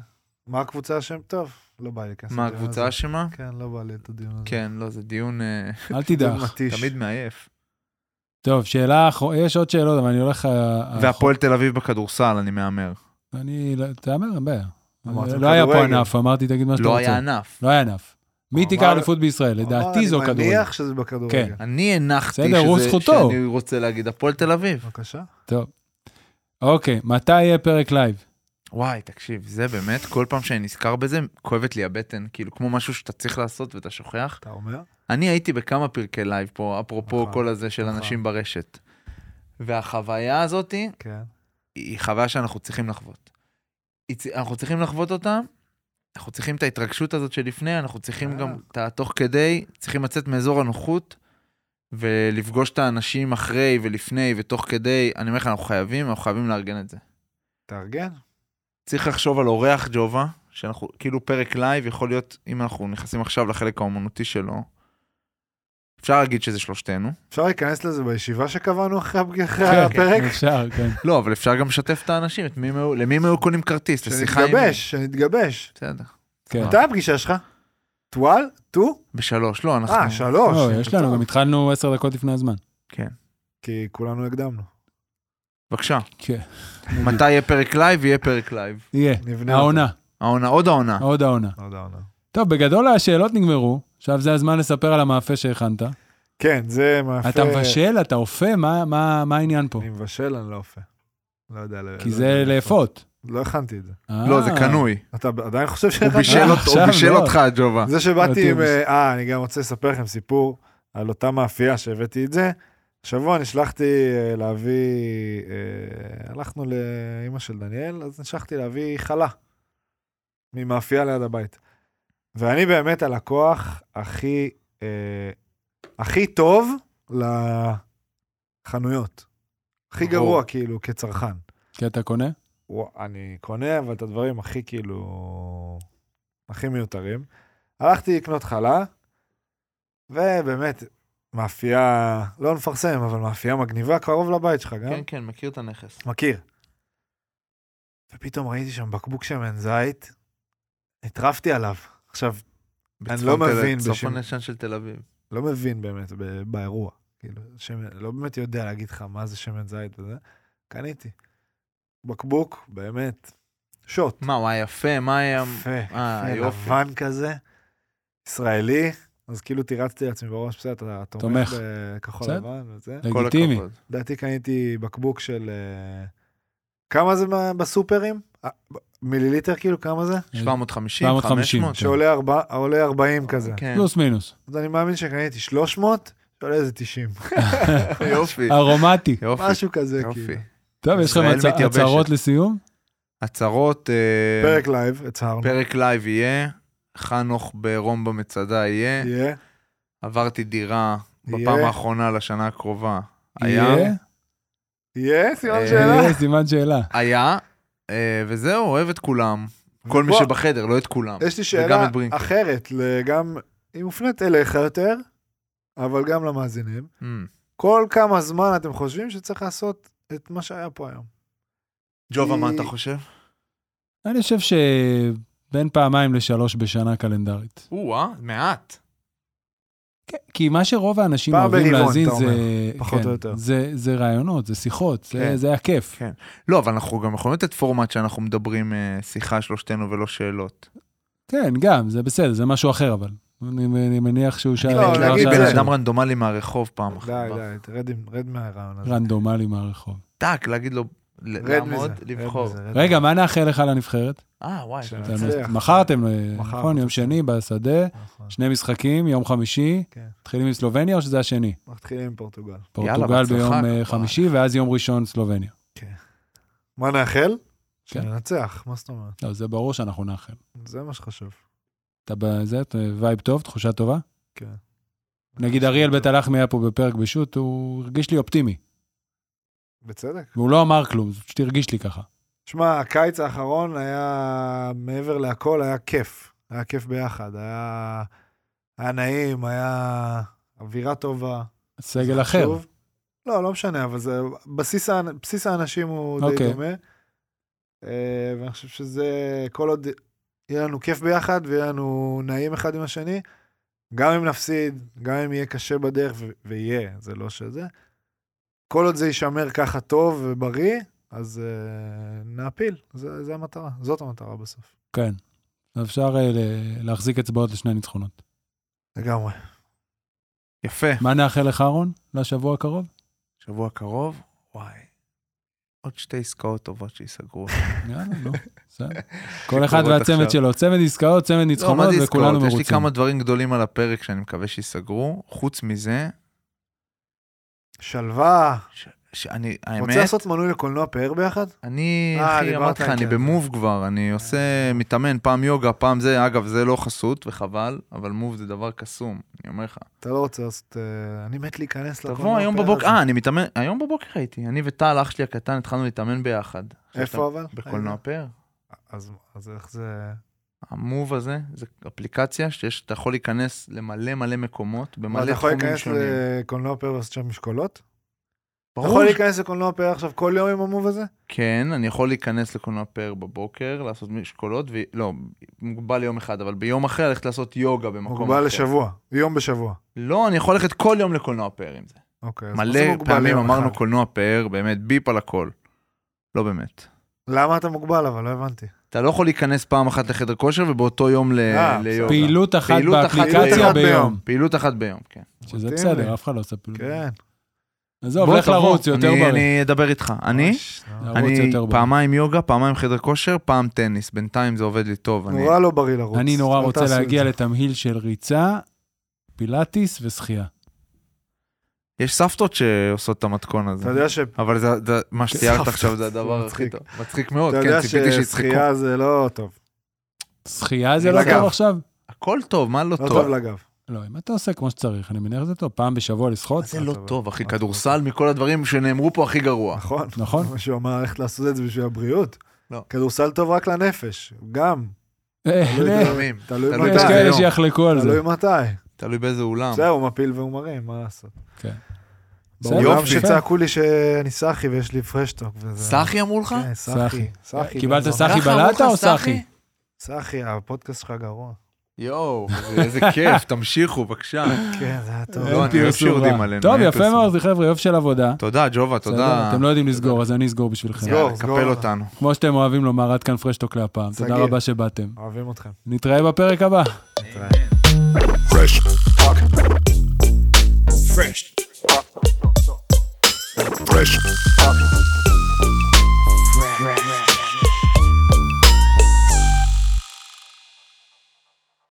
[SPEAKER 3] מה הקבוצה השם טוב? לא בא לי להיכנס
[SPEAKER 4] מה
[SPEAKER 3] לדיון
[SPEAKER 4] הקבוצה
[SPEAKER 3] הזה.
[SPEAKER 4] אשמה?
[SPEAKER 3] כן, לא בא לי את הדיון הזה.
[SPEAKER 4] כן, לא, זה דיון אה,
[SPEAKER 1] אל
[SPEAKER 3] דיון
[SPEAKER 1] תדאג.
[SPEAKER 3] מתיש.
[SPEAKER 4] תמיד מעייף.
[SPEAKER 1] טוב, שאלה אחרונה, יש עוד שאלות, אבל אני הולך... אה,
[SPEAKER 4] והפועל תל אביב בכדורסל, אני מהמר.
[SPEAKER 1] אה, אני... לא- תהמר, אין בעיה.
[SPEAKER 3] אמרתם
[SPEAKER 1] לא היה פה
[SPEAKER 3] כדורגל.
[SPEAKER 1] ענף, אמרתי, תגיד מה שאתה
[SPEAKER 4] לא היה
[SPEAKER 1] רוצה.
[SPEAKER 4] ענף.
[SPEAKER 1] לא היה ענף. מי
[SPEAKER 3] אמר-
[SPEAKER 1] תיקח אליפות בישראל? לדעתי זו
[SPEAKER 3] אני
[SPEAKER 1] כדורגל.
[SPEAKER 3] מניח שזה בכדורגל.
[SPEAKER 1] כן.
[SPEAKER 4] אני הנחתי
[SPEAKER 1] בסדר, הוא
[SPEAKER 4] שזה-
[SPEAKER 1] זכותו.
[SPEAKER 4] שאני רוצה להגיד, הפועל תל אביב.
[SPEAKER 3] בבקשה.
[SPEAKER 1] אוקיי, מתי יהיה פרק לייב?
[SPEAKER 4] וואי, תקשיב, זה באמת, כל פעם שאני נזכר בזה, כואבת לי הבטן, כאילו, כמו משהו שאתה צריך לעשות ואתה שוכח.
[SPEAKER 3] אתה אומר?
[SPEAKER 4] אני הייתי בכמה פרקי לייב פה, אפרופו
[SPEAKER 3] נכון,
[SPEAKER 4] כל הזה של
[SPEAKER 3] נכון.
[SPEAKER 4] אנשים ברשת. והחוויה הזאתי,
[SPEAKER 3] כן.
[SPEAKER 4] היא חוויה שאנחנו צריכים לחוות. היא צ- אנחנו צריכים לחוות אותה, אנחנו צריכים את ההתרגשות הזאת שלפני, אנחנו
[SPEAKER 3] אה.
[SPEAKER 4] צריכים גם את התוך כדי, צריכים לצאת מאזור הנוחות ולפגוש את האנשים אחרי ולפני ותוך כדי. אני אומר לך, אנחנו חייבים, אנחנו חייבים לארגן את זה.
[SPEAKER 3] תארגן.
[SPEAKER 4] צריך לחשוב על אורח ג'ובה, שאנחנו, כאילו פרק לייב יכול להיות, אם אנחנו נכנסים עכשיו לחלק האומנותי שלו, אפשר להגיד שזה שלושתנו.
[SPEAKER 3] אפשר להיכנס לזה בישיבה שקבענו אחרי הפג- אחרי
[SPEAKER 1] כן,
[SPEAKER 3] הפרק?
[SPEAKER 1] אפשר, כן.
[SPEAKER 4] לא, אבל אפשר גם לשתף את האנשים, את מי הם היו- למי הם היו קונים כרטיס, לשיחה עם... אה.
[SPEAKER 3] שנתגבש, שנתגבש.
[SPEAKER 4] בסדר.
[SPEAKER 1] כן.
[SPEAKER 3] מתי הפגישה שלך? טואל? טו?
[SPEAKER 4] בשלוש, לא, אנחנו...
[SPEAKER 3] אה, שלוש.
[SPEAKER 1] לא, יש לנו, גם התחלנו עשר דקות לפני הזמן.
[SPEAKER 3] כי כולנו הקדמנו.
[SPEAKER 4] בבקשה.
[SPEAKER 1] כן.
[SPEAKER 4] מתי יהיה פרק לייב? יהיה פרק לייב.
[SPEAKER 1] יהיה,
[SPEAKER 3] נבנה.
[SPEAKER 1] העונה,
[SPEAKER 3] נכון.
[SPEAKER 4] העונה, עוד העונה.
[SPEAKER 1] עוד העונה.
[SPEAKER 3] עוד העונה.
[SPEAKER 1] טוב, בגדול השאלות נגמרו, עכשיו זה הזמן לספר על המאפה שהכנת.
[SPEAKER 3] כן, זה מאפה.
[SPEAKER 1] אתה מבשל, אתה אופה, מה- מה מה העניין פה?
[SPEAKER 3] אני מבשל, אני לא אופה. לא יודע. לא
[SPEAKER 1] כי
[SPEAKER 3] יודע
[SPEAKER 1] זה לאפות.
[SPEAKER 3] לא הכנתי את זה.
[SPEAKER 4] לא,
[SPEAKER 1] אה,
[SPEAKER 4] זה קנוי.
[SPEAKER 3] אתה עדיין חושב ש...
[SPEAKER 4] הוא בישל אות-
[SPEAKER 1] עכשיו
[SPEAKER 4] הוא בישל
[SPEAKER 1] לא.
[SPEAKER 4] אותך, ג'ובה.
[SPEAKER 3] זה שבאתי
[SPEAKER 1] אותי
[SPEAKER 3] עם...
[SPEAKER 1] הוא בישל.
[SPEAKER 3] אה, אני גם רוצה לספר לכם סיפור על אותה מאפייה שהבאתי את זה. השבוע נשלחתי אה, להביא... אה, הלכנו לאימא של דניאל, אז נשלחתי להביא חלה ממאפייה ליד הבית. ואני באמת הלקוח הכי... אה, הכי טוב לחנויות. הכי
[SPEAKER 4] ברור.
[SPEAKER 3] גרוע, כאילו, כצרכן.
[SPEAKER 1] כי אתה קונה?
[SPEAKER 3] ווא- אני קונה, אבל את הדברים הכי כאילו... הכי מיותרים. הלכתי לקנות חלה, ובאמת, מאפייה, לא נפרסם, אבל מאפייה מגניבה, קרוב לבית שלך גם.
[SPEAKER 4] כן, מכיר את הנכס.
[SPEAKER 3] מכיר. ופתאום ראיתי שם בקבוק שמן זית, הטרפתי עליו. עכשיו, אני לא מבין
[SPEAKER 4] בצפון
[SPEAKER 3] בשם-
[SPEAKER 4] הישן של תל אביב.
[SPEAKER 3] לא מבין באמת ב- באירוע. כאילו, שמן, לא באמת יודע להגיד לך מה זה שמן זית וזה. קניתי. בקבוק, באמת, שוט.
[SPEAKER 4] מה, הוא היה יפה? מה היה...
[SPEAKER 3] יפה,
[SPEAKER 4] אה,
[SPEAKER 3] יפה,
[SPEAKER 4] יופי.
[SPEAKER 3] לבן כזה, ישראלי, אז כאילו תירצתי לעצמי בראש, בסדר, אתה תומך
[SPEAKER 1] תומך.
[SPEAKER 3] בכחול
[SPEAKER 1] בסדר.
[SPEAKER 3] לבן וזה.
[SPEAKER 4] כל
[SPEAKER 1] לגיטימי.
[SPEAKER 4] הכבוד.
[SPEAKER 3] לדעתי קניתי בקבוק של... אה, כמה זה מה- בסופרים? אה, ב- מיליליטר כאילו, כמה זה?
[SPEAKER 4] כן. 750,
[SPEAKER 1] 750,
[SPEAKER 4] 500.
[SPEAKER 1] כן.
[SPEAKER 3] שעולה ארבע- עולה 40 כזה.
[SPEAKER 4] כן.
[SPEAKER 1] פלוס מינוס.
[SPEAKER 3] אז אני מאמין שקניתי 300, שעולה איזה 90.
[SPEAKER 4] יופי.
[SPEAKER 1] ארומטי.
[SPEAKER 4] יופי.
[SPEAKER 3] אה, משהו כזה
[SPEAKER 4] יופי.
[SPEAKER 3] כאילו.
[SPEAKER 1] טוב, יש לכם
[SPEAKER 4] ישראל
[SPEAKER 1] הצ-
[SPEAKER 4] מתייבשת.
[SPEAKER 1] הצהרות לסיום?
[SPEAKER 4] הצהרות, אה,
[SPEAKER 3] פרק לייב, הצהרנו.
[SPEAKER 4] פרק לייב יהיה, חנוך ברום במצדה יהיה,
[SPEAKER 3] יהיה.
[SPEAKER 4] עברתי דירה בפעם
[SPEAKER 3] יהיה.
[SPEAKER 4] האחרונה לשנה הקרובה. היה,
[SPEAKER 1] יהיה?
[SPEAKER 3] יהיה? סימן
[SPEAKER 4] אה,
[SPEAKER 3] שאלה?
[SPEAKER 1] יהיה, סימן שאלה.
[SPEAKER 4] היה, אה, וזהו, אוהב את כולם. כל מי
[SPEAKER 3] בוא,
[SPEAKER 4] שבחדר, לא את כולם.
[SPEAKER 3] יש לי
[SPEAKER 4] וגם
[SPEAKER 3] שאלה
[SPEAKER 4] את ברינקי.
[SPEAKER 3] אחרת, גם, היא מופנית אליך יותר, אבל גם למאזינים.
[SPEAKER 4] Mm,
[SPEAKER 3] כל כמה זמן אתם חושבים שצריך לעשות את מה שהיה פה היום?
[SPEAKER 4] ג'ובה, מה
[SPEAKER 3] כי-
[SPEAKER 4] אתה חושב?
[SPEAKER 1] אני חושב שבין פעמיים לשלוש בשנה קלנדרית.
[SPEAKER 4] או-אה, מעט.
[SPEAKER 1] כן, כי מה שרוב האנשים
[SPEAKER 3] פעם
[SPEAKER 1] אוהבים
[SPEAKER 3] ברבעון,
[SPEAKER 1] להאזין
[SPEAKER 3] אתה
[SPEAKER 1] זה...
[SPEAKER 3] פחות
[SPEAKER 1] כן,
[SPEAKER 3] או יותר.
[SPEAKER 1] זה- זה רעיונות, זה שיחות, זה-
[SPEAKER 4] כן.
[SPEAKER 1] זה הכיף.
[SPEAKER 4] כן. לא, אבל אנחנו גם יכולים לתת פורמט שאנחנו מדברים אה, שיחה שלושתנו ולא שאלות.
[SPEAKER 1] כן, גם, זה בסדר, זה משהו אחר, אבל. אני אני מניח שהוא שאל...
[SPEAKER 3] לא,
[SPEAKER 1] כבר שאל
[SPEAKER 3] נגיד, זה-
[SPEAKER 4] בן
[SPEAKER 1] שאלה
[SPEAKER 4] אדם רנדומלי מהרחוב פעם אחת.
[SPEAKER 3] די, די, תרד עם- רד מהרעיון הזה.
[SPEAKER 1] רנדומלי מהרחוב.
[SPEAKER 4] טק, להגיד לו, ל-
[SPEAKER 3] רד
[SPEAKER 4] לעמוד,
[SPEAKER 3] מזה. רד
[SPEAKER 4] לבחור.
[SPEAKER 3] מזה, רד
[SPEAKER 1] רגע,
[SPEAKER 3] מזה.
[SPEAKER 1] מה נאחל לך לנבחרת?
[SPEAKER 4] אה, וואי.
[SPEAKER 3] של-
[SPEAKER 1] אתם-
[SPEAKER 3] נצליח.
[SPEAKER 1] מכרתם,
[SPEAKER 3] מחר,
[SPEAKER 1] נכון? יום שני בשדה,
[SPEAKER 3] נכון.
[SPEAKER 1] שני משחקים, יום חמישי.
[SPEAKER 3] כן.
[SPEAKER 1] מתחילים עם סלובניה או שזה השני?
[SPEAKER 3] מתחילים עם פורטוגל.
[SPEAKER 4] יאללה,
[SPEAKER 1] פורטוגל
[SPEAKER 4] בהצלחה,
[SPEAKER 1] ביום אה,
[SPEAKER 4] כמובן.
[SPEAKER 1] חמישי, ואז יום ראשון סלובניה.
[SPEAKER 3] מה נאחל?
[SPEAKER 1] כן.
[SPEAKER 3] שננצח, מה זאת אומרת?
[SPEAKER 1] לא, זה ברור שאנחנו נאחל.
[SPEAKER 3] זה מה שחשוב.
[SPEAKER 1] אתה בזה, אתה וייב טוב, תחושה טובה.
[SPEAKER 3] כן.
[SPEAKER 1] נגיד אריאל בית הלחמי היה פה בפרק בשו"ת, הוא הרגיש לי אופטימי.
[SPEAKER 3] בצדק.
[SPEAKER 1] והוא לא אמר כלום, זה פשוט הרגיש לי ככה.
[SPEAKER 3] שמע, הקיץ האחרון היה, מעבר להכל, היה כיף. היה כיף ביחד. היה, היה נעים, היה אווירה טובה.
[SPEAKER 1] סגל אחר.
[SPEAKER 3] חשוב. לא, לא משנה, אבל זה, בסיס, האנ- בסיס האנשים הוא די
[SPEAKER 1] אוקיי.
[SPEAKER 3] דומה. אה, ואני חושב שזה, כל עוד יהיה לנו כיף ביחד ויהיה לנו נעים אחד עם השני, גם אם נפסיד, גם אם יהיה קשה בדרך, ו- ויהיה, זה לא שזה. כל עוד זה יישמר ככה טוב ובריא, אז אה, נעפיל, זה, זה המטרה, זאת המטרה בסוף.
[SPEAKER 1] כן. אפשר אה, ל- להחזיק אצבעות לשני ניצחונות.
[SPEAKER 3] לגמרי.
[SPEAKER 4] יפה.
[SPEAKER 1] מה נאחל לך, אהרון, לשבוע הקרוב?
[SPEAKER 4] שבוע קרוב, וואי. עוד שתי עסקאות טובות שיסגרו. לא,
[SPEAKER 1] יאללה, נו, בסדר. כל אחד והצמד
[SPEAKER 4] עכשיו.
[SPEAKER 1] שלו, צמד עסקאות, צמד
[SPEAKER 4] לא, מה
[SPEAKER 1] ניצחונות,
[SPEAKER 4] זה עסקאות?
[SPEAKER 1] וכולנו
[SPEAKER 4] יש לי
[SPEAKER 1] מרוצים.
[SPEAKER 4] כמה דברים גדולים על הפרק שאני מקווה שיסגרו. חוץ מזה,
[SPEAKER 3] שלווה,
[SPEAKER 4] שאני,
[SPEAKER 3] רוצה
[SPEAKER 4] האמת,
[SPEAKER 3] לעשות מנוי לקולנוע פאר ביחד?
[SPEAKER 4] אני,
[SPEAKER 3] אה,
[SPEAKER 4] אחי,
[SPEAKER 3] דיברת
[SPEAKER 4] אמרתי לך, אני
[SPEAKER 3] איתי על זה. אה, כן.
[SPEAKER 4] במוב כבר, אני עושה, מתאמן, פעם יוגה, פעם זה, אגב, זה לא חסות, וחבל, אבל מוב זה דבר קסום, אני אומר לך.
[SPEAKER 3] אתה לא רוצה לעשות... אה, אני מת להיכנס לקולנוע
[SPEAKER 4] תבוא היום
[SPEAKER 3] פאר
[SPEAKER 4] בבוקר,
[SPEAKER 3] הזה.
[SPEAKER 4] אה, אני מתאמן, היום בבוקר הייתי, אני וטל, אח שלי הקטן, התחלנו להתאמן ביחד.
[SPEAKER 3] איפה אבל?
[SPEAKER 4] בקולנוע פאר.
[SPEAKER 3] אז, אז איך זה...
[SPEAKER 4] המוב הזה, זה אפליקציה שיש, אתה יכול להיכנס למלא מלא מקומות,
[SPEAKER 3] מה, אתה
[SPEAKER 4] במלא
[SPEAKER 3] יכול
[SPEAKER 4] תחומים
[SPEAKER 3] להיכנס
[SPEAKER 4] שונים.
[SPEAKER 3] לקולנוע פר ועשות שם משקולות? אתה
[SPEAKER 4] ברור
[SPEAKER 3] יכול
[SPEAKER 4] ש-
[SPEAKER 3] להיכנס לקולנוע פר עכשיו כל יום עם המוב הזה?
[SPEAKER 4] כן, אני יכול להיכנס לקולנוע פר בבוקר, לעשות משקולות, ו... לא, מוגבל ליום אחד, אבל ביום אחר ללכת לעשות יוגה במקום אחר.
[SPEAKER 3] מוגבל לשבוע, יום בשבוע.
[SPEAKER 4] לא, אני יכול ללכת כל יום לקולנוע פר עם זה.
[SPEAKER 3] אוקיי. אז מה זה
[SPEAKER 4] מלא
[SPEAKER 3] מוגבל
[SPEAKER 4] פעמים
[SPEAKER 3] ליום
[SPEAKER 4] אמרנו
[SPEAKER 3] אחד?
[SPEAKER 4] קולנוע פאר, באמת, ביפ על הכל. לא באמת.
[SPEAKER 3] למה אתה מוגבל אבל? לא הבנתי.
[SPEAKER 4] אתה לא יכול להיכנס פעם אחת לחדר כושר ובאותו יום ל-
[SPEAKER 3] אה,
[SPEAKER 4] ליוגה.
[SPEAKER 1] פעילות אחת
[SPEAKER 4] פעילות אחת
[SPEAKER 1] באפליקציה
[SPEAKER 3] ביום.
[SPEAKER 1] ביום.
[SPEAKER 4] פעילות אחת ביום, כן.
[SPEAKER 1] שזה
[SPEAKER 3] מתאים
[SPEAKER 1] בסדר,
[SPEAKER 3] לי.
[SPEAKER 1] אף אחד לא עושה פעילות.
[SPEAKER 3] כן.
[SPEAKER 1] עזוב,
[SPEAKER 4] בוא,
[SPEAKER 1] לא, לך
[SPEAKER 4] תבוא.
[SPEAKER 1] לרוץ, יותר
[SPEAKER 4] אני-
[SPEAKER 1] בריא.
[SPEAKER 4] אני אדבר איתך. אני?
[SPEAKER 3] ממש, לא.
[SPEAKER 1] לרוץ
[SPEAKER 4] אני
[SPEAKER 1] יותר בריא.
[SPEAKER 4] פעמיים יוגה, פעמיים חדר כושר, פעם טניס. בינתיים זה עובד לי טוב. אני-
[SPEAKER 3] נורא לא בריא לרוץ.
[SPEAKER 1] אני נורא
[SPEAKER 3] לא
[SPEAKER 1] רוצה
[SPEAKER 3] תעשו את
[SPEAKER 1] להגיע
[SPEAKER 3] זה.
[SPEAKER 1] לתמהיל של ריצה, פילאטיס ושחייה.
[SPEAKER 4] יש סבתות שעושות את המתכון הזה.
[SPEAKER 3] אתה יודע ש-
[SPEAKER 4] אבל זה- זה- מה שתיארת
[SPEAKER 3] סבתות.
[SPEAKER 4] עכשיו זה הדבר הכי
[SPEAKER 3] מצחיק.
[SPEAKER 4] טוב. מצחיק מאוד,
[SPEAKER 3] אתה
[SPEAKER 4] כן,
[SPEAKER 3] יודע
[SPEAKER 4] ציפיתי שיצחקו.
[SPEAKER 3] ששחייה זה לא טוב.
[SPEAKER 1] שחייה זה
[SPEAKER 3] אני
[SPEAKER 1] לא
[SPEAKER 3] לגב.
[SPEAKER 1] טוב עכשיו?
[SPEAKER 4] הכל טוב, מה לא
[SPEAKER 3] לא טוב
[SPEAKER 4] טוב?
[SPEAKER 3] לגב.
[SPEAKER 1] לא, אם אתה עושה כמו שצריך, אני מניח שזה טוב. פעם בשבוע לשחות?
[SPEAKER 4] זה לא
[SPEAKER 3] אבל-
[SPEAKER 4] טוב, אחי.
[SPEAKER 3] מה אתה
[SPEAKER 4] כדורסל מכל הדברים שנאמרו פה הכי גרוע.
[SPEAKER 3] נכון.
[SPEAKER 1] נכון.
[SPEAKER 3] מישהו אמר ללכת לעשות את זה בשביל הבריאות.
[SPEAKER 4] לא.
[SPEAKER 3] כדורסל טוב רק לנפש, גם.
[SPEAKER 1] אה,
[SPEAKER 3] תלוי
[SPEAKER 1] אה,
[SPEAKER 4] לפעמים.
[SPEAKER 3] תלוי
[SPEAKER 4] תלוי
[SPEAKER 1] יש
[SPEAKER 4] באיזה
[SPEAKER 3] מתי.
[SPEAKER 1] כאלה
[SPEAKER 4] יום.
[SPEAKER 1] שיחלקו על זה.
[SPEAKER 3] תלוי מתי.
[SPEAKER 4] תלוי באיזה אולם.
[SPEAKER 3] בסדר, הוא מפיל והוא מרים, מה לעשות.
[SPEAKER 1] כן.
[SPEAKER 3] ברור
[SPEAKER 1] בסדר,
[SPEAKER 3] גם
[SPEAKER 1] יפה.
[SPEAKER 3] שצעקו לי שאני סאחי ויש לי פרשטוק. וזה-
[SPEAKER 4] סחי אמרו לך?
[SPEAKER 3] כן, סאחי. סאחי.
[SPEAKER 1] קיבלת
[SPEAKER 3] לא,
[SPEAKER 1] סאחי
[SPEAKER 4] ככה אמרו
[SPEAKER 1] בלטה
[SPEAKER 4] לך,
[SPEAKER 1] או סאחי?
[SPEAKER 4] לא,
[SPEAKER 3] סאחי, הפודקאסט שלך גרוע.
[SPEAKER 4] יואו, איזה כיף, תמשיכו, בבקשה.
[SPEAKER 3] כן,
[SPEAKER 1] אה,
[SPEAKER 3] זה היה טוב.
[SPEAKER 4] לא, אני אוהב שיורדים עלינו.
[SPEAKER 1] טוב,
[SPEAKER 4] אפס.
[SPEAKER 1] יפה מאוד, חבר'ה, יופי של עבודה.
[SPEAKER 4] תודה, ג'ובה,
[SPEAKER 1] בסדר?
[SPEAKER 4] תודה.
[SPEAKER 1] אתם לא יודעים לסגור, אז אני אסגור בשבילכם.
[SPEAKER 3] סגור.
[SPEAKER 4] יאללה, קפל אותנו.
[SPEAKER 1] כמו שאתם אוהבים לומר, עד כאן פרשטוק להפעם. תודה
[SPEAKER 3] סגיר.
[SPEAKER 1] רבה שבאתם.
[SPEAKER 3] אוהבים אתכם.
[SPEAKER 1] נתראה בפרק הבא.
[SPEAKER 7] Fresh. Fresh.